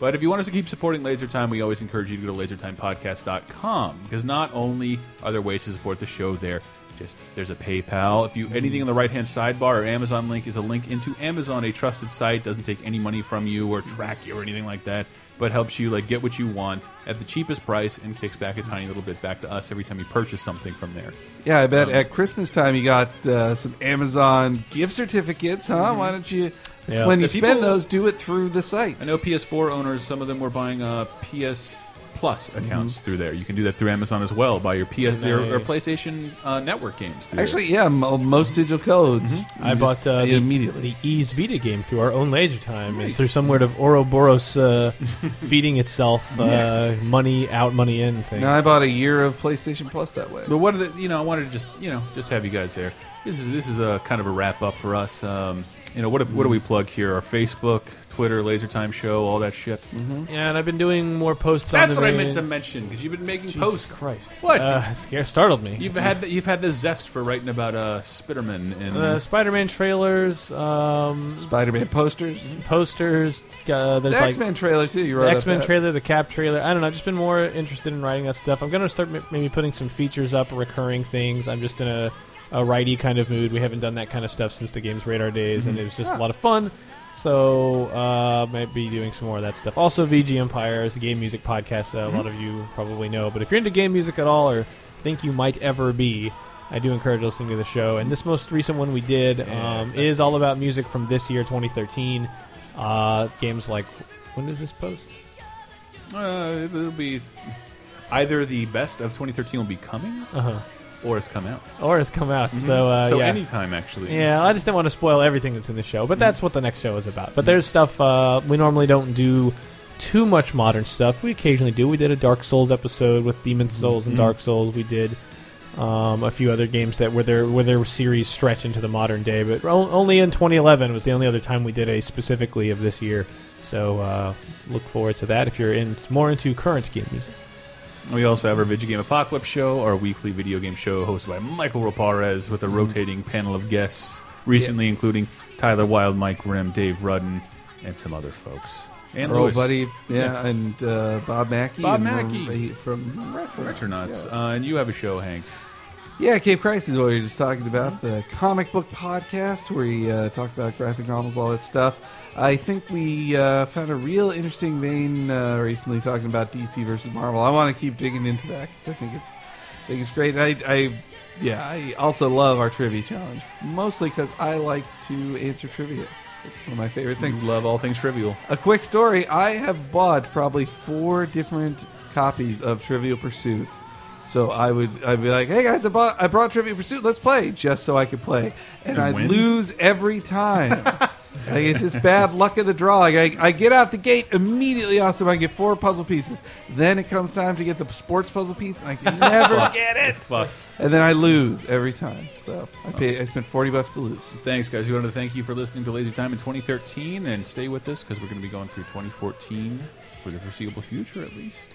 [SPEAKER 5] But if you want us to keep supporting Laser Time, we always encourage you to go to lasertimepodcast.com because not only are there ways to support the show there, just there's a PayPal. If you anything on the right hand sidebar or Amazon link is a link into Amazon, a trusted site, doesn't take any money from you or track you or anything like that, but helps you like get what you want at the cheapest price and kicks back a tiny little bit back to us every time you purchase something from there.
[SPEAKER 10] Yeah, I
[SPEAKER 5] Um,
[SPEAKER 10] bet at Christmas time you got uh, some Amazon gift certificates, huh? Why don't you?
[SPEAKER 5] Mm-hmm. Yeah.
[SPEAKER 10] When you
[SPEAKER 5] The
[SPEAKER 10] spend
[SPEAKER 5] people-
[SPEAKER 10] those, do it through the site.
[SPEAKER 5] I know PS4 owners, some of them were buying uh, PS Plus
[SPEAKER 8] Mm-hmm.
[SPEAKER 5] accounts through there. You can do that through Amazon as well. Buy your PS your, or PlayStation uh, Network games through
[SPEAKER 10] Actually, yeah, mo- most digital codes.
[SPEAKER 5] Mm-hmm.
[SPEAKER 8] I
[SPEAKER 10] You
[SPEAKER 8] bought
[SPEAKER 10] just-
[SPEAKER 8] uh, the,
[SPEAKER 10] immediately
[SPEAKER 8] the Ease Vita game through our own laser time and through some word of Ouroboros uh, feeding itself uh, money out, money in thing.
[SPEAKER 10] Now I bought a year of PlayStation Plus that way.
[SPEAKER 5] But what are the you know? I wanted to just you know just have you guys there. This is this is a kind of a wrap up for us. Um, you know what what
[SPEAKER 8] Mm-hmm.
[SPEAKER 5] do we plug here? Our Facebook, Twitter, Laser Time Show, all that shit.
[SPEAKER 8] Yeah, and I've been doing more posts. on
[SPEAKER 5] That's
[SPEAKER 8] Mm-hmm. the
[SPEAKER 5] what I
[SPEAKER 8] various-
[SPEAKER 5] meant to mention because you've been making
[SPEAKER 8] Jesus
[SPEAKER 5] posts.
[SPEAKER 8] Christ,
[SPEAKER 5] What?
[SPEAKER 8] Uh, scare startled me.
[SPEAKER 5] You've had the, you've had the zest for writing about uh, Spiderman and
[SPEAKER 8] Uh, Spider-Man trailers, um,
[SPEAKER 10] Spider-Man posters,
[SPEAKER 8] posters. Uh, there's
[SPEAKER 10] The
[SPEAKER 8] like
[SPEAKER 10] X-Men trailer, too, you
[SPEAKER 8] The
[SPEAKER 10] wrote up
[SPEAKER 8] X-Men
[SPEAKER 10] that.
[SPEAKER 8] trailer, the Cap trailer. I don't know. I've just been more interested in writing that stuff. I'm gonna start m- maybe putting some features up, recurring things. I'm just in a, a righty kind of mood. We haven't done that kind of stuff since the game's radar days, and it was just
[SPEAKER 10] Ah.
[SPEAKER 8] a lot of fun. So uh, might be doing some more of that stuff. Also, VG Empire is a game music podcast that a lot of you probably know. But if you're into game music at all, or think you might ever be. I do encourage listening to the show, and this most recent one we did um, is all about music from this year, 2013. Uh, games like when does this post?
[SPEAKER 5] Uh, it'll be either the best of 2013 will be coming,
[SPEAKER 8] Uh-huh.
[SPEAKER 5] or it's come out.
[SPEAKER 8] or has come out.
[SPEAKER 5] Mhm.
[SPEAKER 8] So, uh,
[SPEAKER 5] So
[SPEAKER 8] yeah.
[SPEAKER 5] anytime, actually.
[SPEAKER 8] Yeah, I just didn't want to spoil everything that's in the show, but that's what the next show is about. But there's stuff uh, we normally don't do too much modern stuff. We occasionally do. We did a Dark Souls episode with Demon Souls and
[SPEAKER 18] Mhm.
[SPEAKER 8] Dark Souls. We did um, a few other games that were their where their series stretch into the modern day, but o- only in 2011 was the only other time we did a specifically of this year. So uh, look forward to that if you're in more into current game music.
[SPEAKER 5] We also have our Video Game Apocalypse show, our weekly video game show hosted by Michael Raparez
[SPEAKER 8] Mm-hmm.
[SPEAKER 5] with a rotating panel of guests, recently including Tyler Wilde, Mike Grimm, Dave Rudden, and some other folks. And
[SPEAKER 10] Our old
[SPEAKER 5] Lewis.
[SPEAKER 10] buddy, yeah, and uh, Bob Mackey.
[SPEAKER 5] Bob
[SPEAKER 10] and
[SPEAKER 5] Mackey.
[SPEAKER 10] from, from Retronauts.
[SPEAKER 5] Retronauts. Uh, and you have a show, Hank.
[SPEAKER 10] Yeah, Cape Crisis is what we were just talking about. The comic book podcast where we uh, talk about graphic novels, all that stuff. I think we uh, found a real interesting vein uh, recently talking about DC versus Marvel. I want to keep digging into that because I think it's, I think it's great. And I, I, yeah, I also love our trivia challenge mostly because I like to answer trivia. It's one of my favorite things.
[SPEAKER 5] Love all things trivial.
[SPEAKER 10] A quick story I have bought probably four different copies of Trivial Pursuit. So I would I'd be like, "Hey guys, I bought I brought Trivial Pursuit. Let's play." Just so I could play. And,
[SPEAKER 5] And
[SPEAKER 10] I
[SPEAKER 5] win?
[SPEAKER 10] lose every time. like it's just bad luck of the draw. Like I, I get out the gate immediately awesome. I get four puzzle pieces. Then it comes time to get the sports puzzle piece and I can never
[SPEAKER 5] Fuck.
[SPEAKER 10] get it.
[SPEAKER 5] Fuck.
[SPEAKER 10] And then I lose every time. So I pay I spent 40 bucks to lose.
[SPEAKER 5] Thanks, guys. We want to thank you for listening to Lazy Time in 2013, and stay with us because we're going to be going through 2014. for the foreseeable future, at least.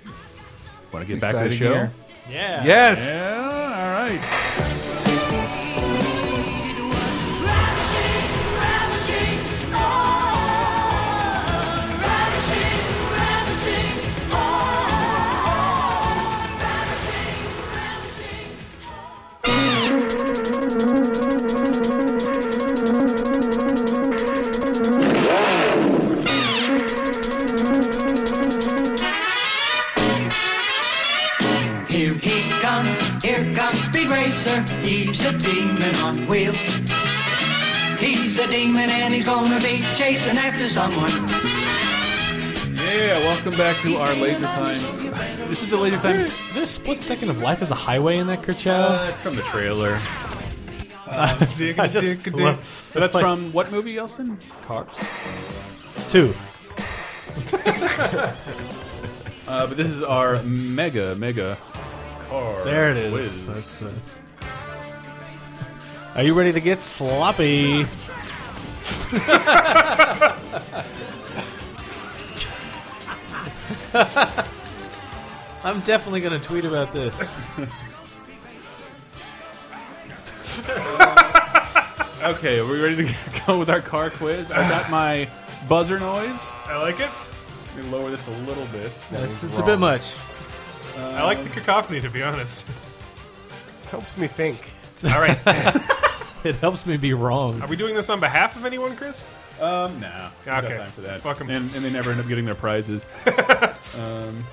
[SPEAKER 5] Want
[SPEAKER 19] It's
[SPEAKER 5] to get
[SPEAKER 19] an
[SPEAKER 5] back to the
[SPEAKER 19] exciting
[SPEAKER 5] show?
[SPEAKER 19] year.
[SPEAKER 8] Yeah.
[SPEAKER 19] Yes.
[SPEAKER 5] Yeah, all right.
[SPEAKER 10] Here he comes, here comes Speed Racer. He's a demon on wheels. He's a demon and he's gonna be chasing after someone.
[SPEAKER 5] Yeah, welcome back to our laser time. This is the laser
[SPEAKER 8] time. Is there a split second of life as a highway in that
[SPEAKER 5] Uh,
[SPEAKER 8] Kerchow?
[SPEAKER 5] it's from the trailer. Uh,
[SPEAKER 8] I just love-
[SPEAKER 5] But that's
[SPEAKER 8] like-
[SPEAKER 5] from what movie, Elston?
[SPEAKER 8] Cars. Two.
[SPEAKER 5] Uh, but this is our mega, mega car.
[SPEAKER 8] There it is.
[SPEAKER 5] whiz.
[SPEAKER 8] That's the- Are you ready to get sloppy? I'm definitely going to tweet about this.
[SPEAKER 5] Okay, are we ready to go with our car quiz? I got my buzzer noise.
[SPEAKER 7] I like it.
[SPEAKER 5] Let me lower this a little bit.
[SPEAKER 8] That's- it's a bit much.
[SPEAKER 7] I like the cacophony, to be honest.
[SPEAKER 6] Helps me think.
[SPEAKER 7] All right.
[SPEAKER 8] it helps me be wrong.
[SPEAKER 7] Are we doing this on behalf of anyone, Chris?
[SPEAKER 5] Um, nah. We got
[SPEAKER 7] Okay.
[SPEAKER 5] time for that.
[SPEAKER 7] Fuck 'em.
[SPEAKER 5] And, and they never end up getting their prizes. um,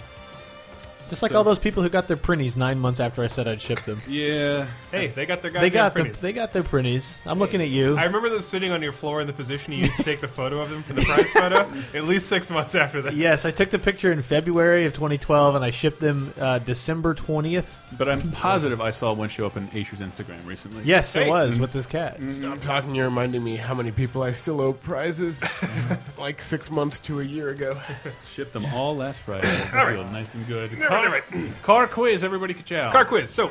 [SPEAKER 8] Just like
[SPEAKER 5] So-
[SPEAKER 8] all those people who got their printies nine months after I said I'd ship them.
[SPEAKER 5] Yeah.
[SPEAKER 7] Hey, they got their
[SPEAKER 8] they
[SPEAKER 7] goddamn
[SPEAKER 8] got
[SPEAKER 7] printies.
[SPEAKER 8] the, they got their printies. I'm looking at you.
[SPEAKER 7] I remember this sitting on your floor in the position you used to take the photo of them for the prize photo. At least six months after that.
[SPEAKER 8] yes, I took the picture in February of 2012, and I shipped them uh, December 20th.
[SPEAKER 5] But I'm positive I saw one show up on Aisha's Instagram recently.
[SPEAKER 8] Yes, it was with this cat.
[SPEAKER 5] Mm-hmm.
[SPEAKER 6] Stop talking. You're reminding me how many people I still owe prizes, like six months to a year ago.
[SPEAKER 5] Shipped them all last Friday.
[SPEAKER 7] All
[SPEAKER 5] Feel
[SPEAKER 7] right.
[SPEAKER 5] Nice and good.
[SPEAKER 7] All
[SPEAKER 5] Car,
[SPEAKER 7] right, all
[SPEAKER 5] car quiz, everybody, ka
[SPEAKER 7] Car quiz. So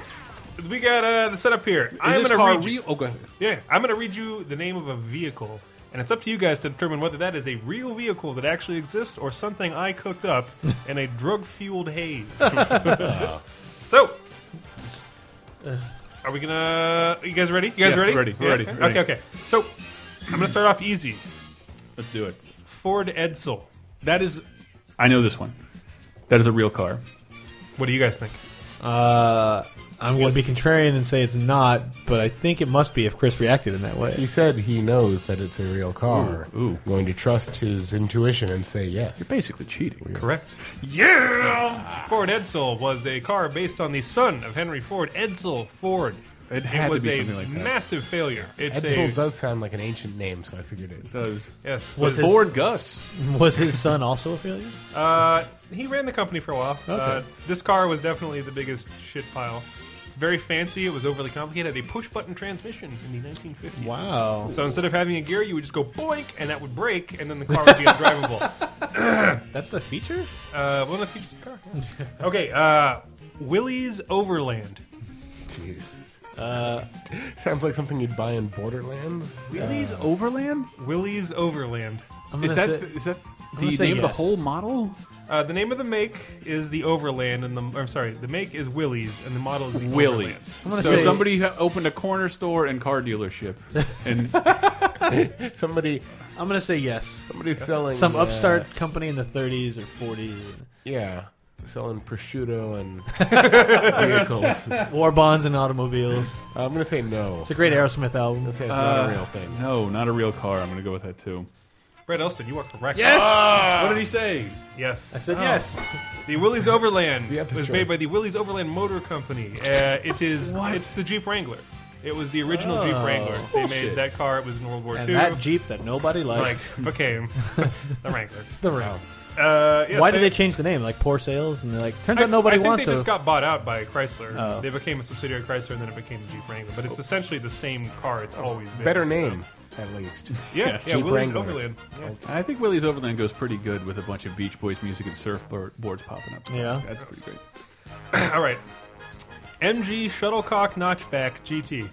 [SPEAKER 7] we got uh, the setup here. I'm
[SPEAKER 5] this
[SPEAKER 7] gonna
[SPEAKER 5] car
[SPEAKER 7] read you-
[SPEAKER 5] real? Oh, go ahead.
[SPEAKER 7] Yeah, I'm going to read you the name of a vehicle, and it's up to you guys to determine whether that is a real vehicle that actually exists or something I cooked up in a drug fueled haze. so, are we gonna? Are you guys ready? You guys
[SPEAKER 5] Yeah,
[SPEAKER 7] ready?
[SPEAKER 5] ready, we're ready, we're ready.
[SPEAKER 7] Okay, okay. So, I'm gonna start off easy.
[SPEAKER 5] Let's do it.
[SPEAKER 7] Ford Edsel. That is.
[SPEAKER 5] I know this one. That is a real car.
[SPEAKER 7] What do you guys think?
[SPEAKER 8] Uh, I'm going to be contrarian and say it's not, but I think it must be if Chris reacted in that way.
[SPEAKER 6] He said he knows that it's a real car.
[SPEAKER 5] Ooh, ooh.
[SPEAKER 6] Going to trust his intuition and say yes. You're
[SPEAKER 5] basically cheating.
[SPEAKER 7] Correct. Yeah. Ford Edsel was a car based on the son of Henry Ford. Edsel Ford.
[SPEAKER 5] It had to
[SPEAKER 7] was
[SPEAKER 5] be
[SPEAKER 7] a
[SPEAKER 5] something like that.
[SPEAKER 7] massive failure. It's
[SPEAKER 6] Edsel
[SPEAKER 7] a
[SPEAKER 6] does sound like an ancient name, so I figured it.
[SPEAKER 5] does.
[SPEAKER 7] Yes.
[SPEAKER 8] Was
[SPEAKER 7] So-
[SPEAKER 8] his-
[SPEAKER 5] Ford Gus.
[SPEAKER 8] Was his son also a failure?
[SPEAKER 7] Uh, he ran the company for a while. Uh,
[SPEAKER 8] Okay.
[SPEAKER 7] this car was definitely the biggest shit pile. It's very fancy. It was overly complicated. It had a push button transmission in the 1950s.
[SPEAKER 8] Wow.
[SPEAKER 7] So instead of having a gear, you would just go boink, and that would break, and then the car would be undrivable.
[SPEAKER 8] That's the feature?
[SPEAKER 7] Uh, one of the features of the car. yeah. okay. Uh, Willie's Overland.
[SPEAKER 6] Jeez. Sounds like something you'd buy in Borderlands.
[SPEAKER 5] Willie's Overland?
[SPEAKER 7] Willie's Overland.
[SPEAKER 8] I'm
[SPEAKER 5] Is
[SPEAKER 8] gonna
[SPEAKER 5] that
[SPEAKER 8] say-
[SPEAKER 5] is that
[SPEAKER 8] I'm
[SPEAKER 5] the
[SPEAKER 8] gonna
[SPEAKER 5] name
[SPEAKER 8] say
[SPEAKER 5] of the
[SPEAKER 8] yes.
[SPEAKER 5] whole model?
[SPEAKER 7] Uh, the name of the make is the Overland, and the I'm sorry, the make is Willie's, and the model is the Overland.
[SPEAKER 5] Willie's.
[SPEAKER 8] I'm gonna
[SPEAKER 5] So
[SPEAKER 8] say-
[SPEAKER 5] somebody ha- opened a corner store and car dealership, and
[SPEAKER 6] somebody,
[SPEAKER 8] I'm going to say yes.
[SPEAKER 6] somebody's selling
[SPEAKER 8] Some
[SPEAKER 6] uh,
[SPEAKER 8] upstart company in the 30s or 40s.
[SPEAKER 6] Yeah, selling prosciutto and vehicles.
[SPEAKER 8] War bonds and automobiles.
[SPEAKER 6] I'm gonna say no.
[SPEAKER 8] It's a great Aerosmith album.
[SPEAKER 6] I'm gonna say it's not
[SPEAKER 5] Uh,
[SPEAKER 6] a real thing.
[SPEAKER 5] No, not a real car. I'm gonna go with that too.
[SPEAKER 7] Brett Elston, you are correct. Ah!
[SPEAKER 5] Yes.
[SPEAKER 7] Uh,
[SPEAKER 5] What did he say?
[SPEAKER 7] Yes.
[SPEAKER 8] I said
[SPEAKER 5] Oh.
[SPEAKER 8] yes.
[SPEAKER 7] The Willys Overland
[SPEAKER 6] have to
[SPEAKER 7] was
[SPEAKER 6] choose.
[SPEAKER 7] made by the Willys Overland Motor Company. Uh, it is it's the Jeep Wrangler. It was the original Jeep
[SPEAKER 8] Oh.
[SPEAKER 7] Wrangler. They made
[SPEAKER 5] Bullshit.
[SPEAKER 7] that car. It was in World War
[SPEAKER 8] And
[SPEAKER 7] II.
[SPEAKER 8] that Jeep that nobody
[SPEAKER 7] like
[SPEAKER 8] liked.
[SPEAKER 7] okay, the Wrangler.
[SPEAKER 8] the round.
[SPEAKER 7] Uh, yes,
[SPEAKER 8] Why did they change the name? Like poor sales, and they're like, turns
[SPEAKER 7] I,
[SPEAKER 8] out nobody
[SPEAKER 7] I think
[SPEAKER 8] wants
[SPEAKER 7] they
[SPEAKER 8] it.
[SPEAKER 7] just got bought out by Chrysler.
[SPEAKER 8] Oh.
[SPEAKER 7] They became a subsidiary of Chrysler, and then it became the Jeep Wrangler. But it's essentially the same car. It's always been
[SPEAKER 6] Better
[SPEAKER 7] so-
[SPEAKER 6] name, at least.
[SPEAKER 7] Yeah,
[SPEAKER 5] Yes.
[SPEAKER 7] yeah.
[SPEAKER 6] Jeep
[SPEAKER 7] Willys
[SPEAKER 6] Wrangler.
[SPEAKER 7] Overland. Yeah.
[SPEAKER 5] I think Willie's Overland goes pretty good with a bunch of Beach Boys music and surfboards popping up.
[SPEAKER 8] Yeah.
[SPEAKER 5] that's pretty great.
[SPEAKER 7] All right. MG Shuttlecock Notchback GT.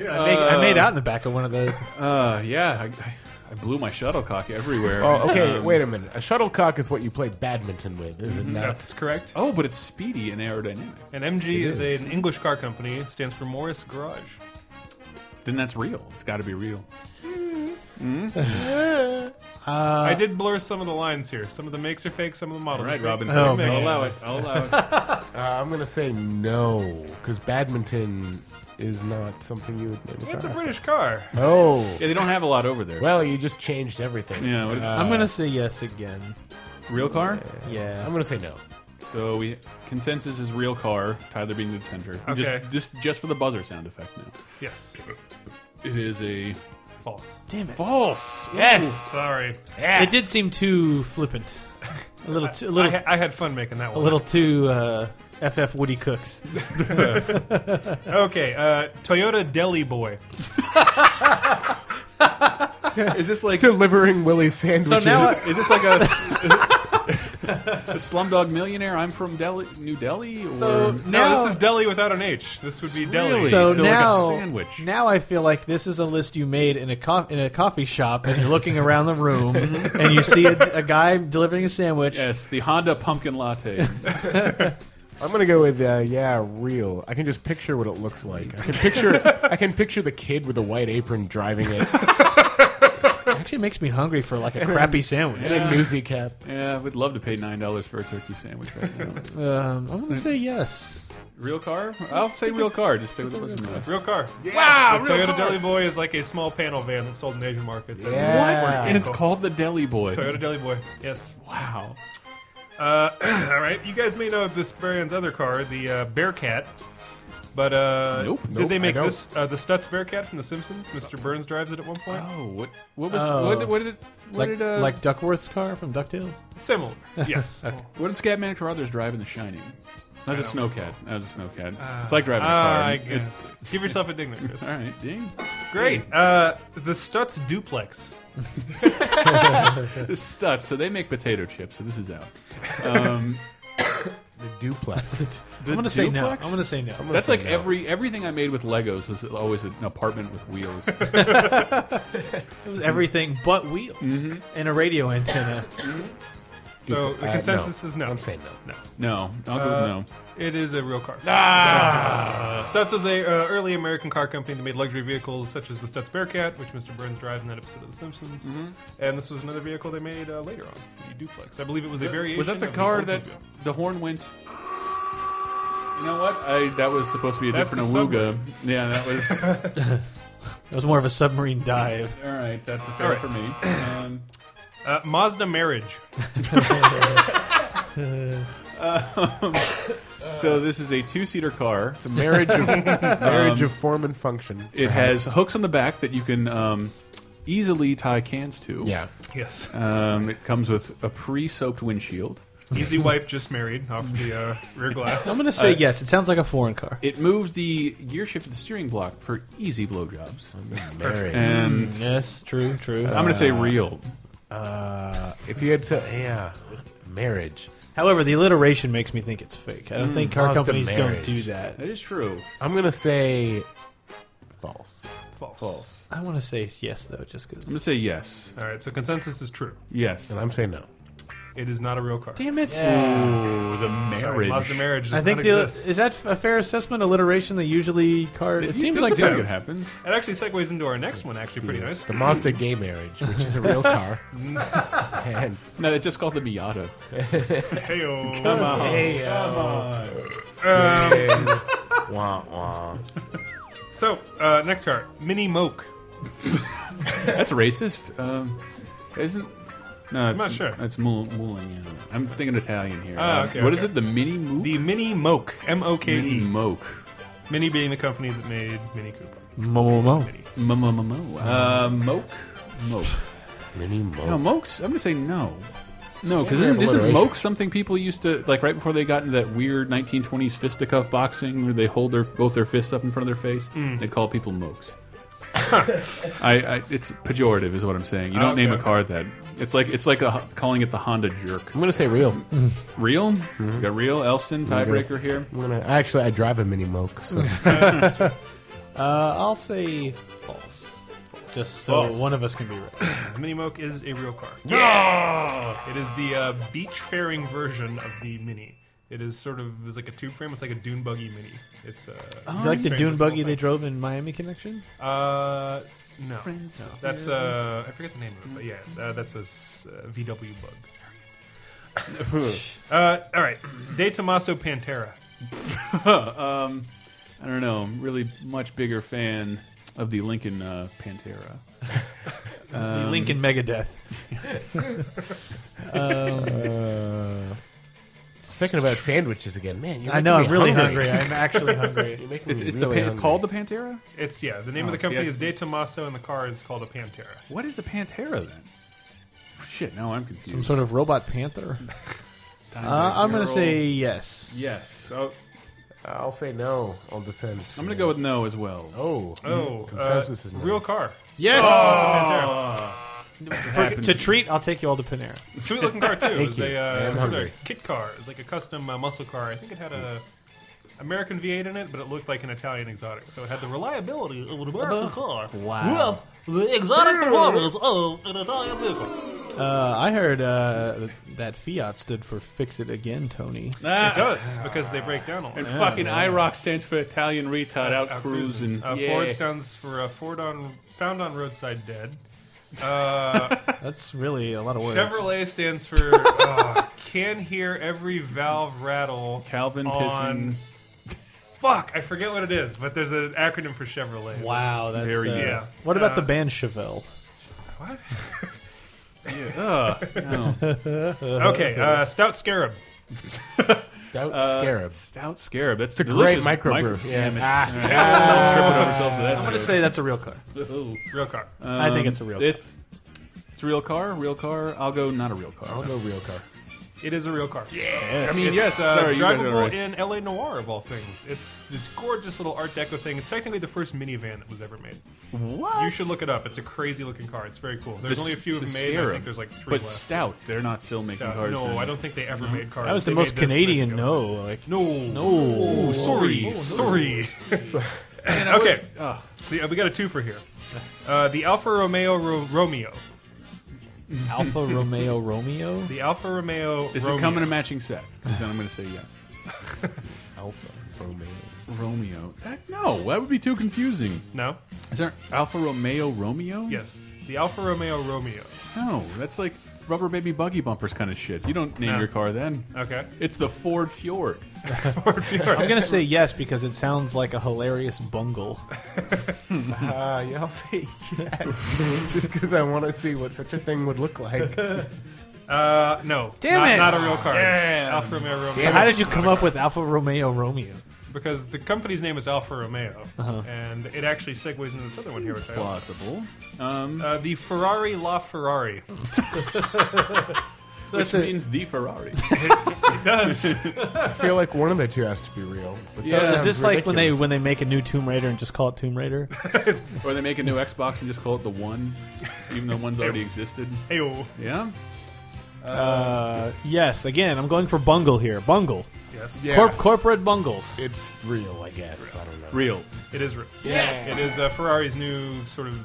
[SPEAKER 8] I, made, I made out in the back of one of those.
[SPEAKER 5] Uh, yeah, I, I blew my shuttlecock everywhere.
[SPEAKER 6] Oh, okay.
[SPEAKER 5] Um,
[SPEAKER 6] wait a minute. A shuttlecock is what you play badminton with, is it
[SPEAKER 7] Mhm,
[SPEAKER 6] not?
[SPEAKER 7] That's correct.
[SPEAKER 5] Oh, but it's speedy and aerodynamic.
[SPEAKER 7] And MG
[SPEAKER 5] It
[SPEAKER 7] is,
[SPEAKER 5] is.
[SPEAKER 7] an English car company. It stands for Morris Garage.
[SPEAKER 5] Then that's real. It's got to be real.
[SPEAKER 7] I did blur some of the lines here. Some of the makes are fake. Some of the
[SPEAKER 5] All
[SPEAKER 7] models.
[SPEAKER 5] right,
[SPEAKER 7] are
[SPEAKER 5] Robin,
[SPEAKER 7] fake,
[SPEAKER 6] Oh,
[SPEAKER 5] Oh,
[SPEAKER 7] some are
[SPEAKER 5] I'll
[SPEAKER 7] mixed.
[SPEAKER 5] allow it. I'll allow it.
[SPEAKER 6] uh, I'm gonna say no because badminton is not something you would name.
[SPEAKER 7] It's a
[SPEAKER 6] car.
[SPEAKER 7] British car.
[SPEAKER 6] Oh,
[SPEAKER 5] Yeah, they don't have a lot over there.
[SPEAKER 6] Well, you just changed everything.
[SPEAKER 5] Yeah, what-
[SPEAKER 8] I'm gonna say yes again.
[SPEAKER 5] Real car?
[SPEAKER 8] Uh, Yeah.
[SPEAKER 6] I'm gonna say no.
[SPEAKER 5] So we consensus is real car. Tyler being the center.
[SPEAKER 7] Okay.
[SPEAKER 5] Just, just just for the buzzer sound effect now.
[SPEAKER 7] Yes.
[SPEAKER 5] It is a Oh,
[SPEAKER 7] false.
[SPEAKER 8] Damn it.
[SPEAKER 5] False.
[SPEAKER 7] Yes. Sorry.
[SPEAKER 8] It did seem too flippant. A little. Too, a
[SPEAKER 7] I,
[SPEAKER 8] little.
[SPEAKER 7] ha- I had fun making that
[SPEAKER 8] a
[SPEAKER 7] one.
[SPEAKER 8] little too uh, FF Woody Cooks.
[SPEAKER 7] okay, uh, Toyota Deli Boy.
[SPEAKER 5] Is this like
[SPEAKER 6] delivering Willy sandwiches?
[SPEAKER 5] is this like a, a Slumdog Millionaire? I'm from Delhi, New Delhi. Or
[SPEAKER 7] So no, this is Deli without an H. This would be Deli.
[SPEAKER 8] So,
[SPEAKER 5] So like a
[SPEAKER 8] now,
[SPEAKER 5] sandwich.
[SPEAKER 8] now I feel like this is a list you made in a co- in a coffee shop, and you're looking around the room, and you see a, a guy delivering a sandwich.
[SPEAKER 5] yes, the Honda Pumpkin Latte.
[SPEAKER 6] I'm gonna go with uh, yeah, real. I can just picture what it looks like. I can picture. I can picture the kid with the white apron driving it.
[SPEAKER 8] Actually, makes me hungry for like a crappy sandwich.
[SPEAKER 6] And a newsy cap.
[SPEAKER 5] yeah, we'd love to pay nine dollars for a turkey sandwich right now.
[SPEAKER 8] Um, I'm gonna say yes.
[SPEAKER 5] real car? I'll say real car. Just stay with the buzzer. sound.
[SPEAKER 7] Real car.
[SPEAKER 5] Wow,
[SPEAKER 7] The
[SPEAKER 5] real car.
[SPEAKER 7] Toyota Deli Boy is like a small panel van that's sold in Asian markets.
[SPEAKER 5] What? And it's called the Deli Boy.
[SPEAKER 7] Toyota Deli Boy. Yes.
[SPEAKER 5] Wow.
[SPEAKER 7] Uh, all right. You guys may know of this brand's other car, the uh, Bearcat. But uh,
[SPEAKER 5] Nope.
[SPEAKER 7] did
[SPEAKER 5] Nope,
[SPEAKER 7] they
[SPEAKER 5] I
[SPEAKER 7] make
[SPEAKER 5] don't.
[SPEAKER 7] this uh, the Stutz Bearcat from The Simpsons? Mr. Burns drives it at one point.
[SPEAKER 5] Oh, what? What was? What, did- what did? What
[SPEAKER 8] like,
[SPEAKER 5] did? Uh,
[SPEAKER 8] like Duckworth's car from Ducktales?
[SPEAKER 7] Similar. Yes.
[SPEAKER 5] What did Scatman Carruthers drive in The Shining? That was a
[SPEAKER 7] I don't
[SPEAKER 5] snowcat. That was a snowcat.
[SPEAKER 7] Uh,
[SPEAKER 5] it's like driving a
[SPEAKER 7] ah,
[SPEAKER 5] car.
[SPEAKER 7] I
[SPEAKER 5] It's-
[SPEAKER 7] guess. Give yourself a ding there, Chris.
[SPEAKER 5] All right, ding.
[SPEAKER 7] Great. Uh, the Stutz Duplex.
[SPEAKER 5] This Stutz. So they make potato chips. So this is out. Um,
[SPEAKER 6] the duplex.
[SPEAKER 5] The
[SPEAKER 8] I'm gonna say no.
[SPEAKER 5] duplex?
[SPEAKER 8] I'm gonna say no. I'm gonna
[SPEAKER 5] That's
[SPEAKER 8] say
[SPEAKER 5] like
[SPEAKER 8] no.
[SPEAKER 5] every everything I made with Legos was always an apartment with wheels.
[SPEAKER 8] It was everything but wheels
[SPEAKER 5] Mm-hmm.
[SPEAKER 8] and a radio antenna.
[SPEAKER 7] So the
[SPEAKER 5] Uh,
[SPEAKER 7] consensus is no. I'm
[SPEAKER 6] saying
[SPEAKER 7] no.
[SPEAKER 5] No, I'll go
[SPEAKER 7] Uh,
[SPEAKER 5] with no.
[SPEAKER 7] It is a real car.
[SPEAKER 5] Ah!
[SPEAKER 7] Stutz Stutz was a uh, early American car company that made luxury vehicles such as the Stutz Bearcat, which Mr. Burns drives in that episode of The Simpsons,
[SPEAKER 8] Mm-hmm.
[SPEAKER 7] and this was another vehicle they made uh, later on, the Duplex. I believe it was a variation.
[SPEAKER 5] Was that the
[SPEAKER 7] of
[SPEAKER 5] car
[SPEAKER 7] Oldsmobile.
[SPEAKER 5] that the horn went? You know what? I that was supposed to be a
[SPEAKER 7] That's
[SPEAKER 5] different
[SPEAKER 7] a
[SPEAKER 5] awooga. Yeah, that was.
[SPEAKER 8] It was more of a submarine dive.
[SPEAKER 5] All right, that's a fail
[SPEAKER 7] All right.
[SPEAKER 5] for me. Um,
[SPEAKER 7] uh, Mazda Marriage?
[SPEAKER 5] Um, so this is a two-seater car. It's a
[SPEAKER 6] marriage of marriage
[SPEAKER 5] Um,
[SPEAKER 6] of form and function.
[SPEAKER 5] It has hooks on the back that you can um, easily tie cans to.
[SPEAKER 6] Yeah.
[SPEAKER 7] Yes.
[SPEAKER 5] Um, it comes with a pre-soaked windshield.
[SPEAKER 7] Easy Wipe just married off the uh, rear glass.
[SPEAKER 8] I'm gonna say
[SPEAKER 5] Uh,
[SPEAKER 8] yes. It sounds like a foreign car.
[SPEAKER 5] It moves the gear shift of the steering block for easy blowjobs.
[SPEAKER 7] Oh,
[SPEAKER 6] married.
[SPEAKER 5] And
[SPEAKER 8] Mm, yes, true, true.
[SPEAKER 5] I'm going to say real.
[SPEAKER 6] Uh, if you had said yeah, marriage.
[SPEAKER 8] However, the alliteration makes me think it's fake. I don't think car
[SPEAKER 6] Mazda
[SPEAKER 8] companies don't
[SPEAKER 6] marriage.
[SPEAKER 8] do that.
[SPEAKER 5] That is true.
[SPEAKER 6] I'm gonna say false.
[SPEAKER 7] False.
[SPEAKER 5] False.
[SPEAKER 8] I want to say yes though, just
[SPEAKER 5] I'm going to
[SPEAKER 8] because.
[SPEAKER 5] say yes.
[SPEAKER 7] All right. So consensus is true.
[SPEAKER 5] Yes.
[SPEAKER 6] And I'm saying no.
[SPEAKER 7] It is not a real car.
[SPEAKER 8] Damn it!
[SPEAKER 5] Ooh, the
[SPEAKER 7] Sorry,
[SPEAKER 5] marriage.
[SPEAKER 7] Mazda Marriage. Does
[SPEAKER 8] I think
[SPEAKER 7] not
[SPEAKER 8] the,
[SPEAKER 7] exist.
[SPEAKER 8] is that a fair assessment? Alliteration that usually car. It seems like
[SPEAKER 5] that
[SPEAKER 8] that.
[SPEAKER 5] could happen.
[SPEAKER 7] It actually segues into our next one. Actually, pretty nice.
[SPEAKER 6] The Mazda gay marriage, which is a real car. and
[SPEAKER 5] No, it's just called the Miata.
[SPEAKER 7] Heyo.
[SPEAKER 5] Come on.
[SPEAKER 6] Heyo.
[SPEAKER 5] Come on.
[SPEAKER 6] and wah, wah.
[SPEAKER 7] So uh, next car, Mini Moke.
[SPEAKER 5] That's racist. Um, isn't. No, it's,
[SPEAKER 7] not sure.
[SPEAKER 5] It's Moulin. Moulin yeah. I'm thinking Italian here.
[SPEAKER 7] Ah,
[SPEAKER 5] Um,
[SPEAKER 7] okay,
[SPEAKER 5] What
[SPEAKER 7] okay.
[SPEAKER 5] is it? The mini mook?
[SPEAKER 7] The Mini Moke, M O K
[SPEAKER 5] mini
[SPEAKER 7] E.
[SPEAKER 5] moke.
[SPEAKER 7] Mini being the company that made Mini Cooper.
[SPEAKER 8] Mo mo mo.
[SPEAKER 5] Mo mo mo mo. Uh, moke. Moke.
[SPEAKER 6] Mini moke.
[SPEAKER 5] No, moke's. I'm gonna say no. No, because
[SPEAKER 6] Yeah,
[SPEAKER 5] isn't, isn't
[SPEAKER 6] alliteration.
[SPEAKER 5] moke something people used to like right before they got into that weird 1920s fisticuff boxing where they hold their both their fists up in front of their face?
[SPEAKER 7] Mm.
[SPEAKER 5] They'd call people mokes. I, I it's pejorative, is what I'm saying. You don't
[SPEAKER 7] Okay,
[SPEAKER 5] name a
[SPEAKER 7] okay.
[SPEAKER 5] car that. It's like it's like a, calling it the Honda jerk.
[SPEAKER 6] I'm gonna say real. I'm
[SPEAKER 5] Real?
[SPEAKER 6] Mm-hmm.
[SPEAKER 5] We got real Elston tiebreaker here.
[SPEAKER 6] gonna actually I drive a mini moke. So.
[SPEAKER 8] Uh, I'll say false. just so
[SPEAKER 7] False.
[SPEAKER 8] one of us can be right.
[SPEAKER 7] The Mini Moke is a real car.
[SPEAKER 8] Yeah!
[SPEAKER 7] It is the uh, beach faring version of the Mini. It is sort of is like a tube frame. It's like a dune buggy Mini. It's uh,
[SPEAKER 8] Is it like the
[SPEAKER 7] strange
[SPEAKER 8] dune
[SPEAKER 7] little
[SPEAKER 8] buggy they
[SPEAKER 7] thing.
[SPEAKER 8] drove in Miami Connection?
[SPEAKER 7] Uh, no,
[SPEAKER 8] Friends
[SPEAKER 7] No.
[SPEAKER 8] of
[SPEAKER 7] that's
[SPEAKER 8] the-
[SPEAKER 7] uh, I forget the name of it, but yeah, uh, that's a s- uh, VW bug. uh, all right, De Tomaso Pantera.
[SPEAKER 5] um, I don't know. I'm really much bigger fan of the Lincoln uh, Pantera.
[SPEAKER 8] The Lincoln Megadeth.
[SPEAKER 5] yes.
[SPEAKER 6] Um, Thinking about sandwiches again, man. You're
[SPEAKER 8] I know, I'm
[SPEAKER 6] making me
[SPEAKER 8] really hungry. I'm actually hungry.
[SPEAKER 6] You're making
[SPEAKER 5] It's-
[SPEAKER 6] me
[SPEAKER 5] it's the
[SPEAKER 6] Hmm, really
[SPEAKER 5] pan- it's
[SPEAKER 6] hungry.
[SPEAKER 5] called the Pantera?
[SPEAKER 7] It's yeah. The name
[SPEAKER 5] Oh,
[SPEAKER 7] of the
[SPEAKER 5] see,
[SPEAKER 7] company
[SPEAKER 5] I-
[SPEAKER 7] is De Tomaso, and the car is called a Pantera.
[SPEAKER 5] What is a Pantera then? Shit, now I'm confused.
[SPEAKER 8] Some sort of robot panther. Uh, I'm gonna say yes.
[SPEAKER 5] Yes. So
[SPEAKER 6] I'll say no. I'll descend.
[SPEAKER 5] Oh, I'm gonna go with no as well.
[SPEAKER 6] Oh,
[SPEAKER 7] Oh,
[SPEAKER 6] consensus
[SPEAKER 7] uh,
[SPEAKER 6] is no.
[SPEAKER 7] real car.
[SPEAKER 8] Yes!
[SPEAKER 7] Oh.
[SPEAKER 8] For- to treat, I'll take you all to Panera.
[SPEAKER 7] Sweet looking car too. it was
[SPEAKER 8] I
[SPEAKER 7] a uh,
[SPEAKER 8] am
[SPEAKER 7] it was sort of
[SPEAKER 8] hungry.
[SPEAKER 7] a kit car. It was like a custom uh, muscle car. I think it had a American V8 in it, but it looked like an Italian exotic. So it had the reliability of an American car.
[SPEAKER 8] Wow.
[SPEAKER 7] With the exotic performance of an Italian vehicle.
[SPEAKER 8] Uh, I heard uh, that Fiat stood for "Fix It Again, Tony."
[SPEAKER 7] It does because they break down a lot.
[SPEAKER 5] And fucking IROC stands for Italian retard out, cruising.
[SPEAKER 7] Uh,
[SPEAKER 5] Yeah.
[SPEAKER 7] Ford stands for uh, Ford on found on roadside dead. Uh,
[SPEAKER 8] That's really a lot of words.
[SPEAKER 7] Chevrolet stands for uh, can hear every valve rattle.
[SPEAKER 5] Calvin
[SPEAKER 7] on- Fuck, I forget what it is, but there's an acronym for Chevrolet.
[SPEAKER 8] Wow, that's
[SPEAKER 7] very
[SPEAKER 8] uh,
[SPEAKER 7] yeah.
[SPEAKER 8] What about
[SPEAKER 7] Uh,
[SPEAKER 8] the band Chevelle?
[SPEAKER 7] What?
[SPEAKER 5] Ugh, no.
[SPEAKER 7] okay, uh, Stout Scarab.
[SPEAKER 6] Stout
[SPEAKER 5] Uh,
[SPEAKER 6] Scarab.
[SPEAKER 5] Stout Scarab. That's
[SPEAKER 6] It's a
[SPEAKER 5] delicious
[SPEAKER 6] great microbrew.
[SPEAKER 5] micro-
[SPEAKER 6] Yeah.
[SPEAKER 5] Damn it.
[SPEAKER 6] Ah.
[SPEAKER 5] All right, let's not trip it up ourselves with that
[SPEAKER 8] I'm gonna
[SPEAKER 5] joke. Uh,
[SPEAKER 8] say that's a real car.
[SPEAKER 7] Real car.
[SPEAKER 8] I think it's a real car.
[SPEAKER 5] It's, it's a real car. Real car. I'll go not a real car. I'll
[SPEAKER 6] go real car.
[SPEAKER 7] It is a real car.
[SPEAKER 5] Yes.
[SPEAKER 7] Oh, I mean,
[SPEAKER 5] It's-
[SPEAKER 7] yes, uh,
[SPEAKER 5] sorry, you guys got it
[SPEAKER 7] drivable
[SPEAKER 5] right.
[SPEAKER 7] in LA Noir, of all things. It's this gorgeous little Art Deco thing. It's technically the first minivan that was ever made.
[SPEAKER 5] What?
[SPEAKER 7] You should look it up. It's a crazy looking car. It's very cool. There's
[SPEAKER 5] The-
[SPEAKER 7] only a few
[SPEAKER 5] the
[SPEAKER 7] of them made. and I
[SPEAKER 5] Scarab.
[SPEAKER 7] think there's like three
[SPEAKER 5] But
[SPEAKER 7] left.
[SPEAKER 5] Stout, they're not still making cars
[SPEAKER 7] No,
[SPEAKER 5] then.
[SPEAKER 7] I don't think they ever
[SPEAKER 5] No.
[SPEAKER 7] made cars.
[SPEAKER 8] That was the
[SPEAKER 7] They
[SPEAKER 8] most
[SPEAKER 7] made this, I think
[SPEAKER 8] Canadian
[SPEAKER 7] it was-
[SPEAKER 8] no. Like
[SPEAKER 7] No.
[SPEAKER 8] no.
[SPEAKER 7] Oh, sorry,
[SPEAKER 8] Oh, no.
[SPEAKER 7] sorry.
[SPEAKER 5] Man, I
[SPEAKER 7] okay,
[SPEAKER 5] was- ugh.
[SPEAKER 7] The- we got a two for here. Uh, the Alfa Romeo Ro- Romeo.
[SPEAKER 8] Alfa Romeo Romeo.
[SPEAKER 7] The Alfa Romeo.
[SPEAKER 5] Does
[SPEAKER 7] Romeo.
[SPEAKER 5] it come in a matching set? 'Cause then I'm going to say yes.
[SPEAKER 6] Alpha Romeo.
[SPEAKER 5] Romeo. That, no, that would be too confusing.
[SPEAKER 7] No.
[SPEAKER 5] Is there Alfa Romeo Romeo?
[SPEAKER 7] Yes, the Alfa Romeo Romeo.
[SPEAKER 5] No, that's like rubber baby buggy bumpers kind of shit. You don't name
[SPEAKER 7] No.
[SPEAKER 5] your car then.
[SPEAKER 7] Okay.
[SPEAKER 5] It's the Ford Fjord.
[SPEAKER 8] I'm gonna say yes because it sounds like a hilarious bungle.
[SPEAKER 6] Ah, yeah, I'll say yes. Just because I want to see what such a thing would look like.
[SPEAKER 7] Uh, no.
[SPEAKER 6] Damn
[SPEAKER 7] not,
[SPEAKER 6] it.
[SPEAKER 7] Not a real car.
[SPEAKER 6] Damn.
[SPEAKER 7] Alfa Romeo Romeo.
[SPEAKER 8] So how did you come up with Alfa Romeo Romeo?
[SPEAKER 7] Because the company's name is Alfa Romeo,
[SPEAKER 8] Uh-huh.
[SPEAKER 7] and it actually segues into this other one here, which I also
[SPEAKER 5] Plausible. Um,
[SPEAKER 7] uh, the Ferrari La Ferrari.
[SPEAKER 5] so which means the Ferrari.
[SPEAKER 7] it does.
[SPEAKER 6] I feel like one of the two has to be real. But
[SPEAKER 8] Yeah.
[SPEAKER 6] that
[SPEAKER 8] Is this
[SPEAKER 6] sounds
[SPEAKER 8] like when they
[SPEAKER 6] ridiculous.
[SPEAKER 8] when they make a new Tomb Raider and just call it Tomb Raider?
[SPEAKER 5] or they make a new Xbox and just call it the One, even though one's already existed.
[SPEAKER 7] Ayo.
[SPEAKER 5] Yeah.
[SPEAKER 8] Uh, yes. Again, I'm going for bungle here. Bungle.
[SPEAKER 7] Yes.
[SPEAKER 6] Yeah.
[SPEAKER 8] Corp- corporate bungles.
[SPEAKER 6] It's real, I guess. I don't know.
[SPEAKER 5] Real.
[SPEAKER 7] It is real.
[SPEAKER 6] Yes.
[SPEAKER 7] It is uh, Ferrari's new sort of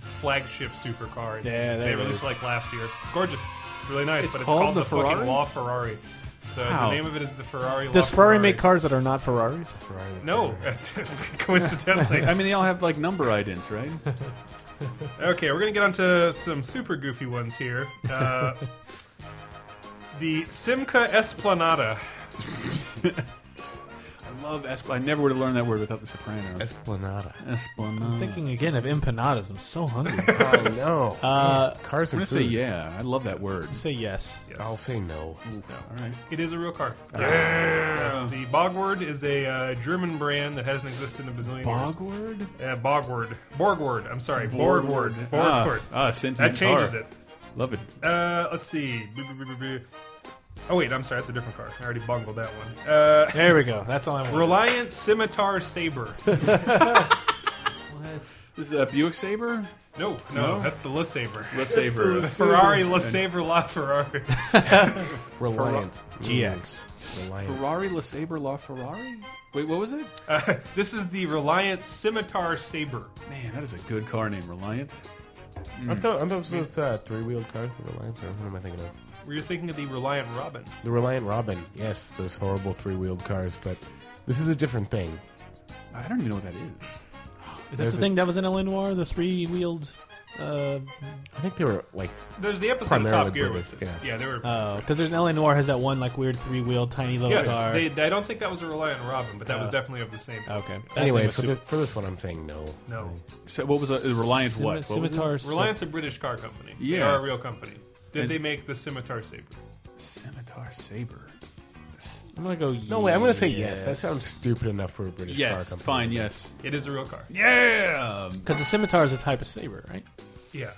[SPEAKER 7] flagship supercar. It's,
[SPEAKER 8] Yeah, there
[SPEAKER 7] they
[SPEAKER 8] it
[SPEAKER 7] released
[SPEAKER 8] is.
[SPEAKER 7] it like last year. It's gorgeous. It's really nice,
[SPEAKER 5] It's
[SPEAKER 7] but it's
[SPEAKER 5] called
[SPEAKER 7] called,
[SPEAKER 5] the
[SPEAKER 7] the,
[SPEAKER 5] Ferrari?
[SPEAKER 7] fucking La Ferrari. So
[SPEAKER 5] Wow.
[SPEAKER 7] the name of it is the Ferrari.
[SPEAKER 8] Does
[SPEAKER 7] La
[SPEAKER 8] Ferrari make cars that are not Ferraris?
[SPEAKER 7] No, coincidentally.
[SPEAKER 5] I mean, they all have like number idents, right?
[SPEAKER 7] Okay, we're gonna get onto some super goofy ones here. Uh, the Simca Esplanada.
[SPEAKER 5] I love Esplanade. I never would have learned that word without the Sopranos.
[SPEAKER 6] Esplanada.
[SPEAKER 5] Esplanade.
[SPEAKER 8] I'm thinking again of empanadas. I'm so hungry.
[SPEAKER 6] Oh no!
[SPEAKER 8] Uh,
[SPEAKER 6] cars
[SPEAKER 5] I'm
[SPEAKER 6] are
[SPEAKER 5] gonna say
[SPEAKER 6] food.
[SPEAKER 5] yeah. I love that word.
[SPEAKER 8] say yes.
[SPEAKER 6] I'll say no.
[SPEAKER 5] All right.
[SPEAKER 7] It is a real car. Yes, the Bogward is a uh, German brand that hasn't existed in a bazillion years.
[SPEAKER 5] Bogward.
[SPEAKER 7] Uh, Bogward. Borgward. I'm sorry.
[SPEAKER 5] Borgward.
[SPEAKER 7] Borgward. Borgward.
[SPEAKER 5] Ah, ah, sentient
[SPEAKER 7] that changes
[SPEAKER 5] car.
[SPEAKER 7] it.
[SPEAKER 5] Love it.
[SPEAKER 7] Uh, let's see. Boo, boo, boo, boo, boo. Oh wait, I'm sorry. That's a different car. I already bungled that one. Uh,
[SPEAKER 8] There we go. That's all I want.
[SPEAKER 7] Reliant Scimitar Saber.
[SPEAKER 5] This is a Buick Saber.
[SPEAKER 7] No, no,
[SPEAKER 5] No?
[SPEAKER 7] that's the Le Sabre.
[SPEAKER 5] Le Sabre.
[SPEAKER 7] the Ferrari Le Sabre La Ferrari.
[SPEAKER 6] Reliant.
[SPEAKER 8] GX.
[SPEAKER 6] Reliant.
[SPEAKER 5] Ferrari Le Sabre La Ferrari. Wait, what was it?
[SPEAKER 7] Uh, this is the Reliant Scimitar Saber.
[SPEAKER 5] Man, that is a good car name, Reliant.
[SPEAKER 6] I thought, I thought it was uh, three wheeled cars, the Reliance, or what am I thinking of?
[SPEAKER 7] Were you thinking of the Reliant Robin?
[SPEAKER 6] The Reliant Robin, yes, those horrible three wheeled cars, but this is a different thing.
[SPEAKER 5] I don't even know what that is.
[SPEAKER 8] Is that
[SPEAKER 6] There's
[SPEAKER 8] the
[SPEAKER 6] a-
[SPEAKER 8] thing that was in LA Noir? The three wheeled. Uh,
[SPEAKER 6] I think they were like.
[SPEAKER 7] There's the episode of Top Gear with it. Yeah, they were-
[SPEAKER 8] Oh, because there's LA Noir has that one like weird three wheeled tiny little
[SPEAKER 7] yes,
[SPEAKER 8] car.
[SPEAKER 7] they, I don't think that was a Reliant Robin, but that was
[SPEAKER 8] Uh,
[SPEAKER 7] definitely of the same.
[SPEAKER 8] okay.
[SPEAKER 6] Anyway, for this, for this one, I'm saying no.
[SPEAKER 7] No.
[SPEAKER 5] So what was the- the Reliant
[SPEAKER 6] Scim-
[SPEAKER 5] what? What was it?
[SPEAKER 6] Scimitar
[SPEAKER 5] Sim-
[SPEAKER 7] Reliant's a British car company. They
[SPEAKER 5] Yeah.
[SPEAKER 7] are a real company. Did
[SPEAKER 5] And-
[SPEAKER 7] they make the Scimitar Saber?
[SPEAKER 5] Scimitar Saber.
[SPEAKER 8] I'm gonna go.
[SPEAKER 6] No way, I'm going to say yes. That sounds stupid enough for a British car
[SPEAKER 5] Yes,
[SPEAKER 6] company.
[SPEAKER 5] fine, Um, yes.
[SPEAKER 7] It is a real car.
[SPEAKER 5] Yeah.
[SPEAKER 8] Because the scimitar is a type of saber, right?
[SPEAKER 7] Yeah.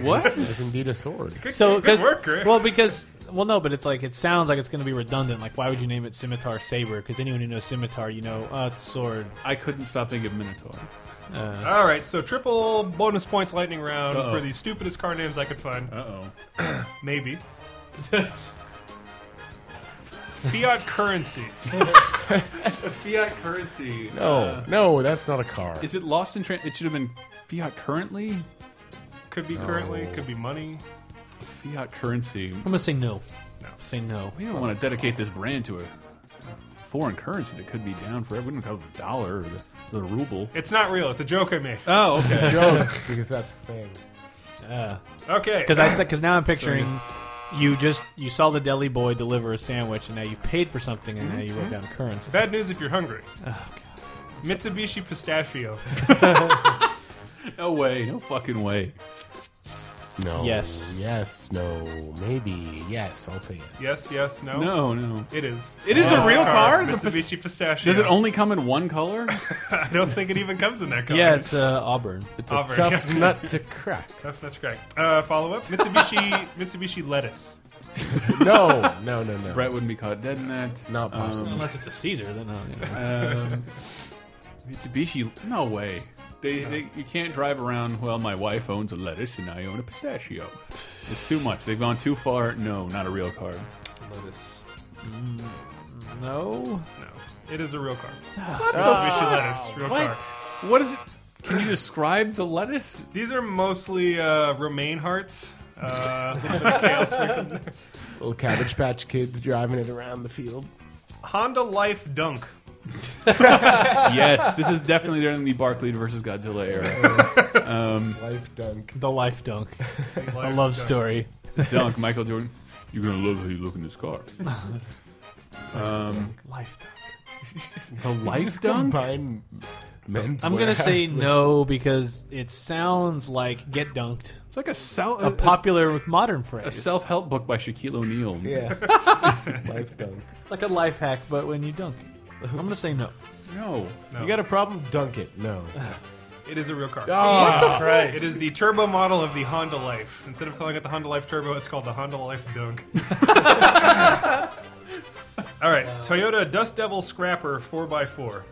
[SPEAKER 5] What?
[SPEAKER 6] It's indeed a sword.
[SPEAKER 8] so
[SPEAKER 7] good
[SPEAKER 8] 'cause-
[SPEAKER 7] work, Greg.
[SPEAKER 8] well because well no but it's like it sounds like it's going to be redundant like why would you name it scimitar saber because anyone who knows scimitar you know uh it's sword
[SPEAKER 5] i couldn't stop thinking of minotaur
[SPEAKER 8] uh,
[SPEAKER 7] All right, so triple bonus points lightning round
[SPEAKER 5] Uh-oh.
[SPEAKER 7] for the stupidest car names I could find.
[SPEAKER 5] Uh
[SPEAKER 7] oh. Maybe. Fiat currency.
[SPEAKER 5] Fiat currency.
[SPEAKER 6] No, no, that's not a car.
[SPEAKER 5] Is it lost in trans? It should have been fiat currently.
[SPEAKER 7] Could be currently, could be money.
[SPEAKER 5] Fiat currency. I'm
[SPEAKER 8] gonna say no. Say no.
[SPEAKER 5] We don't want to dedicate this brand to a foreign currency that could be down forever. We don't call it the dollar or the, the ruble.
[SPEAKER 7] It's not real. It's a joke I made.
[SPEAKER 5] Oh, okay.
[SPEAKER 6] because that's the thing.
[SPEAKER 7] Okay.
[SPEAKER 8] because i because now i'm picturing you just you saw the deli boy deliver a sandwich and now you paid for something and now you wrote down currency
[SPEAKER 7] Bad news if you're hungry.
[SPEAKER 5] Oh,
[SPEAKER 7] Mitsubishi pistachio.
[SPEAKER 5] No way. No fucking way.
[SPEAKER 6] No.
[SPEAKER 8] Oh,
[SPEAKER 5] Yes.
[SPEAKER 6] Yes, no, maybe. Yes, I'll say yes.
[SPEAKER 7] yes, yes, no.
[SPEAKER 5] No, no.
[SPEAKER 7] It is.
[SPEAKER 5] It is a
[SPEAKER 7] Yes,
[SPEAKER 5] real car? The pis-
[SPEAKER 7] Mitsubishi pistachio.
[SPEAKER 5] Does it only come in one color?
[SPEAKER 7] I don't think it even comes in that color.
[SPEAKER 8] yeah it's uh, auburn it's
[SPEAKER 7] Auburn. yeah. Tough nut to crack. Uh, follow up Mitsubishi Mitsubishi lettuce.
[SPEAKER 6] no, no, no, no.
[SPEAKER 5] Brett wouldn't be caught dead in that.
[SPEAKER 6] Not
[SPEAKER 8] possible. Unless it's a Caesar, then no, you know.
[SPEAKER 5] Um, Mitsubishi, no way. They, they, you can't drive around. Well, my wife owns a lettuce, and I own a pistachio. It's too much. They've gone too far. No, not a real card.
[SPEAKER 7] Lettuce.
[SPEAKER 8] No. Mm, No.
[SPEAKER 7] It is a real car.
[SPEAKER 5] What the
[SPEAKER 7] Mitsubishi
[SPEAKER 5] fuck?
[SPEAKER 7] lettuce. Real
[SPEAKER 5] What?
[SPEAKER 7] car.
[SPEAKER 5] What is it? Can you describe the lettuce?
[SPEAKER 7] These are mostly uh, romaine hearts. Uh, with kale sprinkled in there.
[SPEAKER 6] Little Cabbage Patch Kids driving it around the field.
[SPEAKER 7] Honda Life Dunk.
[SPEAKER 5] yes, this is definitely during the Barclay versus Godzilla era. Um,
[SPEAKER 6] life dunk.
[SPEAKER 8] The life dunk.
[SPEAKER 7] life
[SPEAKER 8] a love
[SPEAKER 7] dunk.
[SPEAKER 8] story.
[SPEAKER 5] Dunk, Michael Jordan. You're gonna love how you look in this car. Um,
[SPEAKER 8] life
[SPEAKER 5] dunk. The life dunk.
[SPEAKER 6] Combine men's
[SPEAKER 8] I'm gonna
[SPEAKER 6] warehouse
[SPEAKER 8] say
[SPEAKER 6] with-
[SPEAKER 8] no because it sounds like get dunked.
[SPEAKER 5] It's like a sou-
[SPEAKER 8] a
[SPEAKER 5] a-
[SPEAKER 8] popular with modern phrase.
[SPEAKER 5] A self-help book by Shaquille O'Neal.
[SPEAKER 8] Yeah.
[SPEAKER 6] life dunk.
[SPEAKER 8] It's like a life hack, but when you dunk, I'm gonna say no.
[SPEAKER 5] No.
[SPEAKER 6] You got a problem? Dunk it. No.
[SPEAKER 7] It is a real car.
[SPEAKER 5] Ah,
[SPEAKER 6] Oh, What the
[SPEAKER 7] Christ. It is the turbo model of the Honda Life. Instead of calling it the Honda Life Turbo, it's called the Honda Life Dunk. All right, Toyota Dust Devil Scrapper 4x4.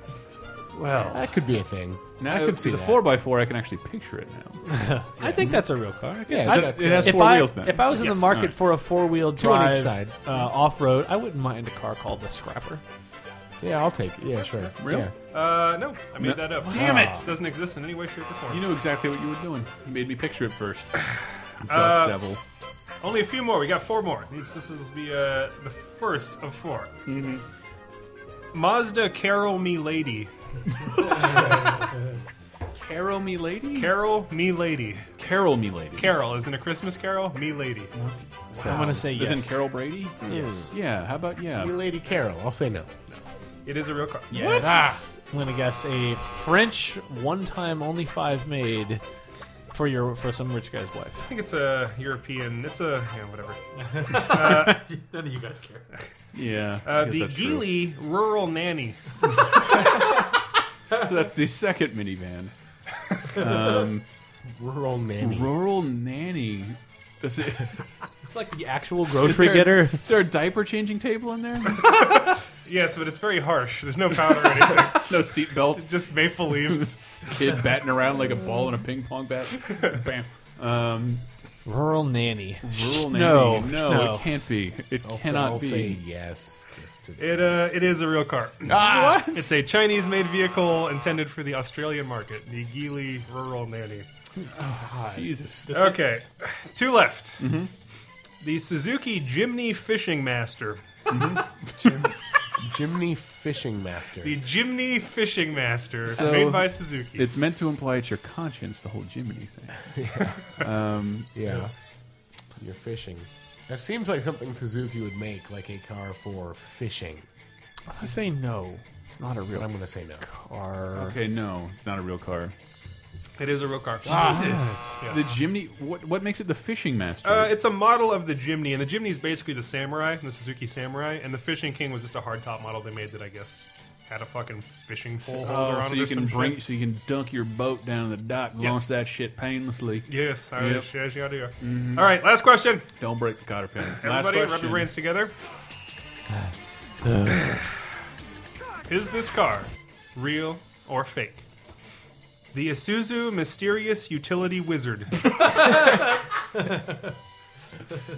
[SPEAKER 5] Well,
[SPEAKER 6] that could be a thing.
[SPEAKER 5] Now
[SPEAKER 6] I could see
[SPEAKER 5] the
[SPEAKER 6] that.
[SPEAKER 5] four by four. I can actually picture it now.
[SPEAKER 8] I think that's a real car. I could-
[SPEAKER 5] Yeah,
[SPEAKER 8] I-
[SPEAKER 5] it's got- it has
[SPEAKER 8] if
[SPEAKER 5] four
[SPEAKER 8] I-
[SPEAKER 5] wheels now.
[SPEAKER 8] If I was in
[SPEAKER 5] Yes.
[SPEAKER 8] the market
[SPEAKER 5] Alright.
[SPEAKER 8] for a four-wheel
[SPEAKER 6] Two on each
[SPEAKER 8] drive
[SPEAKER 6] side.
[SPEAKER 8] uh, off-road, I wouldn't mind a car called the Scrapper.
[SPEAKER 6] Yeah, I'll take it. Yeah, sure.
[SPEAKER 5] Real?
[SPEAKER 6] Yeah.
[SPEAKER 7] Uh, no, I made
[SPEAKER 5] No.
[SPEAKER 7] that up.
[SPEAKER 5] Damn it.
[SPEAKER 7] It doesn't exist in any way, shape, or form.
[SPEAKER 5] You knew exactly what you were doing. You made me picture it first. Dust
[SPEAKER 7] Uh,
[SPEAKER 5] Devil.
[SPEAKER 7] Only a few more. We got four more. These, this is the uh, the first of 4
[SPEAKER 5] Mhm.
[SPEAKER 7] Mazda Carol Me Lady.
[SPEAKER 5] Carol Me Lady.
[SPEAKER 7] Carol Me Lady.
[SPEAKER 5] Carol Me Lady.
[SPEAKER 7] Carol isn't a Christmas Carol. Me Lady.
[SPEAKER 5] I'm gonna say Isn't yes. Carol Brady? Yes. Yeah, how about yeah?
[SPEAKER 6] You Lady Carol. I'll say no.
[SPEAKER 7] It is a real car. Ah.
[SPEAKER 8] Yes. I'm gonna guess a French one-time only five made for your for some rich guy's wife.
[SPEAKER 7] I think it's a European. It's a yeah, whatever.
[SPEAKER 8] None of you guys care.
[SPEAKER 5] Yeah,
[SPEAKER 7] Uh,
[SPEAKER 5] I guess
[SPEAKER 7] the
[SPEAKER 5] that's true.
[SPEAKER 7] Geely Rural Nanny.
[SPEAKER 5] so that's the second minivan. Um,
[SPEAKER 6] rural nanny.
[SPEAKER 5] Rural nanny. Does it-
[SPEAKER 8] It's like the actual grocery
[SPEAKER 5] Is there-
[SPEAKER 8] getter.
[SPEAKER 5] Is there a diaper changing table in there?
[SPEAKER 7] yes, but it's very harsh. There's no powder or anything.
[SPEAKER 5] no seatbelt.
[SPEAKER 7] Just maple leaves.
[SPEAKER 5] Kid batting around like a ball in a ping pong bat. Bam. Um,
[SPEAKER 8] Rural nanny.
[SPEAKER 5] Rural nanny.
[SPEAKER 8] No,
[SPEAKER 5] no,
[SPEAKER 8] no.
[SPEAKER 5] it can't be. It
[SPEAKER 6] I'll say-
[SPEAKER 5] cannot
[SPEAKER 6] I'll
[SPEAKER 5] be.
[SPEAKER 6] say yes.
[SPEAKER 7] It uh, it is a real car.
[SPEAKER 8] Ah!
[SPEAKER 7] It's a Chinese-made vehicle intended for the Australian market, the Geely Rural Nanny.
[SPEAKER 5] Jesus.
[SPEAKER 7] Okay, two left. The Suzuki Jimny Fishing Master.
[SPEAKER 6] Jimny Fishing Master.
[SPEAKER 7] The Jimny Fishing Master,
[SPEAKER 5] So-
[SPEAKER 7] made by Suzuki.
[SPEAKER 5] It's meant to imply it's your conscience, the whole Jiminy thing. Um,
[SPEAKER 6] Yeah. You're fishing. That seems like something Suzuki would make, like a car for fishing.
[SPEAKER 8] I say no.
[SPEAKER 6] It's not a real. I'm going to say no. Car.
[SPEAKER 5] Okay, no, it's not a real car.
[SPEAKER 7] It is a real car.
[SPEAKER 5] Ah,
[SPEAKER 7] Jesus. Yes.
[SPEAKER 5] The Jimny. What what makes it the fishing master?
[SPEAKER 7] Uh, it's a model of the Jimny, and the Jimny is basically the Samurai, the Suzuki Samurai, and the Fishing King was just a hardtop model they made that I guess had a fucking fishing pole holder
[SPEAKER 5] Oh,
[SPEAKER 7] on
[SPEAKER 5] so
[SPEAKER 7] it.
[SPEAKER 5] you
[SPEAKER 7] or
[SPEAKER 5] can
[SPEAKER 7] some
[SPEAKER 5] bring,
[SPEAKER 7] shit.
[SPEAKER 5] so you can dunk your boat down in the dock, and
[SPEAKER 7] Yes.
[SPEAKER 5] launch that shit painlessly.
[SPEAKER 7] Yes, I
[SPEAKER 5] Yep.
[SPEAKER 7] yes, yes, you do.
[SPEAKER 5] Mhm.
[SPEAKER 7] All right, last question.
[SPEAKER 5] Don't break the cotter pin. Last
[SPEAKER 7] Everybody, rub
[SPEAKER 5] question.
[SPEAKER 7] your brains together. Is this car real or fake? The Isuzu Mysterious Utility Wizard.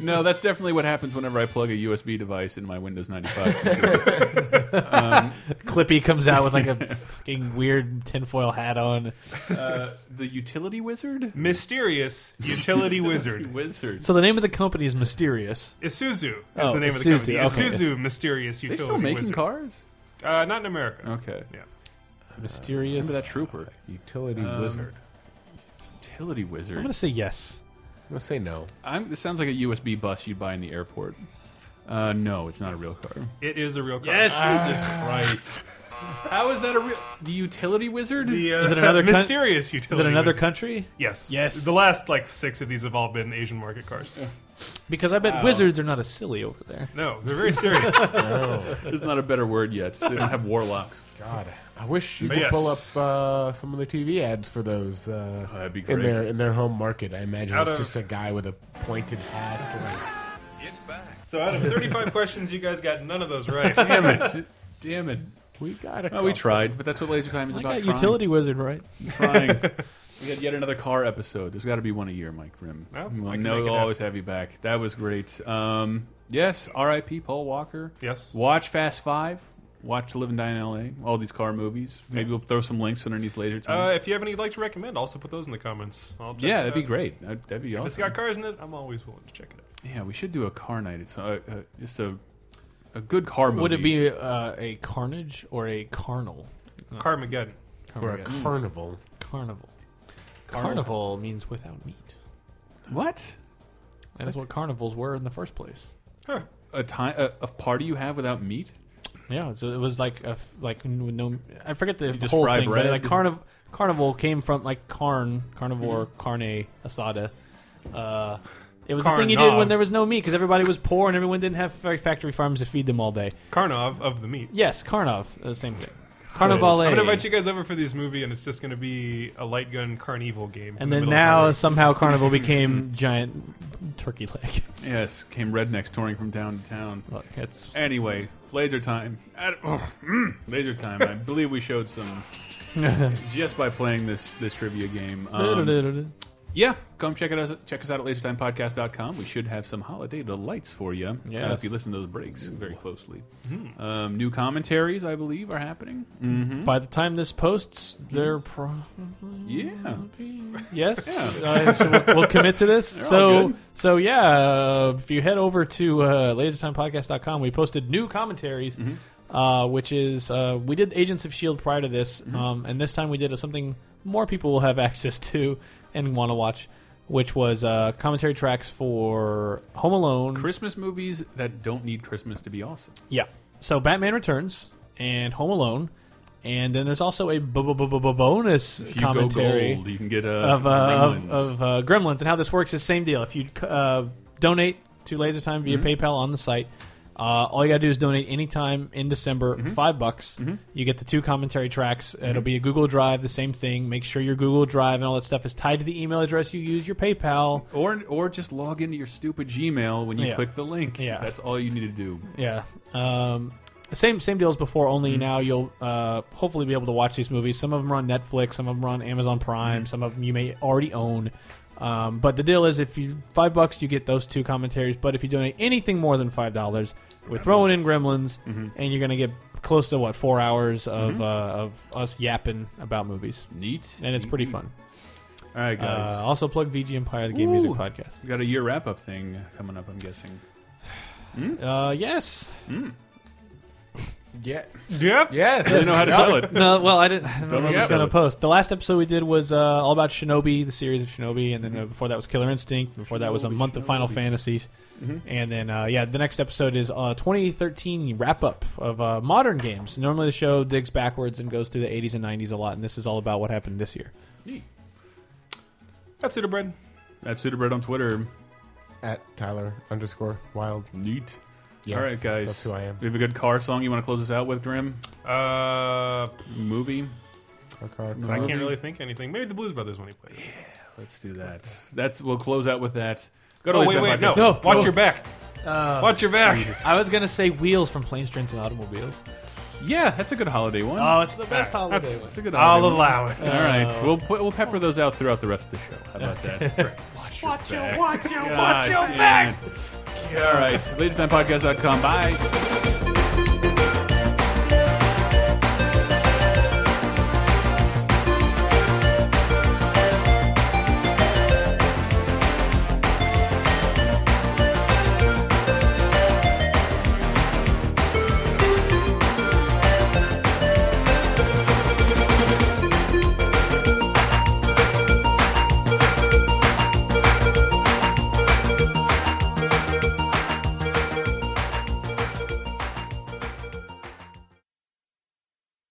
[SPEAKER 5] No, that's definitely what happens whenever I plug a USB device in my Windows 95. computer. Um,
[SPEAKER 8] Clippy comes out with like a fucking weird tinfoil hat on.
[SPEAKER 5] uh, the utility wizard.
[SPEAKER 7] Mysterious Utility Wizard.
[SPEAKER 5] Wizard.
[SPEAKER 8] So the name of the company is Mysterious.
[SPEAKER 7] Isuzu is
[SPEAKER 8] Oh,
[SPEAKER 7] the name of the
[SPEAKER 8] Isuzu,
[SPEAKER 7] company.
[SPEAKER 8] okay.
[SPEAKER 7] Isuzu Mysterious
[SPEAKER 5] They
[SPEAKER 7] Utility.
[SPEAKER 5] still making
[SPEAKER 7] Wizard.
[SPEAKER 5] cars?
[SPEAKER 7] Uh, not in America.
[SPEAKER 5] Okay.
[SPEAKER 7] Yeah.
[SPEAKER 8] Mysterious.
[SPEAKER 5] Remember that trooper?
[SPEAKER 6] Utility
[SPEAKER 5] Um,
[SPEAKER 6] wizard.
[SPEAKER 5] Utility wizard.
[SPEAKER 8] I'm gonna say yes.
[SPEAKER 6] I'm gonna say no.
[SPEAKER 5] I'm, this sounds like a USB bus you'd buy in the airport. Uh, no, it's not a real car.
[SPEAKER 7] It is a real car.
[SPEAKER 5] Yes,
[SPEAKER 8] Ah.
[SPEAKER 5] Jesus Christ. How is that a real? The utility wizard?
[SPEAKER 7] The, uh,
[SPEAKER 8] Is it another coun-
[SPEAKER 7] mysterious utility?
[SPEAKER 8] is it another
[SPEAKER 7] wizard.
[SPEAKER 8] country?
[SPEAKER 7] Yes.
[SPEAKER 8] Yes.
[SPEAKER 7] The last like six of these have all been Asian market cars.
[SPEAKER 8] Because I bet
[SPEAKER 7] Wow.
[SPEAKER 8] wizards are not as silly over there.
[SPEAKER 7] No, they're very serious.
[SPEAKER 5] There's not a better word yet. They don't have warlocks.
[SPEAKER 6] God, I wish you
[SPEAKER 5] But
[SPEAKER 6] could
[SPEAKER 5] yes. Oh,
[SPEAKER 6] pull up uh, some of the TV ads for those. Uh,
[SPEAKER 5] that'd be
[SPEAKER 6] In
[SPEAKER 5] great.
[SPEAKER 6] their in their home market, I imagine
[SPEAKER 7] Out
[SPEAKER 6] it's
[SPEAKER 7] of-
[SPEAKER 6] just a guy with a pointed hat. Like,
[SPEAKER 7] It's back. So out of 35 questions, you guys got none of those right.
[SPEAKER 5] Damn it. Damn it.
[SPEAKER 6] We got
[SPEAKER 5] Oh, we tried, but that's what Laser Time is about. trying.
[SPEAKER 8] utility wizard right.
[SPEAKER 5] Trying. we got yet another car episode. There's got to be one a year, Mike Grimm.
[SPEAKER 7] Well, I
[SPEAKER 5] we'll
[SPEAKER 7] can
[SPEAKER 5] know
[SPEAKER 7] make it
[SPEAKER 5] we'll
[SPEAKER 7] happen.
[SPEAKER 5] always have you back. That was great. Um, yes, R.I.P. Paul Walker.
[SPEAKER 7] Yes.
[SPEAKER 5] Watch Fast Five. Watch Live and Die in L.A. All these car movies. Maybe we'll throw some links underneath Laser Time.
[SPEAKER 7] Uh, if you have any you'd like to recommend, also put those in the comments. I'll check
[SPEAKER 5] yeah,
[SPEAKER 7] it
[SPEAKER 5] that'd be
[SPEAKER 7] out.
[SPEAKER 5] great. That'd, that'd be
[SPEAKER 7] If
[SPEAKER 5] awesome.
[SPEAKER 7] it's got cars in it, I'm always willing to check it out.
[SPEAKER 5] yeah, we should do a car night. It's uh, uh, just a a good car movie.
[SPEAKER 8] Would it be uh, a carnage or a carnal?
[SPEAKER 7] Carmageddon.
[SPEAKER 6] Or a
[SPEAKER 8] Carmageddon.
[SPEAKER 6] carnival.
[SPEAKER 5] Carnival.
[SPEAKER 8] Carnival. Carnival means without meat.
[SPEAKER 5] what?
[SPEAKER 8] That is what carnivals were in the first place.
[SPEAKER 5] A time a, a party you have without meat?
[SPEAKER 8] Yeah, so it was like a f- like n- with no. I forget the
[SPEAKER 5] You just
[SPEAKER 8] whole
[SPEAKER 5] fry
[SPEAKER 8] thing.
[SPEAKER 5] bread?
[SPEAKER 8] But like carniv- carnival came from like carn carnivore carne asada. Uh, it was the thing you did when
[SPEAKER 7] Carnov.
[SPEAKER 8] there was no meat because everybody was poor and everyone didn't have fa- factory farms to feed them all day.
[SPEAKER 7] Carnov of the meat.
[SPEAKER 8] Yes, carnov, uh, same thing.
[SPEAKER 7] I'm
[SPEAKER 8] Carnivale.
[SPEAKER 7] gonna invite you guys over for this movie, and it's just gonna be a light gun carnival game. in
[SPEAKER 8] and
[SPEAKER 7] the
[SPEAKER 8] then
[SPEAKER 7] middle of
[SPEAKER 8] now
[SPEAKER 7] nowhere.
[SPEAKER 8] somehow carnival became giant turkey leg.
[SPEAKER 5] Yes, came rednecks touring from town to town.
[SPEAKER 8] Look, it's
[SPEAKER 5] Anyway, laser time. Ad- oh, mm, laser time. I believe we showed some just by playing this this trivia game. Um, yeah, come check it out. Check us out at lasertimepodcast.com. We should have some holiday delights for you
[SPEAKER 8] Yes. Hmm.
[SPEAKER 5] if you listen to those breaks very closely. Um, new commentaries, I believe, are happening. Mhm.
[SPEAKER 8] By the time this posts, they're probably
[SPEAKER 5] Yeah.
[SPEAKER 8] Yes,
[SPEAKER 5] Yeah.
[SPEAKER 8] uh, so we'll, we'll commit to this.
[SPEAKER 5] They're all
[SPEAKER 8] so,
[SPEAKER 5] good.
[SPEAKER 8] so yeah, uh, if you head over to uh, lasertimepodcast.com, we posted new commentaries,
[SPEAKER 5] Mm-hmm.
[SPEAKER 8] uh, which is uh, we did Agents of Shield prior to this,
[SPEAKER 5] Mm-hmm.
[SPEAKER 8] um, and this time we did something more people will have access to and want to watch, which was uh, commentary tracks for Home Alone.
[SPEAKER 5] Christmas movies that don't need Christmas to be awesome.
[SPEAKER 8] Yeah. So Batman Returns and Home Alone, and then there's also a bu- bu- bu- bu- bu- bonus
[SPEAKER 5] you go
[SPEAKER 8] commentary
[SPEAKER 5] gold, you can get, uh,
[SPEAKER 8] of, uh, of,
[SPEAKER 5] Gremlins.
[SPEAKER 8] of uh, Gremlins. And how this works is same deal. If you uh, donate to Laser Time via
[SPEAKER 5] Mhm.
[SPEAKER 8] PayPal on the site, uh, all you got to do is donate anytime in December,
[SPEAKER 5] Mm-hmm.
[SPEAKER 8] five bucks. You get the two commentary tracks. It'll be a Google Drive, the same thing. Make sure your Google Drive and all that stuff is tied to the email address you use, your PayPal.
[SPEAKER 5] Or, or just log into your stupid Gmail when you
[SPEAKER 8] Yeah.
[SPEAKER 5] click the link.
[SPEAKER 8] Yeah.
[SPEAKER 5] That's all you need to do.
[SPEAKER 8] Yeah. Um, same same deal as before. Only now you'll uh, hopefully Mm-hmm. be able to watch these movies. Some of them are on Netflix. Some of them are on Amazon Prime. Some of them you may already own. Um, but the deal is, if you five bucks, you get those two commentaries. But if you donate anything more than five dollars, Mm-hmm. we're throwing in Gremlins,
[SPEAKER 5] Mhm.
[SPEAKER 8] and you're gonna get close to what four hours of
[SPEAKER 5] Mhm.
[SPEAKER 8] uh, of us yapping about movies.
[SPEAKER 5] Neat,
[SPEAKER 8] and it's pretty fun.
[SPEAKER 5] All right, guys.
[SPEAKER 8] Uh, also plug VG Empire, the game music
[SPEAKER 5] Ooh.
[SPEAKER 8] podcast.
[SPEAKER 5] We got a year wrap up thing coming up. I'm guessing.
[SPEAKER 8] Uh, yes.
[SPEAKER 6] Yeah.
[SPEAKER 7] Yep.
[SPEAKER 6] Yes.
[SPEAKER 5] Doesn't know how to sell it.
[SPEAKER 8] No, well, I didn't. I don't
[SPEAKER 5] Don't
[SPEAKER 8] know
[SPEAKER 5] know
[SPEAKER 8] what
[SPEAKER 5] how
[SPEAKER 8] I
[SPEAKER 5] to
[SPEAKER 8] going
[SPEAKER 5] sell
[SPEAKER 8] to
[SPEAKER 5] it.
[SPEAKER 8] post. The last episode we did was uh, all about Shinobi, the series of Shinobi, and then uh, before that was Killer Instinct. Before that was a month of Final Fantasies,
[SPEAKER 5] Mhm.
[SPEAKER 8] and then uh, yeah, the next episode is uh, 2013 wrap up of uh, modern games. Normally the show digs backwards and goes through the 80s and 90s a lot, and this is all about what happened this year.
[SPEAKER 7] That's it, bread.
[SPEAKER 5] That's Sudabred on Twitter.
[SPEAKER 6] At Tyler underscore Wild.
[SPEAKER 5] Neat.
[SPEAKER 6] Yeah,
[SPEAKER 5] All right, guys.
[SPEAKER 6] that's who I am.
[SPEAKER 5] We have a good car song. You want to close us out with, Grim?
[SPEAKER 7] Uh,
[SPEAKER 5] movie.
[SPEAKER 7] I can't really think anything. Maybe the Blues Brothers when he played. Yeah,
[SPEAKER 5] let's do that. That's we'll close out with that. Go to
[SPEAKER 7] Oh, wait,
[SPEAKER 5] Laser
[SPEAKER 7] wait, no,
[SPEAKER 5] Podcast.
[SPEAKER 7] watch your back.
[SPEAKER 8] Uh,
[SPEAKER 7] watch your back.
[SPEAKER 8] I was gonna say Wheels from Planes, Trains, and Automobiles.
[SPEAKER 5] Yeah, that's a good holiday one.
[SPEAKER 8] Oh, it's the best holiday Uh,
[SPEAKER 7] that's-
[SPEAKER 8] one.
[SPEAKER 7] that's
[SPEAKER 5] It's a good
[SPEAKER 7] Uh, I'll
[SPEAKER 5] holiday one.
[SPEAKER 7] allow it.
[SPEAKER 5] All
[SPEAKER 6] Uh,
[SPEAKER 5] right, we'll put, we'll pepper those out throughout the rest of the show. How about that? Great.
[SPEAKER 7] Watch
[SPEAKER 5] your back.
[SPEAKER 7] watch your,
[SPEAKER 5] God damn it. All right, lasertimepodcast.com. Bye.